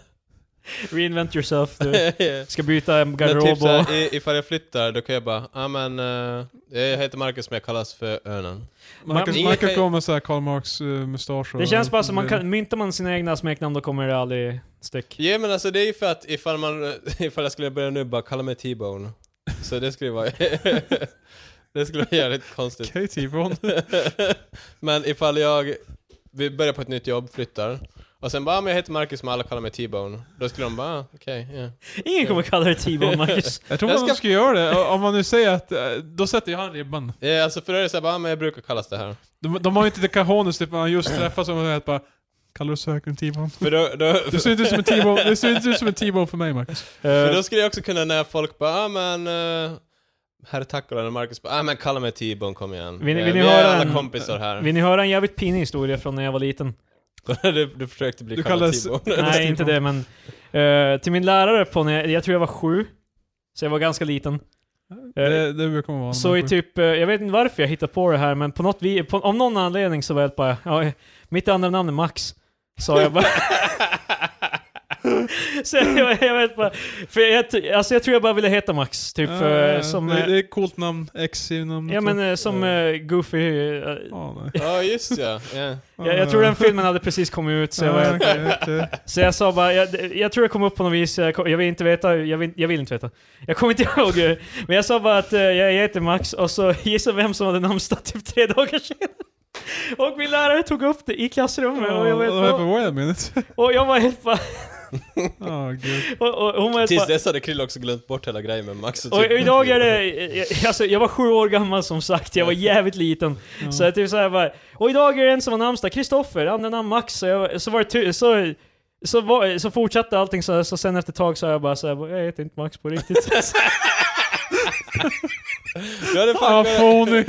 [SPEAKER 2] Reinvent yourself, [laughs] du.
[SPEAKER 1] [laughs] Men
[SPEAKER 2] Ska byta
[SPEAKER 1] typ
[SPEAKER 2] garderob och...
[SPEAKER 1] såhär, i- ifall jag flyttar, då kan jag bara, ja men, eh, jag heter Marcus men jag kallas för Örnen.
[SPEAKER 3] Marcus,
[SPEAKER 1] Man-
[SPEAKER 3] Marcus kommer med såhär Karl Marx uh, mustasch och-
[SPEAKER 2] Det känns bara som man
[SPEAKER 3] [laughs]
[SPEAKER 2] kan, myntar man sina egna smeknamn då kommer det aldrig stick.
[SPEAKER 1] Ja men alltså det är ju för att ifall man, [laughs] ifall jag skulle börja nu bara kalla mig T-Bone. Så det skulle vara, [laughs] det skulle vara jävligt konstigt. [laughs]
[SPEAKER 3] Okej, T-Bone.
[SPEAKER 1] men ifall jag, vi börjar på ett nytt jobb, flyttar. Och sen bara, "Ah, men jag heter Marcus men alla kallar mig T-Bone. Då skulle de bara, "Ah, okej, ja.
[SPEAKER 2] Ingen kommer kalla dig [laughs] T-Bone, Marcus.
[SPEAKER 3] Jag tror
[SPEAKER 1] Jag
[SPEAKER 3] man
[SPEAKER 1] ska-
[SPEAKER 3] skulle göra det. Om man nu säger att... eh, Då sätter ju han ribban.
[SPEAKER 1] Eh, Alltså för det är det såhär, bara, "Ah, men jag brukar kallas det här.
[SPEAKER 3] De, de har ju inte det cajones typ när han just träffas och säger att bara... Kallar du säkert T-bone?
[SPEAKER 1] För då, då,
[SPEAKER 3] Det ser inte ut som en T-bone, det ser inte ut som en T-bone för mig Marcus.
[SPEAKER 2] Eh,
[SPEAKER 1] för då skulle jag också kunna när folk bara, ah, men uh, Herr Takkola och Marcus bara, ah, men kalla mig T-Bone, kom igen.
[SPEAKER 2] Vill ni-
[SPEAKER 1] Eh,
[SPEAKER 2] vill ni
[SPEAKER 1] vi är
[SPEAKER 2] höra
[SPEAKER 1] alla
[SPEAKER 2] en-
[SPEAKER 1] kompisar här. [laughs]
[SPEAKER 2] Vill ni höra en jävligt pinig historia från när jag var [laughs] liten?
[SPEAKER 1] du, du försökte bli
[SPEAKER 3] Du
[SPEAKER 1] kallad
[SPEAKER 3] kallas-
[SPEAKER 2] [laughs]
[SPEAKER 1] T-Bone.
[SPEAKER 2] Nej, inte det, men... eh, till min lärare på när jag, jag tror jag var sju, så jag var ganska liten. Eh,
[SPEAKER 3] Det, det brukar man vara.
[SPEAKER 2] Så i typ, eh, jag vet inte varför jag hittade på det här, men på något vi, på, om någon anledning så var jag bara, ja, eh, mitt andra namn är Max. Sa
[SPEAKER 3] [laughs]
[SPEAKER 2] jag bara. så jag, jag vet bara, för jag, ty- alltså jag tror jag bara ville heta Max, typ
[SPEAKER 3] Ja,
[SPEAKER 2] eh,
[SPEAKER 3] ja, ja.
[SPEAKER 2] som,
[SPEAKER 3] det,
[SPEAKER 2] eh,
[SPEAKER 3] det är ett coolt namn, X i namnet.
[SPEAKER 2] ja men eh, som eh, Goofy. eh,
[SPEAKER 3] Ja, nej.
[SPEAKER 1] Ja, just ja. ja.
[SPEAKER 2] jag, jag tror den filmen hade precis kommit ut, så jag,
[SPEAKER 3] Ja,
[SPEAKER 2] var,
[SPEAKER 3] okej,
[SPEAKER 2] [laughs]
[SPEAKER 3] okej.
[SPEAKER 2] så jag sa bara, jag, jag tror jag kom upp på något vis, jag, kom- jag vill inte veta, jag vill, jag vill inte veta. Jag kommer inte [laughs] ihåg, eh, men jag sa bara att eh, jag jag heter Max, och så [laughs] gissa vem som hade namnsdag typ tre dagar senare. Och min lärare tog upp det i klassrummet, och jag,
[SPEAKER 3] Ja, det var
[SPEAKER 2] var,
[SPEAKER 3] jag
[SPEAKER 2] och,
[SPEAKER 3] på en minute. [laughs]
[SPEAKER 2] och jag var helt bara,
[SPEAKER 3] Ja, gud.
[SPEAKER 2] och, och hon var helt
[SPEAKER 1] Tills
[SPEAKER 2] bara,
[SPEAKER 1] dess hade Krill också glömt bort hela grejen med Max och
[SPEAKER 2] och
[SPEAKER 1] typ-
[SPEAKER 2] idag är det, jag- alltså jag var sju år gammal som sagt, jag var jävligt liten.
[SPEAKER 3] Ja.
[SPEAKER 2] Så jag typ såhär bara, och idag är det en som har namnsdag, Kristoffer, andra namn Max, så, jag, så var det ty- så, så, var, så fortsatte allting så, så sen efter ett tag så jag bara såhär, jag heter inte Max på riktigt. [laughs]
[SPEAKER 1] Du hade
[SPEAKER 3] Ah,
[SPEAKER 1] fan,
[SPEAKER 3] phony!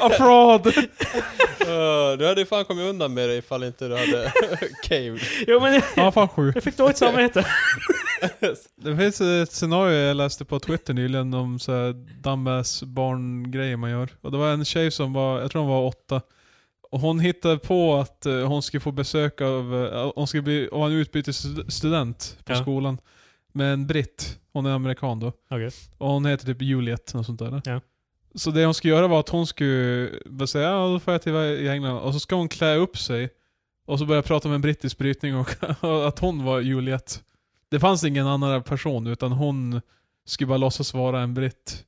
[SPEAKER 3] Ah, fraud!
[SPEAKER 1] Eh, du hade fan kommit undan med det ifall inte du hade [laughs] caved.
[SPEAKER 2] jo men
[SPEAKER 3] Ja, fan sju.
[SPEAKER 2] jag fick dåligt samvete. [laughs]
[SPEAKER 3] Det finns ett scenario jag läste på Twitter nyligen om så här dumbass barngrejer man gör. Och det var en tjej som var, jag tror hon var åtta. Och hon hittade på att eh, hon skulle få besök av, eh, hon skulle bli, hon var en utbytesstudent på
[SPEAKER 2] Ja.
[SPEAKER 3] skolan. Med en britt, hon är amerikan då.
[SPEAKER 2] Okej.
[SPEAKER 3] Och hon heter typ Juliet, något sånt där.
[SPEAKER 2] Ja.
[SPEAKER 3] Så det hon skulle göra var att hon skulle bara säga ja då får jag till i England. Och så ska hon klä upp sig. Och så börja prata med en brittisk brytning och [laughs] och att hon var Juliet. Det fanns ingen annan person utan hon skulle bara låtsas vara en britt.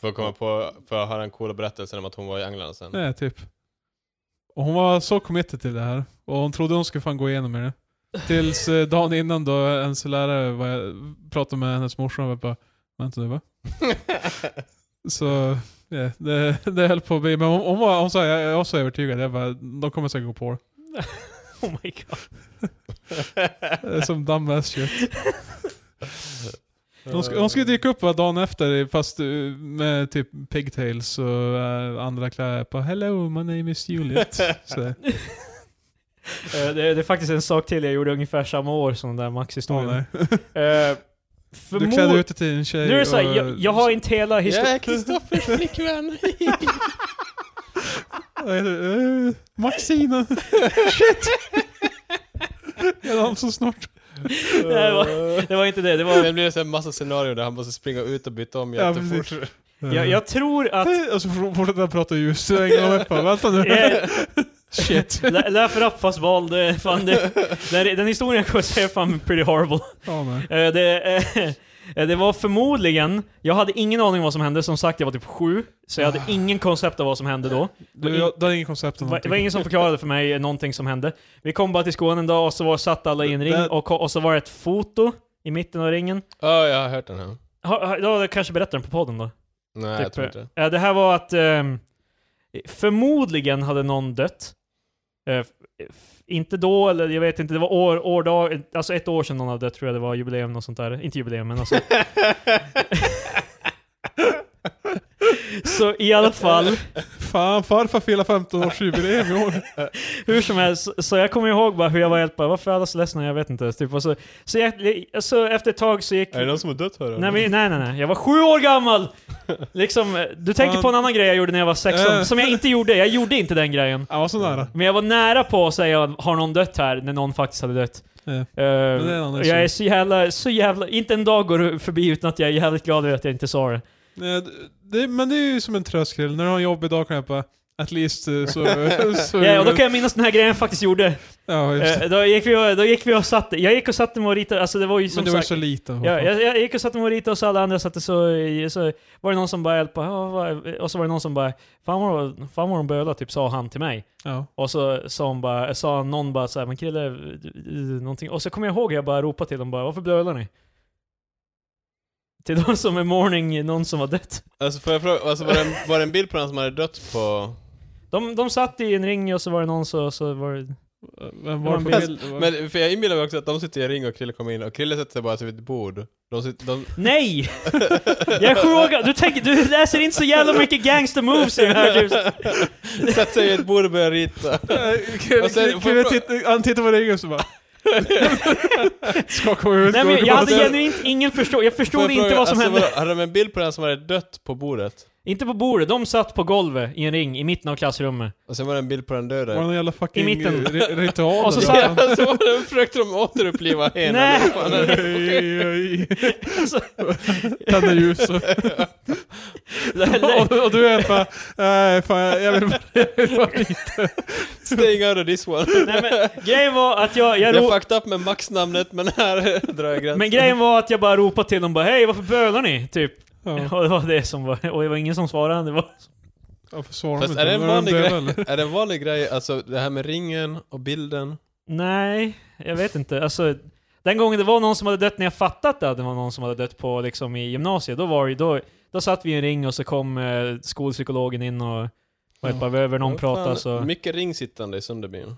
[SPEAKER 1] För att komma på, för att höra den coola berättelsen om att hon var i England sen.
[SPEAKER 3] Nej, typ. Och hon var så committed till det här. Och hon trodde hon skulle fan gå igenom med det. Tills eh, dagen innan då ens lärare var, pratade med hennes morsa och bara Vänta nu va? Så ja, det, det höll på att bli, men hon, hon, var, hon sa jag, jag var så övertygad, jag bara, de kommer säkert gå på det.
[SPEAKER 2] Oh my god.
[SPEAKER 3] det. är Som dumbass shit. De, sk- de skulle dyka upp va, dagen efter fast eh, med typ pigtails och eh, andra kläder på Hello, my name
[SPEAKER 2] [laughs]
[SPEAKER 3] is Juliet. Så,
[SPEAKER 2] Eh, det, det är faktiskt en sak till jag gjorde ungefär samma år som den där
[SPEAKER 3] ja,
[SPEAKER 2] Max-historien.
[SPEAKER 3] nej.
[SPEAKER 2] Eh,
[SPEAKER 3] [laughs] Du klädde
[SPEAKER 2] förmo-
[SPEAKER 3] ut dig till en tjej
[SPEAKER 2] nu är det såhär,
[SPEAKER 3] och-
[SPEAKER 2] jag, jag har inte hela
[SPEAKER 1] Jag
[SPEAKER 2] historien.
[SPEAKER 1] är
[SPEAKER 2] [laughs]
[SPEAKER 1] Kristoffers flickvän!
[SPEAKER 3] Vad heter det? Eh, Maxine!
[SPEAKER 2] [laughs]
[SPEAKER 3] Shit! Jag har så snart.
[SPEAKER 2] det, var, det var inte det, det var...
[SPEAKER 3] [laughs]
[SPEAKER 1] Sen blir det så här massa scenarion där han måste springa ut och byta om
[SPEAKER 3] Ja,
[SPEAKER 1] jättefort.
[SPEAKER 2] Jag, jag tror att...
[SPEAKER 3] Eh, Och så får- fortsätter jag prata ljus. Jag hänger med på. Vänta nu.
[SPEAKER 2] eh,
[SPEAKER 3] [laughs] Shit.
[SPEAKER 2] lä- Laugh it up fastball, det, fan det, den, den historien jag kommer säga är fan pretty horrible.
[SPEAKER 3] Ja, nej.
[SPEAKER 2] Eh, det, eh, det var förmodligen, jag hade ingen aning om vad som hände, som sagt jag var typ sju, så jag hade
[SPEAKER 3] Ah.
[SPEAKER 2] ingen koncept av vad som hände då.
[SPEAKER 3] Du, jag, du har inget koncept om
[SPEAKER 2] Det var, det var ingen som förklarade för mig någonting som hände. Vi kom bara till Skåne en dag och så var, satt alla i en ring
[SPEAKER 3] Det-
[SPEAKER 2] och, och så var det ett foto i mitten av ringen.
[SPEAKER 1] Ja, jag har hört den här.
[SPEAKER 2] Har, har, då har jag kanske berättat den på podden då?
[SPEAKER 1] Nej, jag
[SPEAKER 2] Typ,
[SPEAKER 1] tror inte det.
[SPEAKER 2] eh, Det här var att ehm, förmodligen hade någon dött. Eh, f- f- inte då, eller jag vet inte, det var år, årdag, alltså ett år sedan någon hade dött tror jag det var, jubileum och sånt där. Inte jubileum, men alltså. [laughs] Så i alla fall,
[SPEAKER 3] Fan, farfar firar 15-årsjubileum i år.
[SPEAKER 2] hur som helst, så jag kommer ihåg bara hur jag var helt bara, varför är alla så ledsna? Jag vet inte. Typ. Och så, så, jag, så efter ett tag så gick...
[SPEAKER 1] Är det någon som har dött här?
[SPEAKER 2] Nej, men, nej, nej, nej. Jag var sju år gammal! Liksom, eh, du tänker
[SPEAKER 3] Fan.
[SPEAKER 2] på en annan grej jag gjorde när jag var 16,
[SPEAKER 3] Eh.
[SPEAKER 2] som jag inte gjorde. Jag gjorde inte den grejen.
[SPEAKER 3] Jag var så nära.
[SPEAKER 2] Men jag var nära på att säga har någon dött här, när någon faktiskt hade dött.
[SPEAKER 3] Ja.
[SPEAKER 2] Eh,
[SPEAKER 3] det är en annan
[SPEAKER 2] och jag
[SPEAKER 3] historia.
[SPEAKER 2] är så jävla, så jävla, inte en dag går förbi utan att jag är jävligt glad över att jag inte sa det.
[SPEAKER 3] Nej, Det, men det är ju som en tröskel. När du har en jobbig dag kan jag bara At
[SPEAKER 2] [laughs]
[SPEAKER 3] least eh, så... så
[SPEAKER 2] Ja, och då kan jag minnas den här grejen jag faktiskt gjorde.
[SPEAKER 3] ja, just det.
[SPEAKER 2] Eh, Då gick, vi och, då gick vi och satte, jag gick och satte mig och ritade, alltså det var ju som
[SPEAKER 3] Men det var
[SPEAKER 2] sagt.
[SPEAKER 3] så lite.
[SPEAKER 2] Ja, jag, jag gick och satte mig och ritade och så alla andra satte så, så var det någon som bara hjälpa, "Ja, vad- och så var det någon som bara Fan vad, fan vad de bölar, typ sa han till mig.
[SPEAKER 3] Ja.
[SPEAKER 2] Och så sa, hon bara, sa någon bara såhär, men kille, du- du- någonting. Och så kommer jag ihåg jag bara ropade till dem bara, varför bölar ni? Till de som är mourning, någon som var dött.
[SPEAKER 1] Alltså, får jag fråga, alltså var, det en, var det en bild på den som hade dött på...
[SPEAKER 2] De, de satt i en ring och så var det någon så, så var det...
[SPEAKER 3] Vem
[SPEAKER 2] var
[SPEAKER 3] var
[SPEAKER 2] en
[SPEAKER 3] det
[SPEAKER 2] bild.
[SPEAKER 3] för bild? Det var- [laughs]
[SPEAKER 1] Men för jag inbillar mig också att de sitter i en ring och Krille kommer in och Krille sätter sig bara sig vid ett bord. De sitter, de...
[SPEAKER 2] [laughs]
[SPEAKER 1] [laughs]
[SPEAKER 2] Nej! Jag är sju år gammal. du, tänker, du läser inte så jävla mycket gangster moves i den här typ.
[SPEAKER 1] sätter sig vid ett bord och börjar rita. Och sen-
[SPEAKER 3] Kille-
[SPEAKER 1] får
[SPEAKER 3] Kille
[SPEAKER 1] jag fråga-
[SPEAKER 3] titt- han tittar på ringen och
[SPEAKER 2] [laughs]
[SPEAKER 3] så bara... Skakar på huvudet.
[SPEAKER 2] Nej
[SPEAKER 3] går
[SPEAKER 2] men jag hade
[SPEAKER 3] tillbaka.
[SPEAKER 2] genuint ingen förstå. jag
[SPEAKER 1] Får
[SPEAKER 2] förstod
[SPEAKER 1] jag
[SPEAKER 2] inte
[SPEAKER 1] fråga,
[SPEAKER 2] vad som
[SPEAKER 1] alltså,
[SPEAKER 2] hände.
[SPEAKER 1] var- Hade de en bild på den som hade dött på bordet?
[SPEAKER 2] Inte på bordet, de satt på golvet i en ring i mitten av
[SPEAKER 3] [laughs]
[SPEAKER 2] klassrummet.
[SPEAKER 1] Och sen var det en bild på den döda.
[SPEAKER 3] Var det någon jävla fucking
[SPEAKER 2] I mitten.
[SPEAKER 3] ri- ritual?
[SPEAKER 2] Och så sa
[SPEAKER 3] eller
[SPEAKER 2] jag-
[SPEAKER 3] vad? [laughs]
[SPEAKER 1] Ja, [laughs] så var det, försökte de
[SPEAKER 2] [laughs]
[SPEAKER 1] återuppliva en.
[SPEAKER 2] Nej.
[SPEAKER 1] eller vad fan är det?
[SPEAKER 3] Oj, oj, oj.
[SPEAKER 2] Så-
[SPEAKER 3] Tända ljus
[SPEAKER 2] [laughs]
[SPEAKER 3] och... och, och du är bara... Nej, fan jag vill bara... Jag vill bara
[SPEAKER 1] Staying out of this one.
[SPEAKER 2] Nej men grejen var att jag, jag,
[SPEAKER 1] Jag
[SPEAKER 2] ro-
[SPEAKER 1] fucked up med Max-namnet men här [laughs] drar jag gränsen.
[SPEAKER 2] Men grejen var att jag bara ropade till dem bara hej varför bölar ni? Typ. [laughs]
[SPEAKER 3] Ja,
[SPEAKER 2] Och det var det som var, och det var ingen som svarade. Det var,
[SPEAKER 3] varför svarar de
[SPEAKER 1] Fast
[SPEAKER 3] inte?
[SPEAKER 1] är det, en
[SPEAKER 3] Var de
[SPEAKER 1] vanlig
[SPEAKER 3] döda,
[SPEAKER 1] grej,
[SPEAKER 3] eller?
[SPEAKER 1] är det en vanlig grej, alltså det här med ringen och bilden?
[SPEAKER 2] nej, jag vet inte. Alltså, den gången det var någon som hade dött, när jag fattat att det var någon som hade dött på liksom, i gymnasiet, då var det ju- då, då satt vi i en ring och så kom eh, skolpsykologen in och var ett
[SPEAKER 3] Ja.
[SPEAKER 2] par över, någon
[SPEAKER 1] Vad
[SPEAKER 2] pratade
[SPEAKER 1] fan,
[SPEAKER 2] så...
[SPEAKER 1] Mycket ringsittande i Sunderbyn.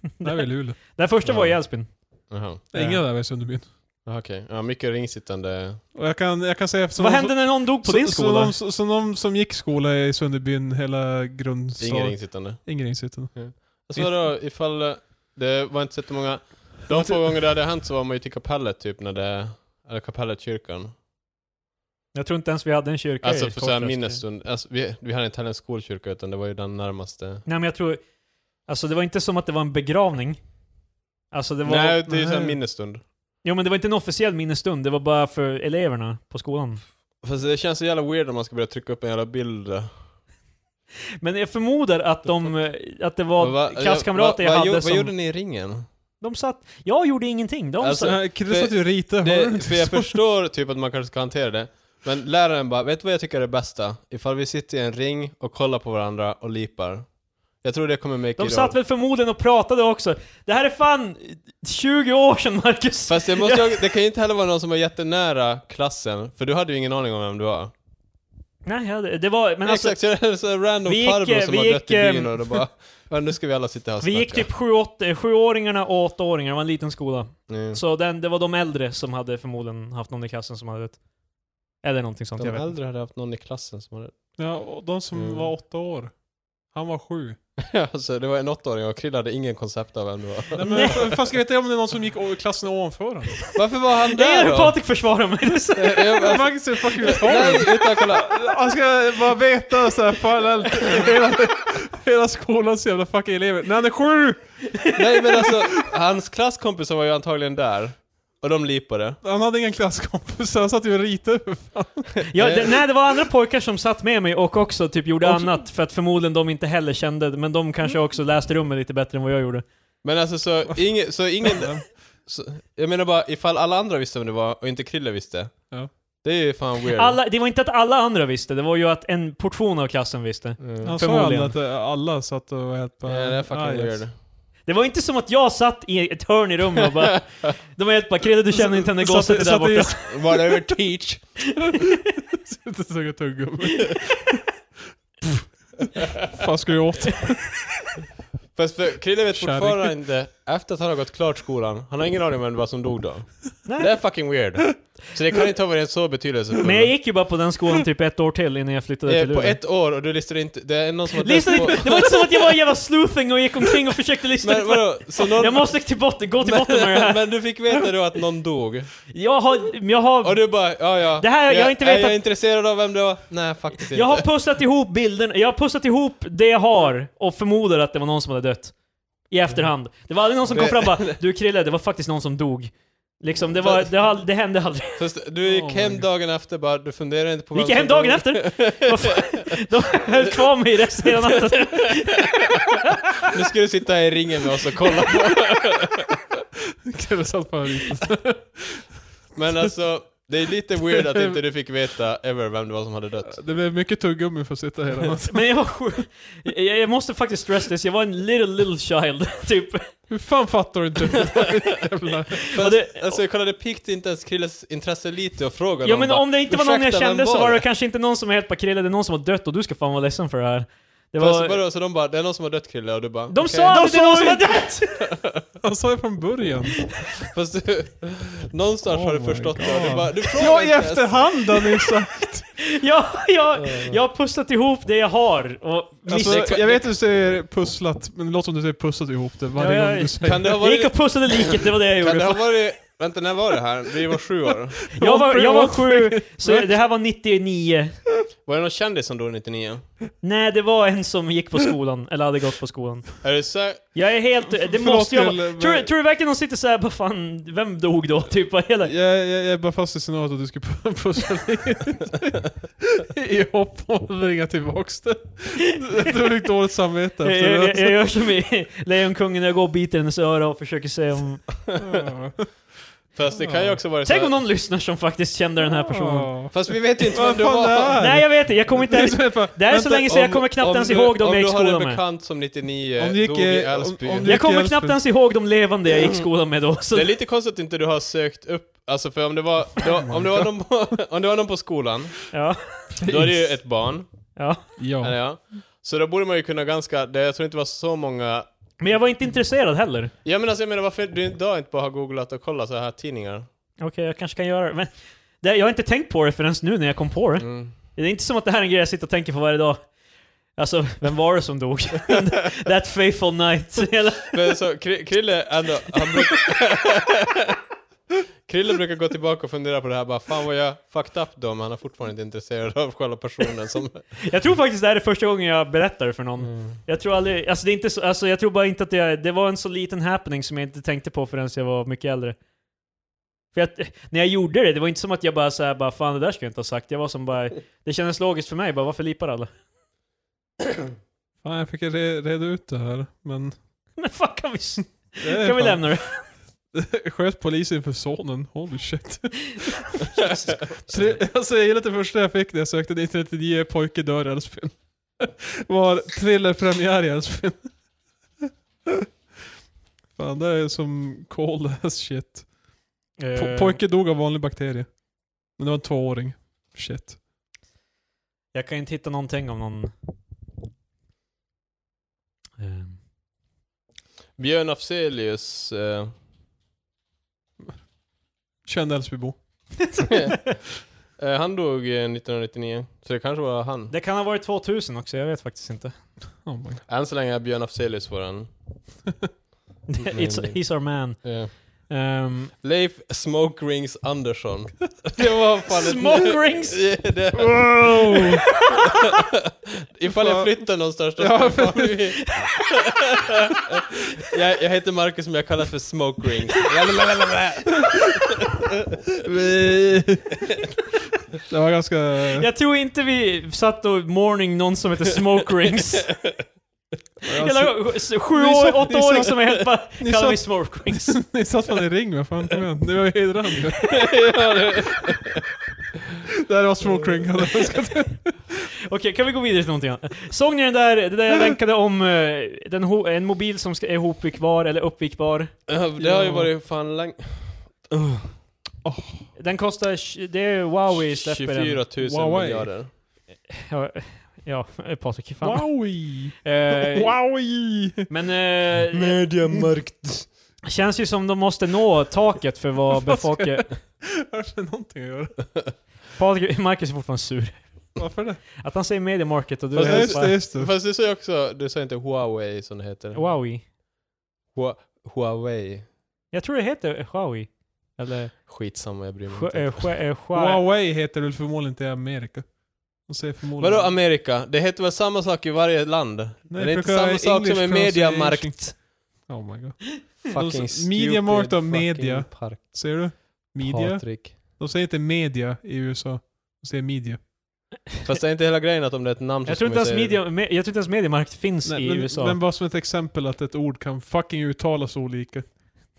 [SPEAKER 3] [laughs] Det här var i Luleå.
[SPEAKER 2] Den första var i Älvsbyn.
[SPEAKER 1] Jaha,
[SPEAKER 3] Nej, Inga där var i Sunderbyn.
[SPEAKER 1] Jaha, okej. Ja, mycket ringsittande.
[SPEAKER 3] Och jag kan, jag kan säga... som
[SPEAKER 2] Vad
[SPEAKER 3] de-
[SPEAKER 2] hände när någon dog på din
[SPEAKER 3] Så, så,
[SPEAKER 2] skola?
[SPEAKER 3] de, så, så de som gick skola i Sunderbyn hela
[SPEAKER 1] Ingen
[SPEAKER 3] grundstadiet...
[SPEAKER 1] ringsittande.
[SPEAKER 3] Ingen ringsittande.
[SPEAKER 1] Alltså vadå, ifall eh, det var inte så många... De
[SPEAKER 2] [laughs]
[SPEAKER 1] få gånger det hade hänt så var man ju till kapellet typ när det... Eller kapellet kyrkan.
[SPEAKER 2] Jag tror inte ens vi hade en kyrka
[SPEAKER 1] Alltså
[SPEAKER 2] i
[SPEAKER 1] för såhär
[SPEAKER 2] Torslös.
[SPEAKER 1] minnesstund. Alltså, vi, vi hade inte heller en skolkyrka utan det var ju den närmaste.
[SPEAKER 2] Nej men jag tror... Alltså det var inte som att det var en begravning. Alltså det var...
[SPEAKER 1] Nej, det är ju såhär
[SPEAKER 3] nej.
[SPEAKER 1] minnesstund.
[SPEAKER 2] Jo men det var inte en officiell minnesstund, det var bara för eleverna på skolan.
[SPEAKER 1] Fast det känns så jävla weird om man ska börja trycka upp en jävla bild.
[SPEAKER 2] Men jag förmodar att de, eh, att det var
[SPEAKER 1] Va-
[SPEAKER 2] klasskamrater jag
[SPEAKER 1] vad- vad
[SPEAKER 2] hade
[SPEAKER 1] gjo-
[SPEAKER 2] som...
[SPEAKER 1] Vad gjorde ni i ringen?
[SPEAKER 2] De satt... Jag gjorde ingenting, de
[SPEAKER 1] Alltså,
[SPEAKER 2] satt...
[SPEAKER 3] Så, Krille satt ju och ritade. hör du
[SPEAKER 1] Det,
[SPEAKER 3] inte?
[SPEAKER 1] för jag förstår typ att man kanske ska hantera det. Men läraren bara, vet du vad jag tycker är det bästa? Ifall vi sitter i en ring och kollar på varandra och lipar. Jag tror det kommer make
[SPEAKER 2] De
[SPEAKER 1] it
[SPEAKER 2] satt
[SPEAKER 1] all.
[SPEAKER 2] väl förmodligen och pratade också. Det här är fan 20 år sedan Marcus!
[SPEAKER 1] Fast det, måste, jag- det kan ju inte heller vara någon som var jättenära klassen, för du hade ju ingen aning om vem du var.
[SPEAKER 2] Nej, jag hade- det var... Men
[SPEAKER 1] Men
[SPEAKER 2] alltså,
[SPEAKER 1] Exakt, så är det så här random
[SPEAKER 2] vi gick,
[SPEAKER 1] farbror som
[SPEAKER 2] vi
[SPEAKER 1] har
[SPEAKER 2] gick,
[SPEAKER 1] dött i byn
[SPEAKER 2] ehm,
[SPEAKER 1] och då bara, [laughs] ja, nu ska vi alla sitta här och
[SPEAKER 2] vi gick
[SPEAKER 1] snacka."
[SPEAKER 2] typ sju, åtta, sjuåringarna och åttaåringarna, det var en liten skola.
[SPEAKER 1] Mm.
[SPEAKER 2] Så den, det var de äldre som hade förmodligen haft någon i klassen som hade dött. Eller någonting sånt,
[SPEAKER 1] De
[SPEAKER 2] jag vet inte.
[SPEAKER 1] äldre hade haft någon i klassen som hade... [laughs]
[SPEAKER 3] Ja, och de som
[SPEAKER 1] Mm.
[SPEAKER 3] var åtta år. Han var sju.
[SPEAKER 1] alltså, det var en åttaåring och Krille hade ingen koncept av vem du var. [laughs]
[SPEAKER 3] Nej, men hur fan ska jag veta om det är någon som gick o- klassen ovanför honom?
[SPEAKER 1] Varför var han
[SPEAKER 2] Det är
[SPEAKER 1] där
[SPEAKER 2] hur
[SPEAKER 1] då?
[SPEAKER 2] Patrik försvarar mig! Det är så-
[SPEAKER 1] Eh, [laughs] jag- alltså,
[SPEAKER 3] Magnus är fucking
[SPEAKER 1] Nej,
[SPEAKER 3] retard.
[SPEAKER 1] utan kolla.
[SPEAKER 3] Han ska bara veta såhär parallellt. Hela, hela skolans jävla fucking elever. Nej, han är sju!
[SPEAKER 1] Nej men alltså, hans klasskompisar var ju antagligen där. Och de lipade.
[SPEAKER 3] Han hade ingen klasskompisar, han satt ju och ritade.
[SPEAKER 2] Ja,
[SPEAKER 1] Eh.
[SPEAKER 2] det, nej, det var andra pojkar som satt med mig och också typ gjorde
[SPEAKER 3] Och-
[SPEAKER 2] annat för att förmodligen de inte heller kände, men de
[SPEAKER 1] Mm.
[SPEAKER 2] kanske också läste rummet lite bättre än vad jag gjorde.
[SPEAKER 1] Men alltså så, ingen, så ingen... Så, jag menar bara, ifall alla andra visste vem det var och inte Krille visste.
[SPEAKER 3] Ja.
[SPEAKER 1] Det är ju fan weird.
[SPEAKER 2] Alla, det var inte att alla andra visste, det var ju att en portion av klassen visste.
[SPEAKER 1] Mm.
[SPEAKER 3] Han sa ju aldrig
[SPEAKER 2] Förmodligen.
[SPEAKER 3] att eh, alla satt och var helt
[SPEAKER 1] Ja,
[SPEAKER 3] bara...
[SPEAKER 1] det är fucking
[SPEAKER 3] ah, yes.
[SPEAKER 1] weird.
[SPEAKER 2] Det var inte som att jag satt i ett hörn i rummet
[SPEAKER 1] [laughs]
[SPEAKER 2] och bara... De var helt bara 'Krille du känner inte henne
[SPEAKER 3] Satt-
[SPEAKER 2] gosset där
[SPEAKER 3] satt i-
[SPEAKER 2] borta'
[SPEAKER 3] [laughs]
[SPEAKER 1] Whatever teach.
[SPEAKER 3] Sitter och suger tuggummi. [laughs] fan ska du [laughs] åt?
[SPEAKER 1] Fast för Krille vet
[SPEAKER 3] Kärring.
[SPEAKER 1] fortfarande inte, efter att han har gått klart skolan, han har ingen aning om vem det var som dog då.
[SPEAKER 2] Nej.
[SPEAKER 1] Det är fucking weird. Så det kan inte ha varit en så betydelsefull...
[SPEAKER 2] Men jag gick ju bara på den skolan typ ett år till innan jag flyttade
[SPEAKER 1] Eh,
[SPEAKER 2] till
[SPEAKER 1] På
[SPEAKER 2] Luleå.
[SPEAKER 1] ett år och du listade inte... Det är någon som har dött
[SPEAKER 2] Lyssna,
[SPEAKER 1] på-
[SPEAKER 2] inte- det var inte som att jag var en jävla sleuthing och gick omkring och försökte lyssna
[SPEAKER 1] Men
[SPEAKER 2] på...
[SPEAKER 1] vadå? Så någon...
[SPEAKER 2] Jag måste till botten, gå till botten med det
[SPEAKER 1] men, [laughs]
[SPEAKER 2] här.
[SPEAKER 1] men du fick veta då att någon dog.
[SPEAKER 2] Jag har, jag har
[SPEAKER 1] Och du bara, ja ja.
[SPEAKER 2] Det här- jag har inte
[SPEAKER 1] är
[SPEAKER 2] vetat-
[SPEAKER 1] Jag är intresserad av vem det var. Nej, faktiskt inte.
[SPEAKER 2] Jag har pusslat ihop bilden, jag har pusslat ihop det jag har och förmodar att det var någon som hade dött. I efterhand. Det var aldrig någon som kom
[SPEAKER 1] Det-
[SPEAKER 2] fram och bara 'Du Krille, det var faktiskt någon som dog' Liksom, det, var, det, har- det hände aldrig.
[SPEAKER 1] Fast du gick
[SPEAKER 3] Oh my
[SPEAKER 1] hem
[SPEAKER 3] God.
[SPEAKER 1] dagen efter bara, du funderar inte på
[SPEAKER 2] Gick jag hem dagen efter? Vad fan? De höll kvar mig resten
[SPEAKER 1] [laughs]
[SPEAKER 2] hela natten.
[SPEAKER 1] Nu ska du sitta här i ringen med oss och kolla.
[SPEAKER 3] Kille satt på en-
[SPEAKER 2] [laughs]
[SPEAKER 1] Men alltså, det är lite weird att inte du fick veta ever vem det var som hade dött.
[SPEAKER 3] Det blev mycket tuggummi för att sitta hela natten.
[SPEAKER 2] Men jag var sjuk. jag, jag måste faktiskt stress this, jag var en little little child, [laughs] typ.
[SPEAKER 3] Hur fan fattar du inte? [laughs] Jävla-
[SPEAKER 1] Fast,
[SPEAKER 2] det-
[SPEAKER 1] alltså jag kollade pikt inte ens Krilles intresse lite och frågade
[SPEAKER 2] Ja men
[SPEAKER 1] bara,
[SPEAKER 2] om det inte var någon jag
[SPEAKER 1] "Ursäkta, vem
[SPEAKER 2] kände så var det
[SPEAKER 1] det
[SPEAKER 2] kanske inte någon som är helt pakrillad, det är någon som har dött och du ska fan vara ledsen för det här. Det
[SPEAKER 1] Fast så
[SPEAKER 2] var...
[SPEAKER 1] bara- Så de bara, det är någon som har dött Krille och du bara
[SPEAKER 2] De
[SPEAKER 1] "Okej."
[SPEAKER 2] sa
[SPEAKER 3] De
[SPEAKER 2] aldrig det är någon
[SPEAKER 3] sa
[SPEAKER 2] som har dött!
[SPEAKER 3] Han sa ju från början.
[SPEAKER 1] [laughs] Fast du, [laughs] någonstans har du
[SPEAKER 3] Oh my
[SPEAKER 1] förstått det och
[SPEAKER 3] God.
[SPEAKER 1] du bara, du frågar
[SPEAKER 3] Ja, i
[SPEAKER 1] inte ens.
[SPEAKER 3] efterhand har
[SPEAKER 2] [laughs]
[SPEAKER 3] ni sagt.
[SPEAKER 2] Jag, jag, jag har pusslat ihop det jag har och
[SPEAKER 3] Alltså,
[SPEAKER 1] Visst, det kan-
[SPEAKER 3] jag vet att du säger pusslat, men det låter som du säger pusslat ihop det varje
[SPEAKER 2] Ja, ja,
[SPEAKER 3] gång
[SPEAKER 2] ja.
[SPEAKER 3] du säger
[SPEAKER 1] Kan det ha
[SPEAKER 2] Jag gick
[SPEAKER 1] varit,
[SPEAKER 2] och pussade liket, det var det jag
[SPEAKER 1] kan det ha
[SPEAKER 2] gjorde.
[SPEAKER 1] varit, vänta när var det här? Vi var sju år.
[SPEAKER 2] Jag var, jag var sju, så det här var 99.
[SPEAKER 1] Var det någon kändis som dog 99?
[SPEAKER 2] Nej, det var en som gick på skolan, eller hade gått på skolan.
[SPEAKER 1] Är det så?
[SPEAKER 2] Jag är helt... Det
[SPEAKER 3] Förlåt,
[SPEAKER 2] måste jag
[SPEAKER 3] Kalle, men-
[SPEAKER 2] vara... Tror, tror du verkligen de sitter såhär, vad fan, vem dog då? Typ, vad hela...
[SPEAKER 3] Jag, jag, jag är bara fast i scenariot att du ska [laughs] pu- pussla i hopp om att ringa tillbaks det. Du har lite dåligt samvete
[SPEAKER 2] Jag,
[SPEAKER 3] efter
[SPEAKER 2] jag, jag
[SPEAKER 3] det.
[SPEAKER 2] gör som i Lejonkungen, jag går och biter hennes öra och försöker se om...
[SPEAKER 1] Fast det kan ju också vara så
[SPEAKER 2] Tänk om
[SPEAKER 1] här,
[SPEAKER 2] någon lyssnar som faktiskt kände den här personen.
[SPEAKER 3] Ja.
[SPEAKER 1] Fast vi vet ju inte vem
[SPEAKER 3] Vad
[SPEAKER 1] du
[SPEAKER 3] fan det
[SPEAKER 1] var.
[SPEAKER 3] är?
[SPEAKER 2] Nej, jag vet inte, jag kommer inte...
[SPEAKER 3] Det är bara-
[SPEAKER 2] Det här är så
[SPEAKER 3] vänta,
[SPEAKER 2] länge sedan jag kommer knappt
[SPEAKER 1] om
[SPEAKER 2] ens
[SPEAKER 1] du-
[SPEAKER 2] ihåg dem jag gick
[SPEAKER 1] Om du har
[SPEAKER 2] skolan
[SPEAKER 1] en
[SPEAKER 2] med.
[SPEAKER 1] bekant som 99
[SPEAKER 3] Om du gick,
[SPEAKER 1] dog i
[SPEAKER 3] eh, om-
[SPEAKER 1] Älvsby.
[SPEAKER 3] om du-
[SPEAKER 2] Jag kommer
[SPEAKER 3] Lycka
[SPEAKER 2] knappt
[SPEAKER 3] Älvsby.
[SPEAKER 2] ens ihåg de levande jag gick skolan med då. Så
[SPEAKER 1] Mm. Det är lite konstigt att inte du har sökt upp, alltså för om det var, det var, om, det var någon på, [laughs] om det var någon på skolan,
[SPEAKER 2] Ja,
[SPEAKER 1] då är det ju ett barn,
[SPEAKER 2] ja.
[SPEAKER 1] eller
[SPEAKER 3] Ja.
[SPEAKER 1] ja. Så då borde man ju kunna ganska, det, jag tror inte det var så många
[SPEAKER 2] Men jag var inte intresserad heller.
[SPEAKER 1] Ja men alltså jag menar varför du idag inte bara har googlat och kollat så här tidningar?
[SPEAKER 2] Okej, jag kanske kan göra det. Men det, jag har inte tänkt på det förrän nu när jag kom på det.
[SPEAKER 1] Mm.
[SPEAKER 2] Det är inte som att det här är en grej jag sitter och tänker på varje dag. Alltså, vem var det som dog? [laughs] That faithful night.
[SPEAKER 1] [laughs]
[SPEAKER 2] Eller-
[SPEAKER 1] Men så Kri- Krille ändå, han bruk... [laughs] Krille brukar gå tillbaka och fundera på det här bara fan vad jag fucked up då men han är fortfarande inte intresserad av själva personen som...
[SPEAKER 2] jag tror faktiskt det här är första gången jag berättar det för någon. Jag tror aldrig, alltså det är inte så, alltså jag tror bara inte att det, det var en så liten happening som jag inte tänkte på förrän jag var mycket äldre. För att, eh, när jag gjorde det, det var inte som att jag bara såhär, bara fan det där ska jag inte ha sagt. Jag var som bara, det kändes logiskt för mig, bara varför lipar alla? [laughs]
[SPEAKER 3] Fan, jag fick re- reda ut det här, men...
[SPEAKER 2] Men fan kan vi, s-
[SPEAKER 3] det är
[SPEAKER 2] kan vi
[SPEAKER 3] fan-
[SPEAKER 2] lämna det?
[SPEAKER 3] [laughs] Sköt polisen för sonen,
[SPEAKER 2] [laughs]
[SPEAKER 3] holy shit.
[SPEAKER 2] Jesus
[SPEAKER 3] Så det, alltså jag gillar att det första jag fick när jag sökte 1999 pojke dör i Älvsbyn. [laughs] Var thrillerpremiär i Älvsbyn. [laughs] Fan det är som cold as shit. Po-
[SPEAKER 2] Eh,
[SPEAKER 3] pojke dog av vanlig bakterie. Men det var en tvååring. Shit.
[SPEAKER 2] Jag kan inte hitta någonting om någon... Eh,
[SPEAKER 1] Björn Afzelius... Eh... [laughs]
[SPEAKER 3] Känd Älvsbybo.
[SPEAKER 1] eh, han dog eh, 1999, så det kanske var han.
[SPEAKER 2] Det kan ha varit 2000 också, jag vet faktiskt inte.
[SPEAKER 3] Oh my God.
[SPEAKER 1] Än så länge är Björn Afzelius våran...
[SPEAKER 2] It's, he's our man.
[SPEAKER 1] Eh.
[SPEAKER 2] Ehm,
[SPEAKER 1] Leif Smoke Rings Andersson. [laughs] Det var fan ett-
[SPEAKER 2] Smoke Rings?
[SPEAKER 1] Ja, [laughs] det...
[SPEAKER 3] Wow!
[SPEAKER 1] Ifall jag
[SPEAKER 3] Fan.
[SPEAKER 1] flyttar någonstans då
[SPEAKER 3] Ja,
[SPEAKER 1] ska vi... [laughs] jag, jag heter Marcus men jag kallas för Smoke
[SPEAKER 3] [laughs]
[SPEAKER 1] Rings. Lalalala.
[SPEAKER 3] det var ganska...
[SPEAKER 2] jag tror inte vi satt och morning någon som heter Smoke Rings.
[SPEAKER 3] [laughs]
[SPEAKER 2] Eller s- sju
[SPEAKER 3] Ni
[SPEAKER 2] år,
[SPEAKER 3] satt- ni
[SPEAKER 2] åttaåring
[SPEAKER 3] satt-
[SPEAKER 2] som är helt bara kallar
[SPEAKER 3] ni satt- [laughs]
[SPEAKER 2] mig Smoke Rings.
[SPEAKER 3] Ni satt fan i ring, vad fan kom igen. Nu är jag hedrande. [laughs] det här var smoke ring.
[SPEAKER 2] Okej, kan vi gå vidare till någonting annat? Såg ni den där, det där jag länkade om eh, den, ho- en mobil som ska, är hopvikbar eller uppvikbar?
[SPEAKER 1] det har ju varit fan länge.
[SPEAKER 2] Den kostar, tj- det är Huawei släpper den.
[SPEAKER 1] 24 000
[SPEAKER 3] Huawei.
[SPEAKER 1] miljarder.
[SPEAKER 2] Ja, ja Patrik, fan.
[SPEAKER 3] Wowie!
[SPEAKER 2] Eh,
[SPEAKER 3] Wowie! [laughs]
[SPEAKER 2] Men eh,
[SPEAKER 1] Mediamarkt.
[SPEAKER 2] känns ju som de måste nå taket för
[SPEAKER 3] [laughs]
[SPEAKER 2] vad befolkningen...
[SPEAKER 3] Hörs det någonting att göra?
[SPEAKER 2] Patrik, Marcus är fortfarande sur.
[SPEAKER 3] Varför det?
[SPEAKER 2] Att han säger media market och du
[SPEAKER 1] Fast
[SPEAKER 2] är
[SPEAKER 3] Ja,
[SPEAKER 1] det-
[SPEAKER 2] helt
[SPEAKER 3] just det,
[SPEAKER 2] bara...
[SPEAKER 3] just det.
[SPEAKER 1] Fast du sa ju också, du sa inte Huawei som det heter.
[SPEAKER 2] Huawei.
[SPEAKER 1] Hua, Huawei.
[SPEAKER 2] Jag tror det heter Huawei. Eller...
[SPEAKER 1] Skitsamma, jag bryr mig
[SPEAKER 2] Hu-
[SPEAKER 1] inte.
[SPEAKER 2] eh, Hu- eh, [laughs] Hua-
[SPEAKER 3] Huawei heter väl förmodligen inte i Amerika? De säger förmodligen...
[SPEAKER 1] Vadå Amerika? Det heter väl samma sak i varje land?
[SPEAKER 3] Nej,
[SPEAKER 1] det är inte
[SPEAKER 3] brukar
[SPEAKER 1] samma sak som
[SPEAKER 3] English
[SPEAKER 1] en
[SPEAKER 3] pronunciation.
[SPEAKER 1] mediamarkt.
[SPEAKER 3] Oh my god.
[SPEAKER 1] Fucking
[SPEAKER 3] s- Media Markt och
[SPEAKER 1] fucking
[SPEAKER 3] media.
[SPEAKER 1] Park,
[SPEAKER 3] Ser du? Media.
[SPEAKER 1] Patrik.
[SPEAKER 3] De säger inte media i USA. De säger media.
[SPEAKER 1] Fast det är inte hela grejen att om det är ett namn så
[SPEAKER 2] Jag
[SPEAKER 1] ska
[SPEAKER 2] tror
[SPEAKER 1] man
[SPEAKER 2] inte ens
[SPEAKER 1] säga det.
[SPEAKER 2] media, me, jag tror inte ens mediemarkt finns i
[SPEAKER 3] men,
[SPEAKER 2] USA.
[SPEAKER 3] men bara som ett exempel att ett ord kan fucking uttalas olika.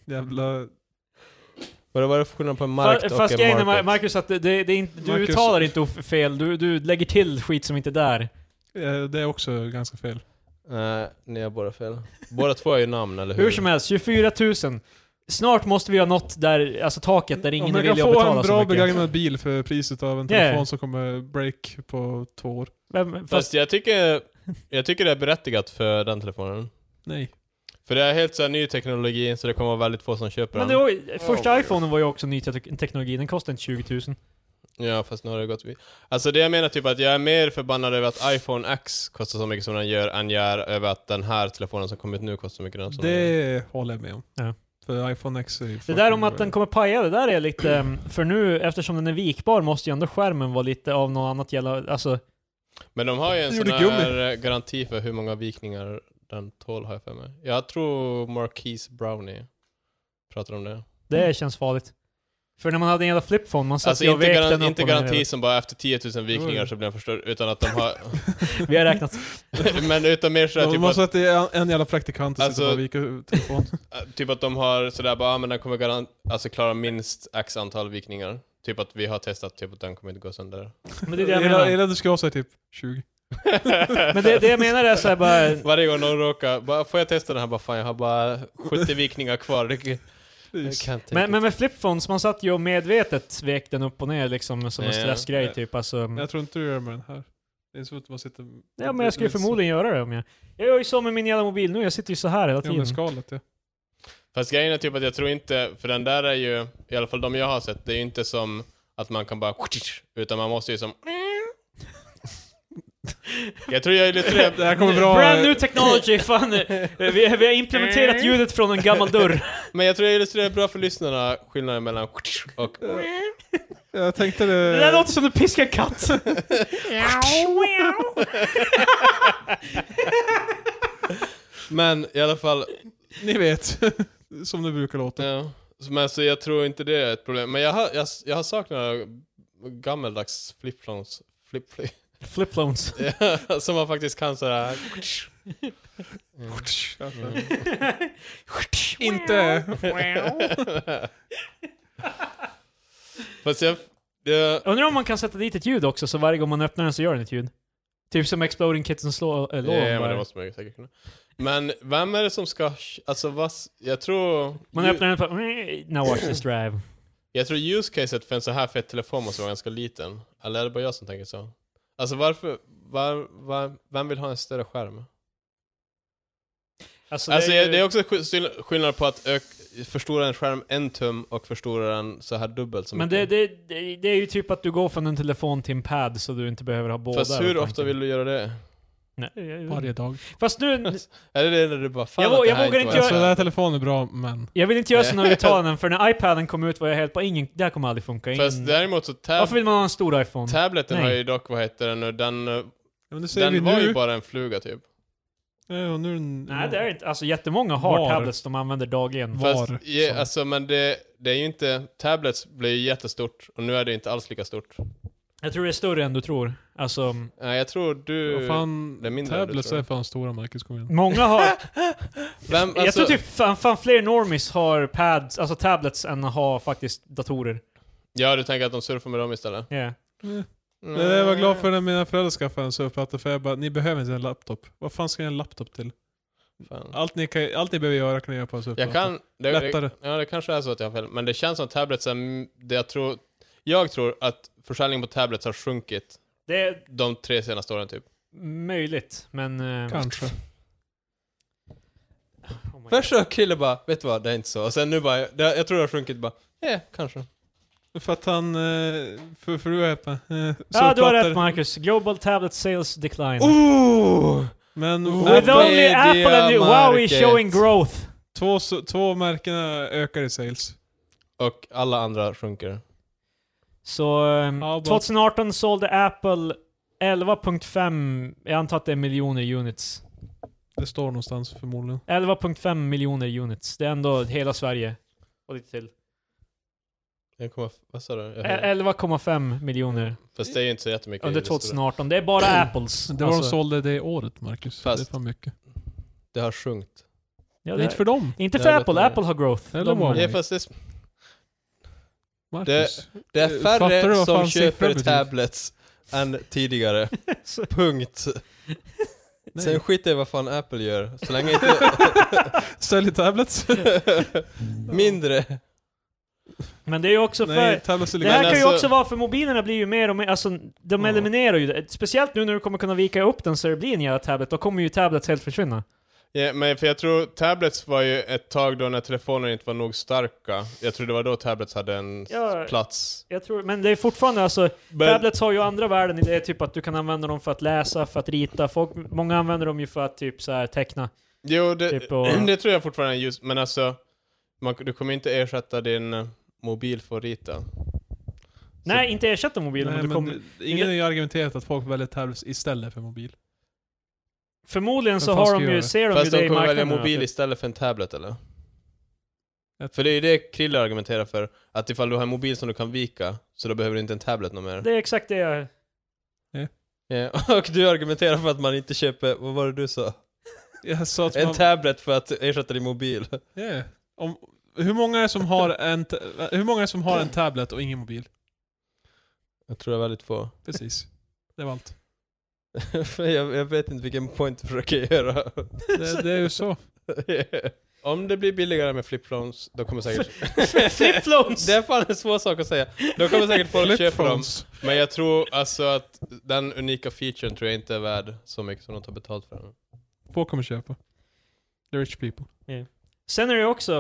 [SPEAKER 3] Jävla...
[SPEAKER 1] Vad är det för skillnad på en
[SPEAKER 2] Fa-
[SPEAKER 1] markt och
[SPEAKER 2] Fast
[SPEAKER 1] en
[SPEAKER 2] grejen är Ma-
[SPEAKER 1] market?
[SPEAKER 2] Marcus att det, det, det är inte, du
[SPEAKER 3] Marcus-
[SPEAKER 2] uttalar inte of- fel, du, du lägger till skit som inte är där.
[SPEAKER 3] eh, Det är också ganska fel.
[SPEAKER 1] Nej, Eh, ni har båda fel. Båda två är ju namn, eller hur?
[SPEAKER 2] Hur som helst, 24 000. Snart måste vi ha nått där, alltså taket där ingen
[SPEAKER 3] Om
[SPEAKER 2] är
[SPEAKER 3] jag kan
[SPEAKER 2] villig att
[SPEAKER 3] få en
[SPEAKER 2] betala så
[SPEAKER 3] bra
[SPEAKER 2] mycket.
[SPEAKER 3] begagnad bil för priset av en
[SPEAKER 2] Yeah.
[SPEAKER 3] telefon som kommer break på två år.
[SPEAKER 2] Vem,
[SPEAKER 1] Fast
[SPEAKER 2] fast,
[SPEAKER 1] jag tycker, jag tycker det är berättigat för den telefonen.
[SPEAKER 3] Nej.
[SPEAKER 1] För det är helt så här ny teknologi, så det kommer vara väldigt få som köper
[SPEAKER 2] men det
[SPEAKER 1] den.
[SPEAKER 2] var, ju- första iPhonen var ju också ny te- teknologi, den kostade inte 20 000.
[SPEAKER 1] Ja, fast nu har det gått vid. Alltså det jag menar typ att jag är mer förbannad över att iPhone X kostar så mycket som den gör, än jag är över att den här telefonen som kommit nu kostar så mycket som den gör.
[SPEAKER 3] Det håller jag med om.
[SPEAKER 2] Ja.
[SPEAKER 3] För iPhone X är ju
[SPEAKER 2] Det
[SPEAKER 3] fucking
[SPEAKER 2] där om att
[SPEAKER 3] bra.
[SPEAKER 2] den kommer paja, det där är lite... ehm, För nu, eftersom den är vikbar, måste ju ändå skärmen vara lite av något annat gälla. Alltså,
[SPEAKER 1] Men de har ju en
[SPEAKER 3] Jag
[SPEAKER 1] sån
[SPEAKER 3] gjorde
[SPEAKER 1] här eh, garanti för hur många vikningar den tål, har jag för mig. Jag tror Marquise Brownie pratar om det.
[SPEAKER 2] det känns farligt. För när man hade en jävla flipphone, man satt
[SPEAKER 1] Mm. Alltså
[SPEAKER 2] ju och
[SPEAKER 1] inte,
[SPEAKER 2] vek den
[SPEAKER 1] garan
[SPEAKER 2] upp
[SPEAKER 1] inte
[SPEAKER 2] och ner.
[SPEAKER 1] garanti som bara efter 10 000 vikningar så blir den förstörd, utan att de
[SPEAKER 2] [laughs]
[SPEAKER 1] har... [laughs]
[SPEAKER 2] Vi har räknat.
[SPEAKER 1] men utan mer sådär
[SPEAKER 3] Ja,
[SPEAKER 1] typ
[SPEAKER 3] man
[SPEAKER 1] att,
[SPEAKER 3] sa att det är en, en jävla praktikant som
[SPEAKER 1] Alltså-
[SPEAKER 3] sitter och bara viker ut telefonen.
[SPEAKER 1] äh, typ att de har sådär bara, ah, men den kommer garant, alltså klara minst x antal vikningar. Typ att vi har testat, typ att den kommer inte gå sönder.
[SPEAKER 2] Men [laughs] det är
[SPEAKER 1] [laughs]
[SPEAKER 2] det jag
[SPEAKER 3] Eller
[SPEAKER 2] menar.
[SPEAKER 3] eller du ska ha såhär typ 20.
[SPEAKER 2] [laughs] Men det, det jag menar är såhär bara...
[SPEAKER 1] [laughs] Varje gång någon råkar, bara, får jag testa den här? Bara fan, jag har bara 70 vikningar kvar. Det, det kan inte
[SPEAKER 2] Men, men med flipphones, man satt ju och medvetet vek den upp och ner liksom som en
[SPEAKER 1] Ja.
[SPEAKER 2] stressgrej typ. Alltså,
[SPEAKER 3] Jag tror inte du gör det med den här. Det är så att man sitter...
[SPEAKER 2] ja men jag skulle förmodligen göra det om jag... Jag gör ju så med min jävla mobil nu, jag sitter ju så här hela
[SPEAKER 3] Ja men
[SPEAKER 2] tiden.
[SPEAKER 3] skalet ja.
[SPEAKER 1] Fast grejen är typ att jag tror inte, för den där är ju, i alla fall de jag har sett, det är ju inte som att man kan bara utan man måste ju som Jag tror jag är lite
[SPEAKER 3] Det här kommer bra...
[SPEAKER 2] Brand new
[SPEAKER 1] [laughs]
[SPEAKER 2] technology, fan! eh, Vi, vi har implementerat ljudet från en gammal dörr.
[SPEAKER 1] men jag tror jag illustrerar bra för lyssnarna skillnaden mellan och
[SPEAKER 3] Jag tänkte
[SPEAKER 2] Det
[SPEAKER 3] det...
[SPEAKER 2] där låter som du piskar en [laughs] katt.
[SPEAKER 1] Men i alla fall,
[SPEAKER 3] Ni vet. [laughs] som det brukar låta.
[SPEAKER 1] ja, men så jag tror inte det är ett problem. Men jag har, jag, jag har saknat gammeldags flipflons, flip, flip, [laughs]
[SPEAKER 2] [laughs] Flipphones.
[SPEAKER 1] som man faktiskt kan sådär
[SPEAKER 3] Alltså, Inte...
[SPEAKER 1] [laughs] Fast jag, jag
[SPEAKER 2] Undrar om man kan sätta dit ett ljud också, så varje gång man öppnar den så gör den ett ljud. Typ som Exploding Kittens lå- äh, lån.
[SPEAKER 1] Ja, men det
[SPEAKER 2] där.
[SPEAKER 1] måste man ju säkert kunna. Men vem är det som ska... Alltså vad... s- Jag tror...
[SPEAKER 2] Man
[SPEAKER 1] ju-
[SPEAKER 2] öppnar den på... Now watch this drive.
[SPEAKER 1] Jag tror use caset för en så här fet telefon måste vara ganska liten. Eller är det bara jag som tänker så? Alltså varför... Var, var, vem vill ha en större skärm?
[SPEAKER 2] Alltså,
[SPEAKER 1] alltså
[SPEAKER 2] ju-
[SPEAKER 1] jag- det är också skill- skill- skillnad på att ök, förstora en skärm en tum och förstora den så här dubbelt så
[SPEAKER 2] Men det,
[SPEAKER 1] mycket.
[SPEAKER 2] det, det, det är ju typ att du går från en telefon till en pad så du inte behöver ha båda.
[SPEAKER 1] Fast hur ofta vill du göra det?
[SPEAKER 2] Nej, jag- jag-
[SPEAKER 3] Varje dag.
[SPEAKER 2] Fast nu...
[SPEAKER 1] Är det det när du bara fan
[SPEAKER 2] Jag vå-
[SPEAKER 1] att det
[SPEAKER 2] jag
[SPEAKER 1] här
[SPEAKER 2] vågar inte
[SPEAKER 1] var
[SPEAKER 3] Alltså
[SPEAKER 1] en
[SPEAKER 3] den här
[SPEAKER 1] skärm?
[SPEAKER 3] telefonen är bra men...
[SPEAKER 2] Jag vill inte göra sådana uttalanden, för när iPaden kom ut var jag helt på ingen... Det här kommer aldrig funka. Ingen,
[SPEAKER 1] Fast däremot så
[SPEAKER 2] Varför
[SPEAKER 1] tab
[SPEAKER 2] vill man ha en stor iPhone?
[SPEAKER 1] tableten
[SPEAKER 2] Nej.
[SPEAKER 1] har ju dock, vad heter den nu, den, eh,
[SPEAKER 3] Ja, men det säger vi
[SPEAKER 1] den var
[SPEAKER 3] nu.
[SPEAKER 1] ju bara en fluga typ.
[SPEAKER 3] Ja, och nu är den...
[SPEAKER 2] Nej, det är det inte. Alltså jättemånga har
[SPEAKER 3] Var?
[SPEAKER 2] tablets de använder dagligen.
[SPEAKER 3] Var,
[SPEAKER 1] Fast, ja,
[SPEAKER 3] som-
[SPEAKER 1] alltså, men det, det är ju inte... Tablets blev ju jättestort och nu är det inte alls lika stort.
[SPEAKER 2] Jag tror det är större än du tror. Alltså,
[SPEAKER 1] Nej, jag tror
[SPEAKER 3] Vad
[SPEAKER 1] du...
[SPEAKER 3] fan,
[SPEAKER 1] det är mindre än du
[SPEAKER 3] tablets
[SPEAKER 1] tror.
[SPEAKER 3] är fan stora Marcus, kom igen.
[SPEAKER 2] många
[SPEAKER 1] [laughs]
[SPEAKER 2] har...
[SPEAKER 1] Vem,
[SPEAKER 2] jag
[SPEAKER 1] alltså,
[SPEAKER 2] tror typ fan, fan fler normies har pads, alltså tablets än att ha faktiskt datorer.
[SPEAKER 1] Ja, du tänker att de surfar med dem istället?
[SPEAKER 2] Yeah.
[SPEAKER 1] Mm.
[SPEAKER 3] Det där Eh, jag var glad för när mina föräldrar skaffade en surfplatta, för jag bara, ni behöver inte en laptop. Vad fan ska jag en laptop till?
[SPEAKER 1] Fan.
[SPEAKER 3] Allt ni, kan, allt ni behöver göra kan ni göra på en surfplatta.
[SPEAKER 1] Mm. Jag kan... Det, det,
[SPEAKER 3] Lättare.
[SPEAKER 1] ja, det kanske är så att jag har fel. Men det känns som att tablets är... m- Det jag tror... Jag tror att försäljningen på tablets har sjunkit
[SPEAKER 2] Det är
[SPEAKER 1] de tre senaste åren typ.
[SPEAKER 2] möjligt, men... eh,
[SPEAKER 3] Kanske.
[SPEAKER 2] oh my God.
[SPEAKER 1] Först så kille bara, vet du vad, det är inte så. Och sen nu bara, det, jag tror det har sjunkit bara, ja, kanske.
[SPEAKER 3] För att han... eh, För, för du är öppen.
[SPEAKER 2] Ja, du har rätt Marcus. Global tablet sales decline.
[SPEAKER 1] Oh,
[SPEAKER 3] Oh!
[SPEAKER 1] Ooh!
[SPEAKER 3] Men
[SPEAKER 1] With
[SPEAKER 2] With
[SPEAKER 1] Media
[SPEAKER 2] only Apple and Huawei
[SPEAKER 1] Market.
[SPEAKER 2] showing growth.
[SPEAKER 3] två, s- två märkena ökar i sales.
[SPEAKER 1] Och alla andra sjunker.
[SPEAKER 2] Så ehm,
[SPEAKER 3] Ja, bara-
[SPEAKER 2] 2018 sålde Apple 11.5, jag antar att det är miljoner units.
[SPEAKER 3] Det står någonstans förmodligen.
[SPEAKER 2] 11.5 miljoner units. Det är ändå hela Sverige. Och lite till.
[SPEAKER 1] Jag kommer, vad sa du? Jag
[SPEAKER 2] Eh,
[SPEAKER 1] hörde.
[SPEAKER 2] 11,5 miljoner
[SPEAKER 1] Fast det är ju inte så jättemycket. i
[SPEAKER 2] under
[SPEAKER 1] det stora.
[SPEAKER 2] 2018. Det
[SPEAKER 1] [clears throat]
[SPEAKER 2] är bara Apples. Alltså,
[SPEAKER 3] Det var de sålde det året, Marcus.
[SPEAKER 1] Fast-
[SPEAKER 3] det är fan mycket.
[SPEAKER 1] Det har sjunkit.
[SPEAKER 2] ja,
[SPEAKER 3] det är
[SPEAKER 2] det,
[SPEAKER 3] inte för dem,
[SPEAKER 2] inte
[SPEAKER 1] Det
[SPEAKER 2] för
[SPEAKER 1] är
[SPEAKER 2] Apple.
[SPEAKER 1] lite-
[SPEAKER 2] Apple har growth.
[SPEAKER 3] Eller vad?
[SPEAKER 1] Ja,
[SPEAKER 3] Nej.
[SPEAKER 1] fast det, är-
[SPEAKER 3] Marcus.
[SPEAKER 1] det är
[SPEAKER 3] Eh, fattar du
[SPEAKER 1] färre
[SPEAKER 3] vad
[SPEAKER 1] som
[SPEAKER 3] fan siffror
[SPEAKER 1] köper
[SPEAKER 3] betyder?
[SPEAKER 1] tablets
[SPEAKER 3] [laughs]
[SPEAKER 1] än tidigare. Punkt.
[SPEAKER 3] Nej.
[SPEAKER 1] Sen skiter jag i vad fan Apple gör. Så länge
[SPEAKER 3] [laughs]
[SPEAKER 1] inte...
[SPEAKER 3] Sälj [laughs] tablets.
[SPEAKER 1] Mindre.
[SPEAKER 2] [laughs] Men det är ju också för...
[SPEAKER 3] Nej, tablets är
[SPEAKER 2] Det här
[SPEAKER 1] Men
[SPEAKER 2] kan ju
[SPEAKER 1] alltså-
[SPEAKER 2] också vara för mobilerna blir ju mer och mer, alltså de
[SPEAKER 3] Ja.
[SPEAKER 2] eliminerar ju det. Speciellt nu när du kommer kunna vika upp den så det blir en jävla tablet, då kommer ju tablets helt försvinna.
[SPEAKER 1] Ja, men för jag tror tablets var ju ett tag då när telefoner inte var nog starka. Jag tror det var då tablets hade en s-
[SPEAKER 2] Ja.
[SPEAKER 1] plats.
[SPEAKER 2] Jag tror, men det är fortfarande alltså,
[SPEAKER 1] Men,
[SPEAKER 2] tablets har ju andra värden i det, typ att du kan använda dem för att läsa, för att rita, folk, många använder dem ju för att typ så här teckna.
[SPEAKER 1] jo, det,
[SPEAKER 2] typ och-
[SPEAKER 1] [clears throat] det tror jag fortfarande är just, men alltså, man, du kommer inte ersätta din eh, mobil för att rita.
[SPEAKER 2] Nej, inte ersätta mobilen, men
[SPEAKER 3] Nej,
[SPEAKER 2] du
[SPEAKER 3] men
[SPEAKER 2] kommer...
[SPEAKER 3] det- Ingen har ju argumenterat att folk väljer tablets istället för mobil.
[SPEAKER 2] Förmodligen
[SPEAKER 3] Vem
[SPEAKER 2] så
[SPEAKER 3] fan
[SPEAKER 2] har
[SPEAKER 3] ska
[SPEAKER 2] de
[SPEAKER 3] göra
[SPEAKER 2] ju,
[SPEAKER 3] det?
[SPEAKER 2] ser de ju
[SPEAKER 1] Fast
[SPEAKER 2] det
[SPEAKER 1] de
[SPEAKER 2] i
[SPEAKER 1] kommer välja
[SPEAKER 2] marknaden. typ.
[SPEAKER 1] mobil
[SPEAKER 2] att-
[SPEAKER 1] istället för en tablet eller?
[SPEAKER 3] Jag-
[SPEAKER 1] För det är ju det Krille argumenterar för, att ifall du har en mobil som du kan vika, så då behöver du inte en tablet något mer.
[SPEAKER 2] Det är exakt det [laughs] jag...
[SPEAKER 1] Ja, [laughs] och du argumenterar för att man inte köper, vad var det du sa?
[SPEAKER 3] Jag sa att
[SPEAKER 1] En
[SPEAKER 3] man,
[SPEAKER 1] tablet för att ersätta din mobil. [laughs]
[SPEAKER 3] Ja. om, hur många är det som har en, ta- hur många är det som har en tablet och ingen mobil?
[SPEAKER 1] Jag tror det är väldigt [laughs] få.
[SPEAKER 3] Precis. Det var allt.
[SPEAKER 1] jag, jag vet inte vilken point du försöker göra. [laughs]
[SPEAKER 3] Det, det är ju så.
[SPEAKER 1] Om det blir billigare med flipphones, då kommer
[SPEAKER 2] [laughs]
[SPEAKER 1] säkert...
[SPEAKER 2] Flip-phones!
[SPEAKER 1] [laughs] Det är fan en svår sak att säga. Då kommer säkert folk köpa dem.
[SPEAKER 3] Flipphones.
[SPEAKER 1] Men jag tror alltså att den unika featuren tror jag inte är värd så mycket som de tar betalt för
[SPEAKER 2] Mm.
[SPEAKER 1] den.
[SPEAKER 3] Få kommer köpa. The rich people.
[SPEAKER 2] Sen är det ju också...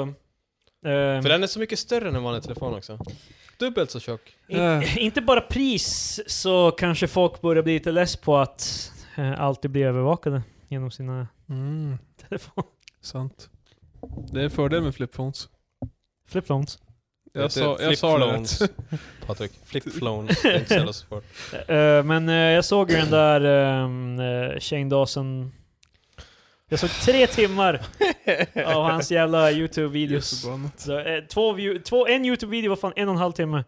[SPEAKER 2] ehm,
[SPEAKER 1] För den är så mycket större än en vanlig telefon också. Dubbelt så tjock.
[SPEAKER 2] In, inte bara pris så kanske folk börjar bli lite less på att eh, alltid bli övervakade genom sina [laughs]
[SPEAKER 3] Mm,
[SPEAKER 2] telefoner.
[SPEAKER 3] sant. Det är en fördel med flipphones.
[SPEAKER 2] Flipphones.
[SPEAKER 1] Det
[SPEAKER 3] Jag
[SPEAKER 1] heter
[SPEAKER 3] sa, jag sa det rätt. [laughs]
[SPEAKER 1] flip-phones. Patrik,
[SPEAKER 2] [laughs]
[SPEAKER 1] flipphones. Det är inte så jävla svårt.
[SPEAKER 2] Eh, men eh, jag såg ju den där ehm, eh, Shane Dawson. Jag såg tre timmar av
[SPEAKER 1] [laughs]
[SPEAKER 2] hans jävla YouTube-videos.
[SPEAKER 3] Förbannat.
[SPEAKER 2] Så, eh, två view, två, en YouTube-video var fan en och en halv timme.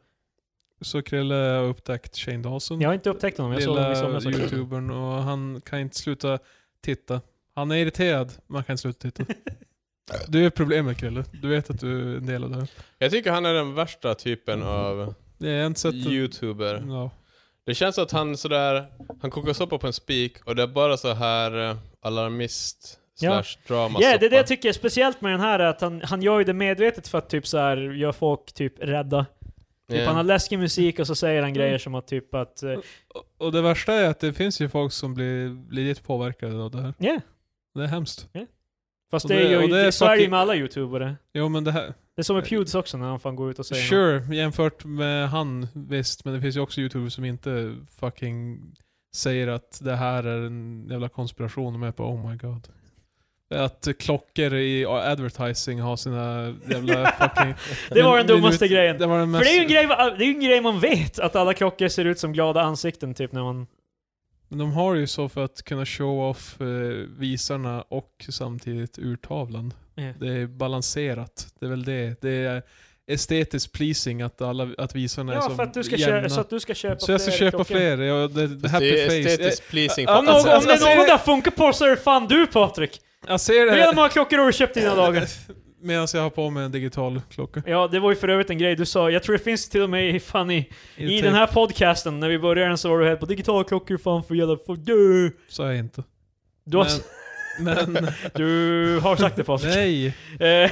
[SPEAKER 3] Så Krille har upptäckt Shane Dawson.
[SPEAKER 2] Jag har inte upptäckt honom, jag såg liksom honom i
[SPEAKER 3] lilla
[SPEAKER 2] somras. också. [laughs]
[SPEAKER 3] youtubern och han kan inte sluta titta. Han är irriterad, men han kan inte sluta titta. Du är problemet Krille. Du vet att du är en del av det här.
[SPEAKER 1] Jag tycker han är den värsta typen av
[SPEAKER 3] Jag har inte sett...
[SPEAKER 1] youtuber.
[SPEAKER 3] Ja.
[SPEAKER 1] Det känns att han sådär, han kokar soppa på en spik och det är bara så här eh, alarmist
[SPEAKER 2] Ja.
[SPEAKER 1] slash drama
[SPEAKER 2] Ja, det är det jag tycker är speciellt med den här, är att han, han gör ju det medvetet för att typ så här, gör folk typ rädda. Typ han har läskig musik och så säger han grejer som att typ att... eh,
[SPEAKER 3] Och- Och det värsta är att det finns ju folk som blir legit påverkade av det här.
[SPEAKER 2] Ja.
[SPEAKER 3] Det är hemskt.
[SPEAKER 2] Fast
[SPEAKER 3] Och
[SPEAKER 2] det,
[SPEAKER 3] det-
[SPEAKER 2] är ju...
[SPEAKER 3] och
[SPEAKER 2] Det
[SPEAKER 3] det är
[SPEAKER 2] så är det ju
[SPEAKER 3] fucking-
[SPEAKER 2] med alla youtubare.
[SPEAKER 3] Jo men det här...
[SPEAKER 2] Det är som med Pewds också när han fan går ut och säger något.
[SPEAKER 3] Sure, jämfört med han, visst. Men det finns ju också youtubers som inte fucking säger att det här är en jävla konspiration. De är på oh my god. Att klockor i advertising har sina
[SPEAKER 2] [laughs]
[SPEAKER 3] jävla fucking...
[SPEAKER 2] Det var den
[SPEAKER 3] Men-
[SPEAKER 2] dummaste
[SPEAKER 3] minut-
[SPEAKER 2] grejen.
[SPEAKER 3] Det var den
[SPEAKER 2] För
[SPEAKER 3] mest...
[SPEAKER 2] det är, ju en grej, det är ju en grej man vet, att alla klockor ser ut som glada ansikten typ när man...
[SPEAKER 3] Men de har ju så för att kunna show off eh, visarna och samtidigt urtavlan.
[SPEAKER 2] Ja.
[SPEAKER 3] Det är balanserat. Det är väl det. Det är estetiskt pleasing att, alla, att visarna är
[SPEAKER 2] Ja,
[SPEAKER 3] så
[SPEAKER 2] för att du ska
[SPEAKER 3] jämna.
[SPEAKER 2] köpa, så att du ska köpa
[SPEAKER 3] Så jag ska
[SPEAKER 2] fler
[SPEAKER 3] köpa
[SPEAKER 2] klockor.
[SPEAKER 3] fler. Ja, det, det,
[SPEAKER 1] Fast
[SPEAKER 3] happy
[SPEAKER 1] det är
[SPEAKER 3] face. Jag,
[SPEAKER 1] estetiskt pleasing.
[SPEAKER 3] Ja,
[SPEAKER 2] Om, någon,
[SPEAKER 1] Alltså,
[SPEAKER 2] om det
[SPEAKER 1] alltså,
[SPEAKER 2] är någon där funkar på så är det fan du Patrik!
[SPEAKER 3] jag ser det
[SPEAKER 2] Hur
[SPEAKER 3] här
[SPEAKER 2] många klockor har du köpt i dina dagar?
[SPEAKER 3] [laughs] medan jag har på mig en digital klocka.
[SPEAKER 2] Ja, det var ju för övrigt en grej du sa. Jag tror det finns till och med i Funny I
[SPEAKER 3] tape
[SPEAKER 2] den här podcasten, när vi började den så var du helt på digitala klockor fan för jävla för du.
[SPEAKER 3] Sa jag inte.
[SPEAKER 2] Du har, [laughs]
[SPEAKER 3] Men, men
[SPEAKER 2] du har sagt det Patrik.
[SPEAKER 3] [laughs] nej,
[SPEAKER 2] Eh,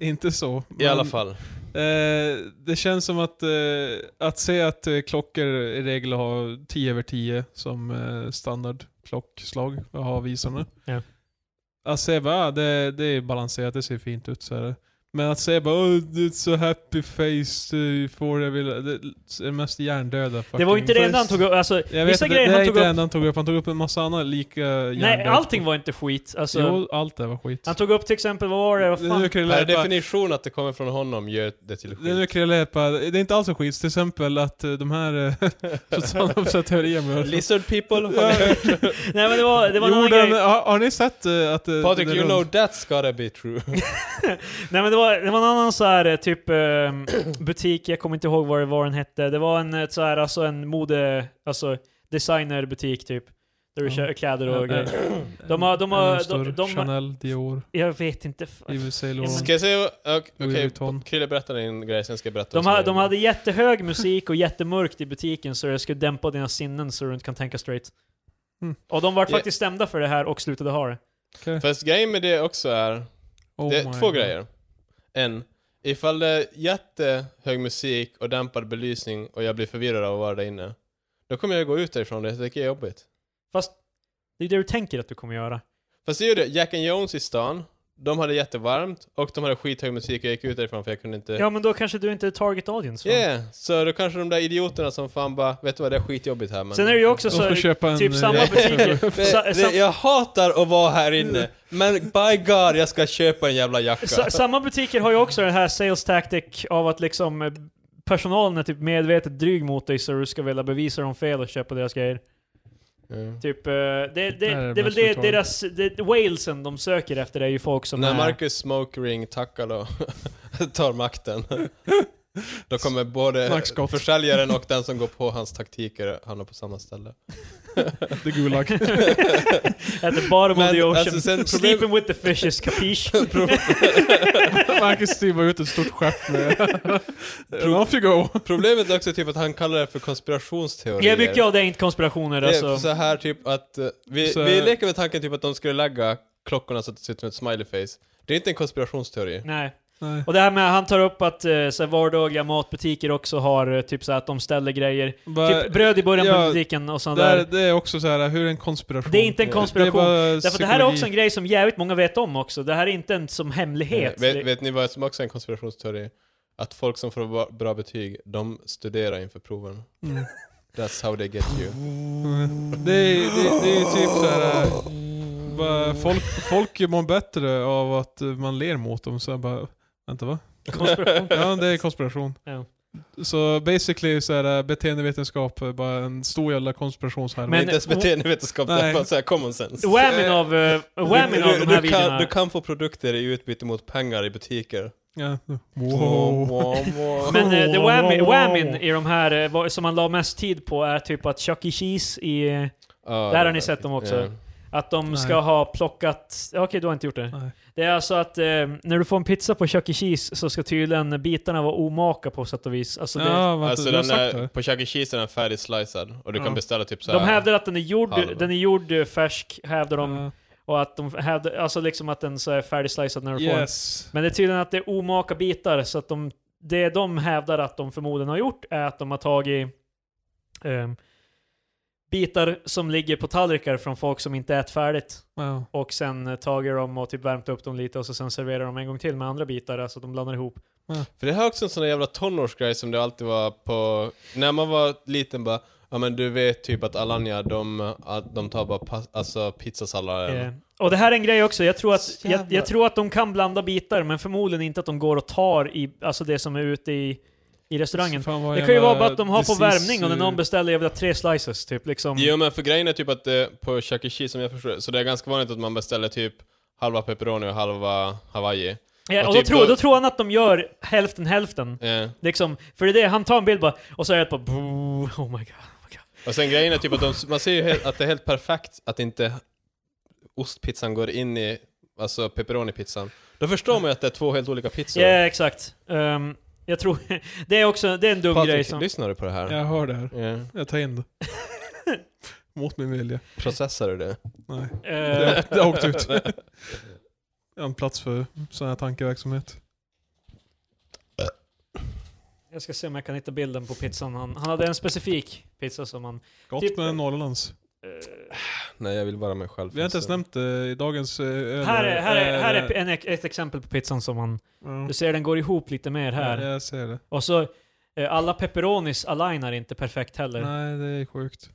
[SPEAKER 3] inte så.
[SPEAKER 1] I alla
[SPEAKER 3] Men-
[SPEAKER 1] fall.
[SPEAKER 2] Mm.
[SPEAKER 3] Eh, det känns som att, eh, att se att eh, klockor i regel har 10 över 10 som eh, standardklockslag, har visarna.
[SPEAKER 2] Ja.
[SPEAKER 3] Att se bara, ah, det, det är balanserat, det ser fint ut. Så här. Men att säga bara oh, it's so happy face, uh, får jag vill Det är det mest hjärndöda fucking
[SPEAKER 2] Det var ju inte det enda han
[SPEAKER 3] face.
[SPEAKER 2] tog upp. Alltså,
[SPEAKER 3] Jag vet
[SPEAKER 2] vissa
[SPEAKER 3] inte,
[SPEAKER 2] grejer
[SPEAKER 3] det
[SPEAKER 2] han
[SPEAKER 3] är
[SPEAKER 2] tog
[SPEAKER 3] inte det
[SPEAKER 2] upp.
[SPEAKER 3] enda han tog upp. Han tog upp en massa andra lika hjärndöda.
[SPEAKER 2] Nej, allting var inte skit. Alltså,
[SPEAKER 3] Jo, allt det var skit.
[SPEAKER 2] Han tog upp till exempel, vad var det? Vad
[SPEAKER 3] Det är nu [laughs]
[SPEAKER 2] fan?
[SPEAKER 3] Krille
[SPEAKER 1] Per
[SPEAKER 3] bara-
[SPEAKER 1] definition att det kommer från honom gör det till
[SPEAKER 3] det är nu
[SPEAKER 1] skit.
[SPEAKER 3] Krille är bara- det är inte alls så skit. Till exempel att eh, de här... eh, [laughs] så tar han upp så här teorier med oss.
[SPEAKER 1] Lizard people, har ni hört?
[SPEAKER 2] Nej men det var, det var en annan
[SPEAKER 3] Jorden,
[SPEAKER 2] grej.
[SPEAKER 3] har, har ni sett eh, att... eh,
[SPEAKER 1] Patrik,
[SPEAKER 3] den är
[SPEAKER 1] you
[SPEAKER 3] rund?
[SPEAKER 1] know that's gotta be true.
[SPEAKER 2] Nej men det var, det var en annan så här eh, typ eh, [clears throat] butik, jag kommer inte ihåg vad det var den hette. Det var en eh, så här, alltså en mode, alltså designerbutik typ. Där du
[SPEAKER 3] Ja.
[SPEAKER 2] köper kläder och
[SPEAKER 3] Ja,
[SPEAKER 2] grejer.
[SPEAKER 3] [clears throat] eh,
[SPEAKER 2] De har- de har-
[SPEAKER 3] en
[SPEAKER 2] de-
[SPEAKER 3] stor
[SPEAKER 2] de-
[SPEAKER 3] Chanel, Dior,
[SPEAKER 2] Jag vet inte. f-
[SPEAKER 3] Yves Saint Laurent.
[SPEAKER 1] Ska jag säga, okej,
[SPEAKER 3] Louis Vuitton.
[SPEAKER 1] Krille berätta din grej, sen ska jag berätta vad
[SPEAKER 2] De, ha,
[SPEAKER 1] som
[SPEAKER 2] de
[SPEAKER 1] är-
[SPEAKER 2] hade jättehög musik och jättemörkt i butiken så det skulle dämpa dina sinnen så du inte kan tänka straight.
[SPEAKER 3] Mm.
[SPEAKER 2] Och de var
[SPEAKER 1] Ja.
[SPEAKER 2] faktiskt stämda för det här och slutade ha det.
[SPEAKER 3] Okej.
[SPEAKER 1] Fast grejen med det också är,
[SPEAKER 3] Oh
[SPEAKER 1] det
[SPEAKER 3] my
[SPEAKER 1] är två
[SPEAKER 3] God.
[SPEAKER 1] grejer. En, ifall det är jättehög musik och dämpad belysning och jag blir förvirrad av att vara där inne, då kommer jag gå ut därifrån, det tycker jag är jobbigt.
[SPEAKER 2] Fast det är det du tänker att du kommer göra.
[SPEAKER 1] Fast det är ju det, Jack and Jones i stan, de hade jättevarmt och de hade skithög musik och jag gick ut därifrån för jag kunde inte...
[SPEAKER 2] Ja men då kanske du inte är target audience. va?
[SPEAKER 1] Yeah, så då kanske de där idioterna som fan bara, vet du vad, det är skitjobbigt här men...
[SPEAKER 2] Sen är det ju också
[SPEAKER 3] De
[SPEAKER 2] så...
[SPEAKER 3] får köpa en...
[SPEAKER 2] typ
[SPEAKER 3] eh,
[SPEAKER 2] samma
[SPEAKER 3] [laughs]
[SPEAKER 2] butiker. sa-
[SPEAKER 1] Det,
[SPEAKER 2] sam- Mm.
[SPEAKER 1] det, jag hatar att vara här inne, men by God, jag ska köpa en jävla jacka.
[SPEAKER 2] Sa, samma butiker har ju också den här sales tactic av att liksom eh, personalen är typ medvetet dryg mot dig så du ska vilja bevisa dem fel och köpa deras grejer.
[SPEAKER 1] Mm.
[SPEAKER 2] Typ, eh, det, det, det,
[SPEAKER 3] är det
[SPEAKER 2] är väl
[SPEAKER 3] mest
[SPEAKER 2] det
[SPEAKER 3] brutala.
[SPEAKER 2] deras, det, walesen de söker efter är ju folk som
[SPEAKER 1] När
[SPEAKER 2] är...
[SPEAKER 1] [laughs]
[SPEAKER 2] [laughs]
[SPEAKER 1] Marcus Smoke Ring Takalo [laughs] tar
[SPEAKER 2] [laughs]
[SPEAKER 1] makten, då kommer både
[SPEAKER 3] Mark Scott.
[SPEAKER 1] försäljaren och den som går på hans taktiker hamna på samma
[SPEAKER 2] [laughs]
[SPEAKER 1] ställe.
[SPEAKER 3] The Gulag. [laughs]
[SPEAKER 2] At the bottom of
[SPEAKER 1] Men,
[SPEAKER 2] the ocean.
[SPEAKER 1] alltså, sen problem-
[SPEAKER 2] Sleeping with the
[SPEAKER 1] [laughs]
[SPEAKER 2] fishes, capiche?
[SPEAKER 3] Marcus stivar ut ett stort
[SPEAKER 1] [laughs]
[SPEAKER 3] skepp med... And off you go!
[SPEAKER 1] Problemet är också typ att han kallar det för konspirationsteorier.
[SPEAKER 2] Ja, mycket av det är inte konspirationer
[SPEAKER 1] det är
[SPEAKER 2] alltså.
[SPEAKER 1] så här typ att eh, vi,
[SPEAKER 3] Så-
[SPEAKER 1] vi leker med tanken typ att de skulle lägga klockorna så att det ser ut som ett smileyface. Det är inte en konspirationsteori.
[SPEAKER 2] Nej.
[SPEAKER 3] Nej.
[SPEAKER 2] Och det här med han tar upp att eh, så här vardagliga matbutiker också har eh, typ så här att de ställer grejer.
[SPEAKER 3] Bara,
[SPEAKER 2] Typ bröd i början på
[SPEAKER 3] ja,
[SPEAKER 2] butiken och sånt
[SPEAKER 3] det, är,
[SPEAKER 2] där.
[SPEAKER 3] det är också så här, hur är en konspiration?
[SPEAKER 2] Det är inte en
[SPEAKER 1] Det är
[SPEAKER 2] konspiration.
[SPEAKER 3] bara
[SPEAKER 2] Därför att det här är
[SPEAKER 3] psykologi.
[SPEAKER 2] också en grej som jävligt många vet om också. Det här är inte en som hemlighet.
[SPEAKER 1] Eh, Vet,
[SPEAKER 2] Det-
[SPEAKER 1] vet ni vad som också är en konspirationsteori? Att folk som får ba- bra betyg, de studerar inför proven.
[SPEAKER 3] Mm.
[SPEAKER 1] That's how they get you.
[SPEAKER 3] Det är, det, det är ju typ så här. äh, Bara, folk, folk mår bättre av att eh, man ler mot dem, så jag bara... Vänta va?
[SPEAKER 1] [laughs]
[SPEAKER 2] Konspiration.
[SPEAKER 3] Ja, det är konspiration.
[SPEAKER 2] [laughs] Ja.
[SPEAKER 3] Så basically så är äh, beteendevetenskap är bara en stor jävla konspirationshärva.
[SPEAKER 1] Men,
[SPEAKER 2] Men-
[SPEAKER 1] inte ens beteendevetenskap, det är
[SPEAKER 3] Nej.
[SPEAKER 1] bara såhär common sense.
[SPEAKER 2] Whammin av, uh, whammin av
[SPEAKER 1] du,
[SPEAKER 2] de här
[SPEAKER 1] du, kan,
[SPEAKER 2] videorna.
[SPEAKER 1] du kan få produkter i utbyte mot pengar i butiker.
[SPEAKER 3] Ja.
[SPEAKER 1] Wow, wow.
[SPEAKER 2] Men eh, det whammin,
[SPEAKER 3] Wow.
[SPEAKER 2] whammin i de här, eh, vad- som man la mest tid på, är typ att Chuck E. Cheese i... eh,
[SPEAKER 1] Ja,
[SPEAKER 2] Där har ni sett dem också.
[SPEAKER 1] ja.
[SPEAKER 2] Att de
[SPEAKER 3] Nej.
[SPEAKER 2] ska ha plockat... ja, Okej, du har inte gjort det.
[SPEAKER 3] Nej.
[SPEAKER 2] Det är alltså att eh, när du får en pizza på Chuck E. Cheese så ska tydligen bitarna vara omaka på sätt och vis. Alltså det,
[SPEAKER 3] Ja, vänta,
[SPEAKER 1] Alltså
[SPEAKER 3] du har
[SPEAKER 1] den
[SPEAKER 3] sagt
[SPEAKER 1] är,
[SPEAKER 3] det?
[SPEAKER 1] på Chuck E. Cheese är den färdigslicead och du
[SPEAKER 3] Ja.
[SPEAKER 1] kan beställa typ såhär...
[SPEAKER 2] de hävdar att den är gjord,
[SPEAKER 1] halva.
[SPEAKER 2] den är gjord eh, färsk, hävdar de.
[SPEAKER 3] Ja.
[SPEAKER 2] Och att de hävdar, alltså liksom att den så är färdigslicead när du får den.
[SPEAKER 3] Yes.
[SPEAKER 2] Men det är tydligen att det är omaka bitar, så att de, det de hävdar att de förmodligen har gjort är att de har tagit ehm, bitar som ligger på tallrikar från folk som inte ätit färdigt.
[SPEAKER 3] Wow.
[SPEAKER 2] Och sen eh, tagit dem och typ värmt upp dem lite och så sen serverar de en gång till med andra bitar, alltså att de blandar ihop.
[SPEAKER 1] För det här är också en sån där jävla tonårsgrej som det alltid var på... När man var liten bara, ja men du vet typ att Alanya, de, att de tar bara pas, alltså pizzasalladen.
[SPEAKER 2] Eh, och det här är en grej också, jag tror, att,
[SPEAKER 1] Så
[SPEAKER 2] jag,
[SPEAKER 1] jävla-
[SPEAKER 2] jag tror att de kan blanda bitar, men förmodligen inte att de går och tar i, alltså det som är ute i, i restaurangen.
[SPEAKER 3] Fan, vad
[SPEAKER 2] Det kan ju
[SPEAKER 3] jävla
[SPEAKER 2] vara bara att de har på
[SPEAKER 3] disease,
[SPEAKER 2] värmning och när
[SPEAKER 3] eh,
[SPEAKER 2] någon beställer, jag vill ha tre slices typ liksom.
[SPEAKER 1] Jo men för grejen är typ att det, på Chuck E. Cheese som jag förstår det, så det är ganska vanligt att man beställer typ halva pepperoni och halva hawaii.
[SPEAKER 2] Ja,
[SPEAKER 1] Och
[SPEAKER 2] och då,
[SPEAKER 1] typ
[SPEAKER 2] tror,
[SPEAKER 1] då-
[SPEAKER 2] då tror han att de gör hälften hälften.
[SPEAKER 1] Eh.
[SPEAKER 2] Liksom, för det är det, han tar en bild bara, och så är det bara boo, oh my god.
[SPEAKER 1] Och sen grejen är typ att de, man ser ju helt, att det är helt perfekt att inte ostpizzan går in i alltså pepperoni-pizzan. Då förstår man ju att det är två helt olika pizzor.
[SPEAKER 2] Ja, exakt. Ehm, jag tror, [laughs] det är också, det är en dum grej
[SPEAKER 1] Patrik,
[SPEAKER 2] som...
[SPEAKER 1] lyssnar du på det här? Eh,
[SPEAKER 3] Jag hör det här.
[SPEAKER 1] Yeah.
[SPEAKER 3] Jag
[SPEAKER 2] [laughs]
[SPEAKER 3] tar in det. Mot min vilja.
[SPEAKER 1] Processar du det?
[SPEAKER 3] Nej.
[SPEAKER 2] [laughs] eh,
[SPEAKER 3] Det det har åkt ut. Jag har en plats för sån här tankeverksamhet.
[SPEAKER 2] jag ska se om jag kan hitta bilden på pizzan. Han, han hade en specifik pizza som han...
[SPEAKER 3] Gott
[SPEAKER 2] Typ-
[SPEAKER 3] med en norrlands.
[SPEAKER 2] eh,
[SPEAKER 1] [laughs] Nej, jag vill vara mig själv.
[SPEAKER 3] Vi har inte ens nämnt det i dagens... eh,
[SPEAKER 2] Här är, här är,
[SPEAKER 3] eh,
[SPEAKER 2] här är en, ett exempel på pizzan som man...
[SPEAKER 3] ja.
[SPEAKER 2] Du ser, den går ihop lite mer
[SPEAKER 3] Ja,
[SPEAKER 2] här.
[SPEAKER 3] jag ser det.
[SPEAKER 2] Och så, eh, alla pepperonis alignar inte perfekt heller.
[SPEAKER 3] Nej, det är sjukt.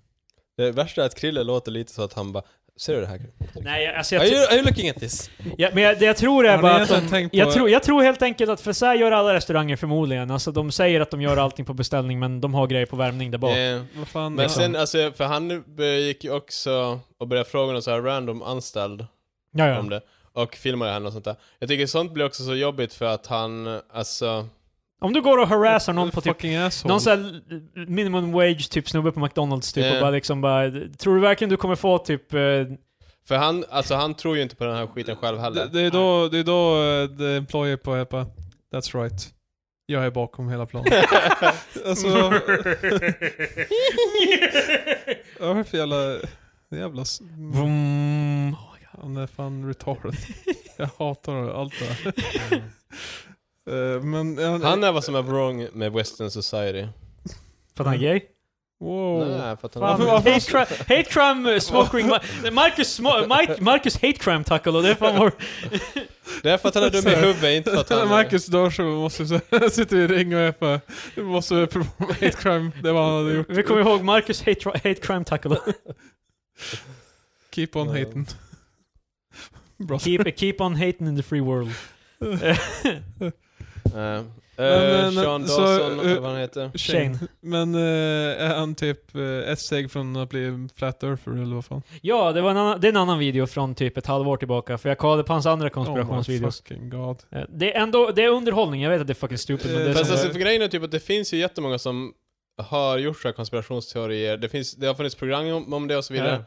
[SPEAKER 1] Det värsta är att Krille låter lite så att han bara Ser du det här?
[SPEAKER 2] Nej, jag- alltså
[SPEAKER 1] Are
[SPEAKER 2] jag,
[SPEAKER 1] you,
[SPEAKER 2] jag,
[SPEAKER 1] are you looking at this?
[SPEAKER 2] jag, men jag, det jag tror är
[SPEAKER 3] Har ni
[SPEAKER 2] bara att
[SPEAKER 3] egentligen
[SPEAKER 2] de,
[SPEAKER 3] tänkt på-
[SPEAKER 2] jag, tror, jag tror helt enkelt att, för så här gör alla restauranger förmodligen. Alltså de säger att de gör allting på beställning, men de har grejer på värmning där bak.
[SPEAKER 1] Eh,
[SPEAKER 3] Vad fan...
[SPEAKER 1] men
[SPEAKER 3] ja.
[SPEAKER 1] sen, alltså, för han gick ju också och började fråga någon så här random anställd
[SPEAKER 2] Ja, ja.
[SPEAKER 1] om det. Och filmade henne och sånt där. Jag tycker sånt blir också så jobbigt för att han, alltså...
[SPEAKER 2] Om du går och harassar någon på typ
[SPEAKER 3] Fucking asshole.
[SPEAKER 2] Någon sån här minimum wage typ snubbe på McDonalds typ
[SPEAKER 1] Eh.
[SPEAKER 2] och bara liksom bara, tror du verkligen du kommer få typ, eh,
[SPEAKER 1] För han, alltså han tror ju inte på den här skiten själv
[SPEAKER 3] det,
[SPEAKER 1] heller.
[SPEAKER 3] det är då, det är då uh, the employer på Epa. That's right. Jag är bakom
[SPEAKER 1] [laughs]
[SPEAKER 3] hela planen.
[SPEAKER 2] [laughs]
[SPEAKER 3] alltså, vad är det för jävla... Jävla... s-
[SPEAKER 2] vroom.
[SPEAKER 3] Han är fan retarded. Jag hatar allt det här. Eh, men...
[SPEAKER 1] [laughs] Han är vad som är wrong med Western Society.
[SPEAKER 2] För att han är gay?
[SPEAKER 3] Wow.
[SPEAKER 1] Nej, för att han
[SPEAKER 2] Fan,
[SPEAKER 3] Varför- varför-
[SPEAKER 2] hate, crime, hate crime, eh, smoke ring, Ma- Marcus, smo- Mike, Marcus hate crime tackle och det är fan vår...
[SPEAKER 1] Det är för att han är
[SPEAKER 3] [laughs]
[SPEAKER 1] dum i huvudet, inte för att han...
[SPEAKER 3] Marcus dör så måste så [laughs] här, sitter vi i ring och är för, vi måste prova hate crime. Det var han hade gjort.
[SPEAKER 2] Vi kommer ihåg Marcus hate, hate crime tackle.
[SPEAKER 3] Keep on hating. [laughs] Bra.
[SPEAKER 2] Keep, keep on hating in the free world.
[SPEAKER 1] Eh, eh,
[SPEAKER 3] men-
[SPEAKER 1] Sean
[SPEAKER 3] så,
[SPEAKER 1] Dawson,
[SPEAKER 3] eh,
[SPEAKER 1] eller vad han heter.
[SPEAKER 2] Shane.
[SPEAKER 3] Men eh, är han typ eh, ett steg från att bli flat earther eller vad fan?
[SPEAKER 2] Ja, det, var en annan, det är en annan video från typ ett halvår tillbaka, för jag kollade på hans andra
[SPEAKER 3] Oh my
[SPEAKER 2] konspirationsvideos.
[SPEAKER 3] fucking god.
[SPEAKER 2] Eh, Det är ändå, det är underhållning, jag vet att det är fucking stupid men det är
[SPEAKER 3] Eh,
[SPEAKER 1] Fast
[SPEAKER 2] så-
[SPEAKER 1] alltså, för grejen är typ att det finns ju jättemånga som har gjort så här konspirationsteorier. Det, finns, det har funnits program om, om det och så vidare.
[SPEAKER 3] Ja.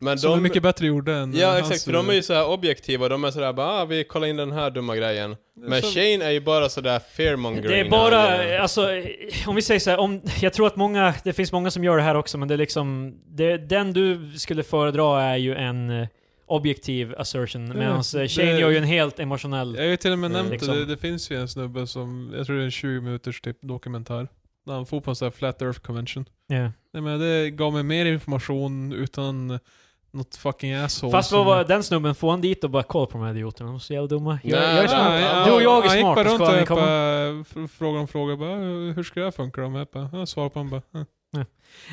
[SPEAKER 1] Men
[SPEAKER 3] Som är
[SPEAKER 1] de...
[SPEAKER 3] mycket bättre gjorde än eh,
[SPEAKER 1] ja,
[SPEAKER 3] hans,
[SPEAKER 1] exakt. För de är ju så här objektiva. De är sådär bara ah, vi kollar in den här dumma grejen. Men
[SPEAKER 3] som-
[SPEAKER 1] Shane är ju bara sådär fearmongering.
[SPEAKER 2] Det är bara, alltså, eh, om vi säger så här, om, jag tror att många, det finns många som gör det här också, men det är liksom, det, den du skulle föredra är ju en eh, objektiv assertion, medan
[SPEAKER 3] det-
[SPEAKER 2] Shane gör ju en helt emotionell...
[SPEAKER 3] Jag har ju till och med
[SPEAKER 1] Mm.
[SPEAKER 3] nämnt
[SPEAKER 2] Liksom.
[SPEAKER 3] det, det finns ju en snubbe som, jag tror det är en 20 minuters typ dokumentär. När han får på en sån här flat earth convention.
[SPEAKER 2] Ja.
[SPEAKER 3] Nej men det gav mig mer information utan något fucking asshole.
[SPEAKER 2] Fast vad
[SPEAKER 3] som-
[SPEAKER 2] var den snubben, får han dit och bara kolla på de här idioterna, de är så jävla dumma. Jag,
[SPEAKER 1] Nej,
[SPEAKER 2] jag är
[SPEAKER 1] nej,
[SPEAKER 2] smart.
[SPEAKER 1] nej,
[SPEAKER 2] du och jag är
[SPEAKER 3] Han gick
[SPEAKER 2] smart,
[SPEAKER 3] bara
[SPEAKER 2] och
[SPEAKER 3] runt
[SPEAKER 2] ska
[SPEAKER 3] och
[SPEAKER 2] han
[SPEAKER 3] jag
[SPEAKER 2] komma?
[SPEAKER 3] bara, f- frågade om frågor. Bara, hur ska det här funka då? Jag bara, jag svarade på honom bara. "Eh."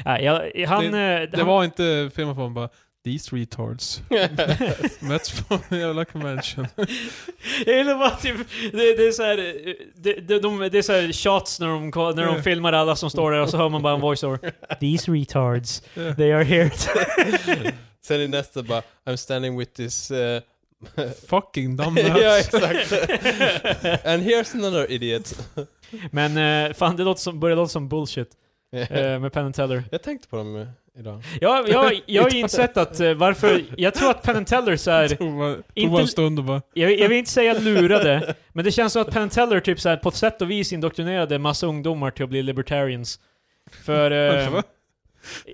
[SPEAKER 2] Nej, jag, han, eh, det, [laughs]
[SPEAKER 3] Det var inte filmen på honom bara. These retards. alltså- Möts [laughs] på en jävla convention.
[SPEAKER 2] Jag gillar bara typ, det, det är såhär, det, det, de, det är såhär shots när de, ko- när de filmar alla som står där och så hör man bara en voiceover. These retards, they are here. to-"
[SPEAKER 1] [laughs] Sen i nästa bara I'm standing with this...
[SPEAKER 3] [laughs]
[SPEAKER 1] eh,
[SPEAKER 3] fucking
[SPEAKER 2] [laughs]
[SPEAKER 3] dumb
[SPEAKER 1] ja,
[SPEAKER 3] nuts.
[SPEAKER 1] exakt. And here's another idiot.
[SPEAKER 2] [laughs] Men eh, fan, det låter som, börjar låta som bullshit
[SPEAKER 1] [laughs]
[SPEAKER 2] eh, med Penn Teller.
[SPEAKER 1] jag tänkte på dem eh, idag.
[SPEAKER 2] Jag, jag, jag har ju insett att eh, varför, jag tror att Penn Teller såhär,
[SPEAKER 3] [laughs] Tog bara- tog
[SPEAKER 2] Inte-
[SPEAKER 3] bara en stund och bara.
[SPEAKER 2] jag, jag vill inte säga lurade, men det känns som att Penn Teller typ såhär, på ett sätt och vis indoktrinerade massa ungdomar till att bli libertarians. För... eh,
[SPEAKER 3] "Va?"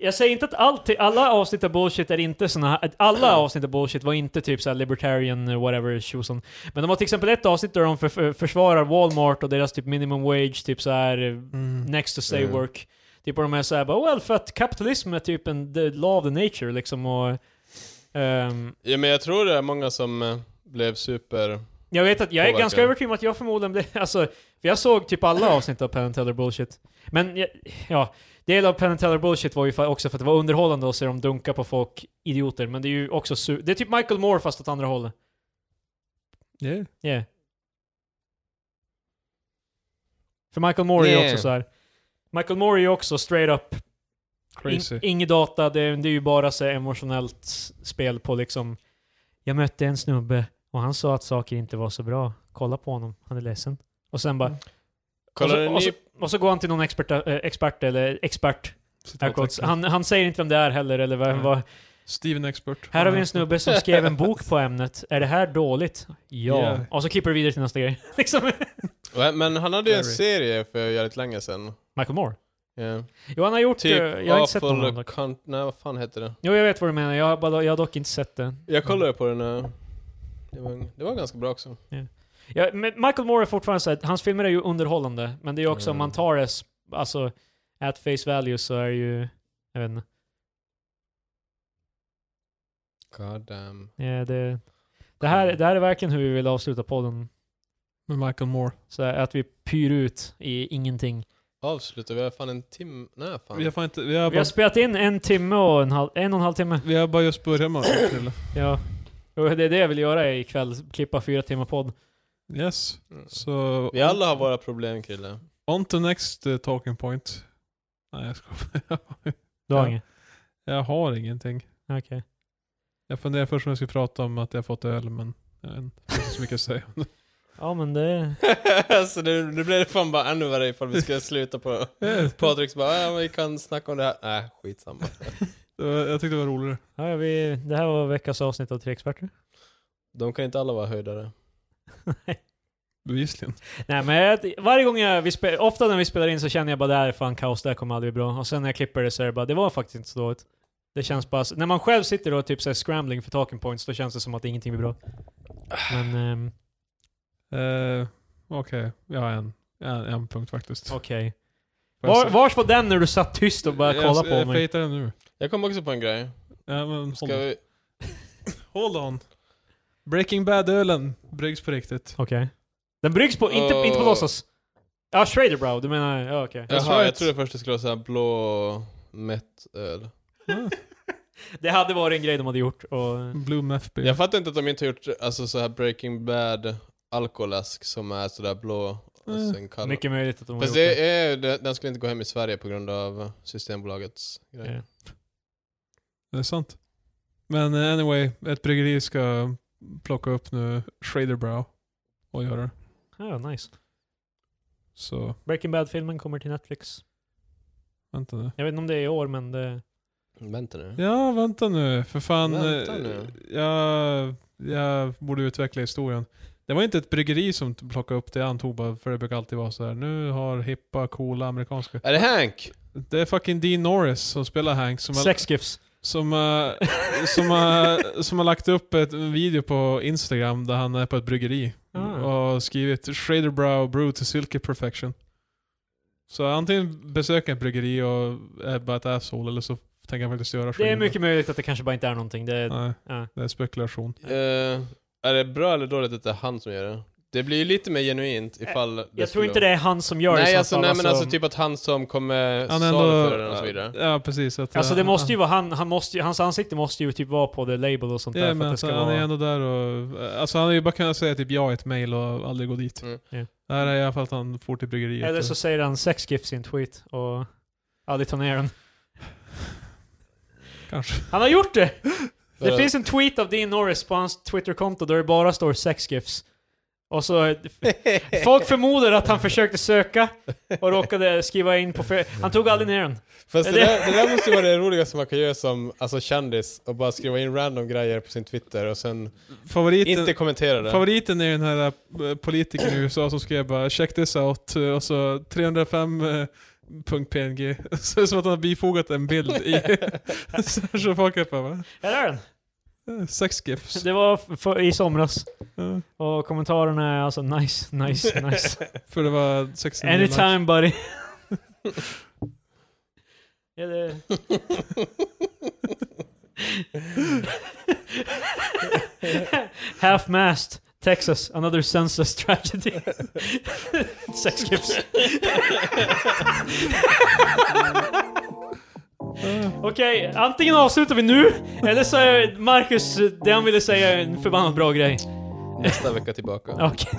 [SPEAKER 2] Jag säger inte att allt, alla avsnitt av bullshit är inte såna här, att alla avsnitt av bullshit var inte typ såhär libertarian eh, whatever tjosan. Men de har till exempel ett avsnitt där de för, för, försvarar Walmart och deras typ minimum wage, typ såhär eh, next to stay
[SPEAKER 1] Mm.
[SPEAKER 2] work. Typ och de är såhär bara well för att kapitalism är typ en the law of the nature liksom och... ehm,
[SPEAKER 1] Ja, men jag tror det är många som eh, blev super...
[SPEAKER 2] jag vet att jag är
[SPEAKER 1] Påverkar.
[SPEAKER 2] ganska övertygad om att jag förmodligen blev... [laughs] Alltså, för jag såg typ alla avsnitt av Penn and Teller Bullshit. Men jag, ja, del av Penn and Teller Bullshit var ju fa- också för att det var underhållande att se dem dunka på folk, idioter. Men det är ju också su- Det är typ Michael Moore fast åt andra hållet.
[SPEAKER 3] Yeah.
[SPEAKER 2] Yeah. För Michael Moore är ju
[SPEAKER 1] Yeah.
[SPEAKER 2] också så här. Michael Moore är ju också straight up,
[SPEAKER 3] Crazy.
[SPEAKER 2] in, inget data, det, är- det är ju bara så här emotionellt spel på liksom... Jag mötte en snubbe och han sa att saker inte var så bra. Kolla på honom, han är ledsen. Och sen bara,
[SPEAKER 1] Kollade
[SPEAKER 2] och, så,
[SPEAKER 1] Mm. ni...
[SPEAKER 2] och, så, och så går han till någon expert, eh, expert eller expert. air quotes.
[SPEAKER 3] Citattecken.
[SPEAKER 2] Han, han säger inte vem det är heller, eller vem,
[SPEAKER 3] Nej.
[SPEAKER 2] vad.
[SPEAKER 3] Steven Expert.
[SPEAKER 2] Här har vi en snubbe som skrev en bok på ämnet. Är det här dåligt? Ja.
[SPEAKER 3] Yeah.
[SPEAKER 2] Och så klipper du vidare till nästa grej. [laughs] liksom.
[SPEAKER 1] Ja, Men han hade ju en
[SPEAKER 3] Larry.
[SPEAKER 1] serie för jävligt länge sedan.
[SPEAKER 2] Michael Moore.
[SPEAKER 1] Ja.
[SPEAKER 2] Jo, han har gjort... eh,
[SPEAKER 1] Typ
[SPEAKER 2] jag har inte sett någon
[SPEAKER 1] Awful
[SPEAKER 2] annan dock.
[SPEAKER 1] Cunt... Nej, vad fan heter det?
[SPEAKER 2] Jo, jag vet vad du menar. Jag, har bara, jag har dock inte sett den.
[SPEAKER 1] Jag
[SPEAKER 2] Mm.
[SPEAKER 1] kollade på den. eh, Det var, det var ganska bra också.
[SPEAKER 2] Ja, men Michael Moore är fortfarande så här, hans filmer är ju underhållande, men det är ju också om
[SPEAKER 1] Mm.
[SPEAKER 2] man tar det, s- alltså, at face value så är det ju, jag vet inte.
[SPEAKER 1] God damn.
[SPEAKER 2] Ja, det, det, här, det här är verkligen hur vi vill avsluta podden.
[SPEAKER 3] Med Michael Moore.
[SPEAKER 2] Så här, att vi pyr ut i ingenting.
[SPEAKER 1] Avslutar vi har fan en timme? Nej fan.
[SPEAKER 3] Vi har fan inte... Vi har
[SPEAKER 2] Vi har
[SPEAKER 3] bara,
[SPEAKER 2] spelat in en timme och en, halv, en och en halv timme.
[SPEAKER 3] vi har bara just börjat med det, Krille.
[SPEAKER 2] Ja. Och det är det jag vill göra ikväll, klippa fyra timmar podd.
[SPEAKER 3] Yes.
[SPEAKER 1] Mm.
[SPEAKER 3] Så...
[SPEAKER 1] Vi alla har våra problem Krille.
[SPEAKER 3] On to next eh, talking point. Nej jag skojar.
[SPEAKER 2] Du har
[SPEAKER 3] Ja.
[SPEAKER 2] inget?
[SPEAKER 3] Jag har ingenting.
[SPEAKER 2] Okej.
[SPEAKER 3] Jag funderar först om jag skulle prata om att jag fått öl men... Jag vet inte. Det finns inte så mycket
[SPEAKER 2] [laughs]
[SPEAKER 3] att säga.
[SPEAKER 2] Ja men det...
[SPEAKER 1] [laughs] så nu, nu blir det fan bara ännu värre ifall vi ska
[SPEAKER 2] [laughs]
[SPEAKER 1] sluta på... Patrik bara ja, men vi kan snacka om det här. Nej, skitsamma.
[SPEAKER 3] Det var, jag tyckte det var roligare.
[SPEAKER 2] Ja, ja, vi, det här var veckans avsnitt av Tre Experter.
[SPEAKER 1] De kan inte alla vara höjdare.
[SPEAKER 3] Bevisligen.
[SPEAKER 2] Nej men jag, varje gång jag, vi spe, ofta när vi spelar in så känner jag bara det här är fan kaos, det här kommer aldrig bli bra. Och sen när jag klipper det så är det bara, det var faktiskt inte så dåligt. Det känns bara, så- när man själv sitter och typ såhär scrambling för talking points, då känns det som att ingenting blir bra. Men ehm,
[SPEAKER 3] Eh, Okej, jag har en, en, en punkt faktiskt.
[SPEAKER 2] okej.
[SPEAKER 3] Får jag
[SPEAKER 2] Var,
[SPEAKER 3] se-
[SPEAKER 2] vars var den när du satt tyst och bara
[SPEAKER 3] jag,
[SPEAKER 2] kollade
[SPEAKER 3] jag,
[SPEAKER 2] på mig?
[SPEAKER 3] fejtar den nu.
[SPEAKER 1] Jag kom också på en grej.
[SPEAKER 3] Ja, men,
[SPEAKER 1] Ska
[SPEAKER 3] hold, on.
[SPEAKER 1] vi...
[SPEAKER 3] hold on. Breaking Bad-ölen bryggs på riktigt.
[SPEAKER 2] Okej. Den bryggs på, inte, inte på
[SPEAKER 1] Åh.
[SPEAKER 2] låtsas. Ja, Schraderbrow, du menar, ja okej.
[SPEAKER 3] That's
[SPEAKER 1] Jaha, jag
[SPEAKER 3] right.
[SPEAKER 1] trodde först det skulle vara såhär blå mätt öl.
[SPEAKER 2] Mm. Det hade varit en grej de hade gjort och...
[SPEAKER 3] Ah, Blue Meth Beer.
[SPEAKER 1] Jag fattar inte att de inte har gjort alltså, så här Breaking Bad alkoläsk som är sådär blå och
[SPEAKER 3] Mm.
[SPEAKER 1] sen kall.
[SPEAKER 2] Mycket möjligt att de har
[SPEAKER 1] Fast
[SPEAKER 2] gjort
[SPEAKER 1] det
[SPEAKER 2] det.
[SPEAKER 1] är, det- den skulle inte gå hem i Sverige på grund av Systembolagets grej.
[SPEAKER 2] Ja.
[SPEAKER 3] Det är sant. Men eh, anyway, ett bryggeri ska plocka upp nu Shaderbrow och göra det.
[SPEAKER 2] Ja, nice.
[SPEAKER 3] Så,
[SPEAKER 2] Breaking Bad-filmen kommer till Netflix.
[SPEAKER 3] vänta nu.
[SPEAKER 2] Jag vet inte om det är i år, men det...
[SPEAKER 1] Vänta nu.
[SPEAKER 3] Ja, vänta nu. För fan.
[SPEAKER 1] Vänta
[SPEAKER 3] eh,
[SPEAKER 1] nu.
[SPEAKER 3] Jag, jag borde utveckla historien. Det var inte ett bryggeri som t- plockade upp det, jag antog bara, för det brukar alltid vara så här. Nu har hippa, coola amerikanska.
[SPEAKER 1] Är det Hank?
[SPEAKER 3] Det är fucking Dean Norris som spelar Hank, som har,
[SPEAKER 2] Sex gifs.
[SPEAKER 3] som, eh, som, eh, har, som har lagt upp ett en video på Instagram där han är på ett bryggeri.
[SPEAKER 2] Ah.
[SPEAKER 3] Och skrivit Shaderbrow Brew to Silky Perfection. Så antingen besöker jag ett bryggeri och är bara ett asshole, eller så tänker jag faktiskt göra
[SPEAKER 2] Det är
[SPEAKER 3] Shader Brow.
[SPEAKER 2] mycket möjligt att det kanske bara inte är någonting. Det är...
[SPEAKER 3] Nej,
[SPEAKER 2] Ja.
[SPEAKER 3] det är spekulation.
[SPEAKER 1] Eh, är det bra eller dåligt att det är han som gör det? Det blir ju lite mer genuint ifall det
[SPEAKER 2] Eh, Jag tror
[SPEAKER 1] skulle-
[SPEAKER 2] inte det är han som gör det i
[SPEAKER 1] Nej,
[SPEAKER 2] så
[SPEAKER 1] alltså,
[SPEAKER 2] fall,
[SPEAKER 1] nej men alltså typ att han som kommer
[SPEAKER 3] Han är ändå...
[SPEAKER 1] saluföra den och så vidare.
[SPEAKER 3] Ja, precis. Att,
[SPEAKER 2] Alltså det
[SPEAKER 3] eh,
[SPEAKER 2] måste ju vara han, han måste, ju- hans ansikte måste ju typ vara på the label och sånt
[SPEAKER 3] Ja,
[SPEAKER 2] där för
[SPEAKER 3] men
[SPEAKER 2] att det
[SPEAKER 3] alltså,
[SPEAKER 2] ska
[SPEAKER 3] han
[SPEAKER 2] vara...
[SPEAKER 3] är ändå där och... eh, Alltså han har ju bara kunnat säga typ ja i ett mail och aldrig gå dit.
[SPEAKER 1] Mm.
[SPEAKER 2] Ja.
[SPEAKER 3] Det här är i alla fall att han får till bryggeriet.
[SPEAKER 2] Eller så säger han sex gifs i en tweet och aldrig tar ner den.
[SPEAKER 3] Kanske. [laughs]
[SPEAKER 2] Han har gjort det!
[SPEAKER 1] För
[SPEAKER 2] Det
[SPEAKER 1] att-
[SPEAKER 2] finns en tweet av Dean Norris på hans Twitterkonto där det bara står sex gifs. Och så... eh,
[SPEAKER 1] [laughs]
[SPEAKER 2] Folk förmodar att han försökte söka och råkade skriva in på fel... Han tog aldrig ner den.
[SPEAKER 1] Fast det,
[SPEAKER 2] Det-
[SPEAKER 1] där, det där måste ju vara det roligaste man kan göra som alltså, kändis och bara skriva in random grejer på sin Twitter och sen
[SPEAKER 3] Favoriten,
[SPEAKER 1] inte kommentera det.
[SPEAKER 3] favoriten är den här eh, politikern i USA som skrev bara 'check this out' eh, och så eh, 305.png. [laughs] Så det är som att han har bifogat en bild i... [laughs] så så folk bara va?
[SPEAKER 2] Här är den!
[SPEAKER 3] Eh, Sex
[SPEAKER 2] [laughs]
[SPEAKER 3] gifs.
[SPEAKER 2] Det var f- för, i somras.
[SPEAKER 3] Eh,
[SPEAKER 2] Och kommentarerna är alltså nice, nice, nice.
[SPEAKER 3] För det var 69 likes.
[SPEAKER 2] Anytime buddy. ja, det... [laughs] Half-mast, Texas, another senseless tragedy. [laughs] Sex gifs. [laughs] Okej, antingen avslutar vi nu, eller så är Marcus, det han ville säga är en förbannat bra grej.
[SPEAKER 1] Nästa vecka tillbaka.
[SPEAKER 2] Okej.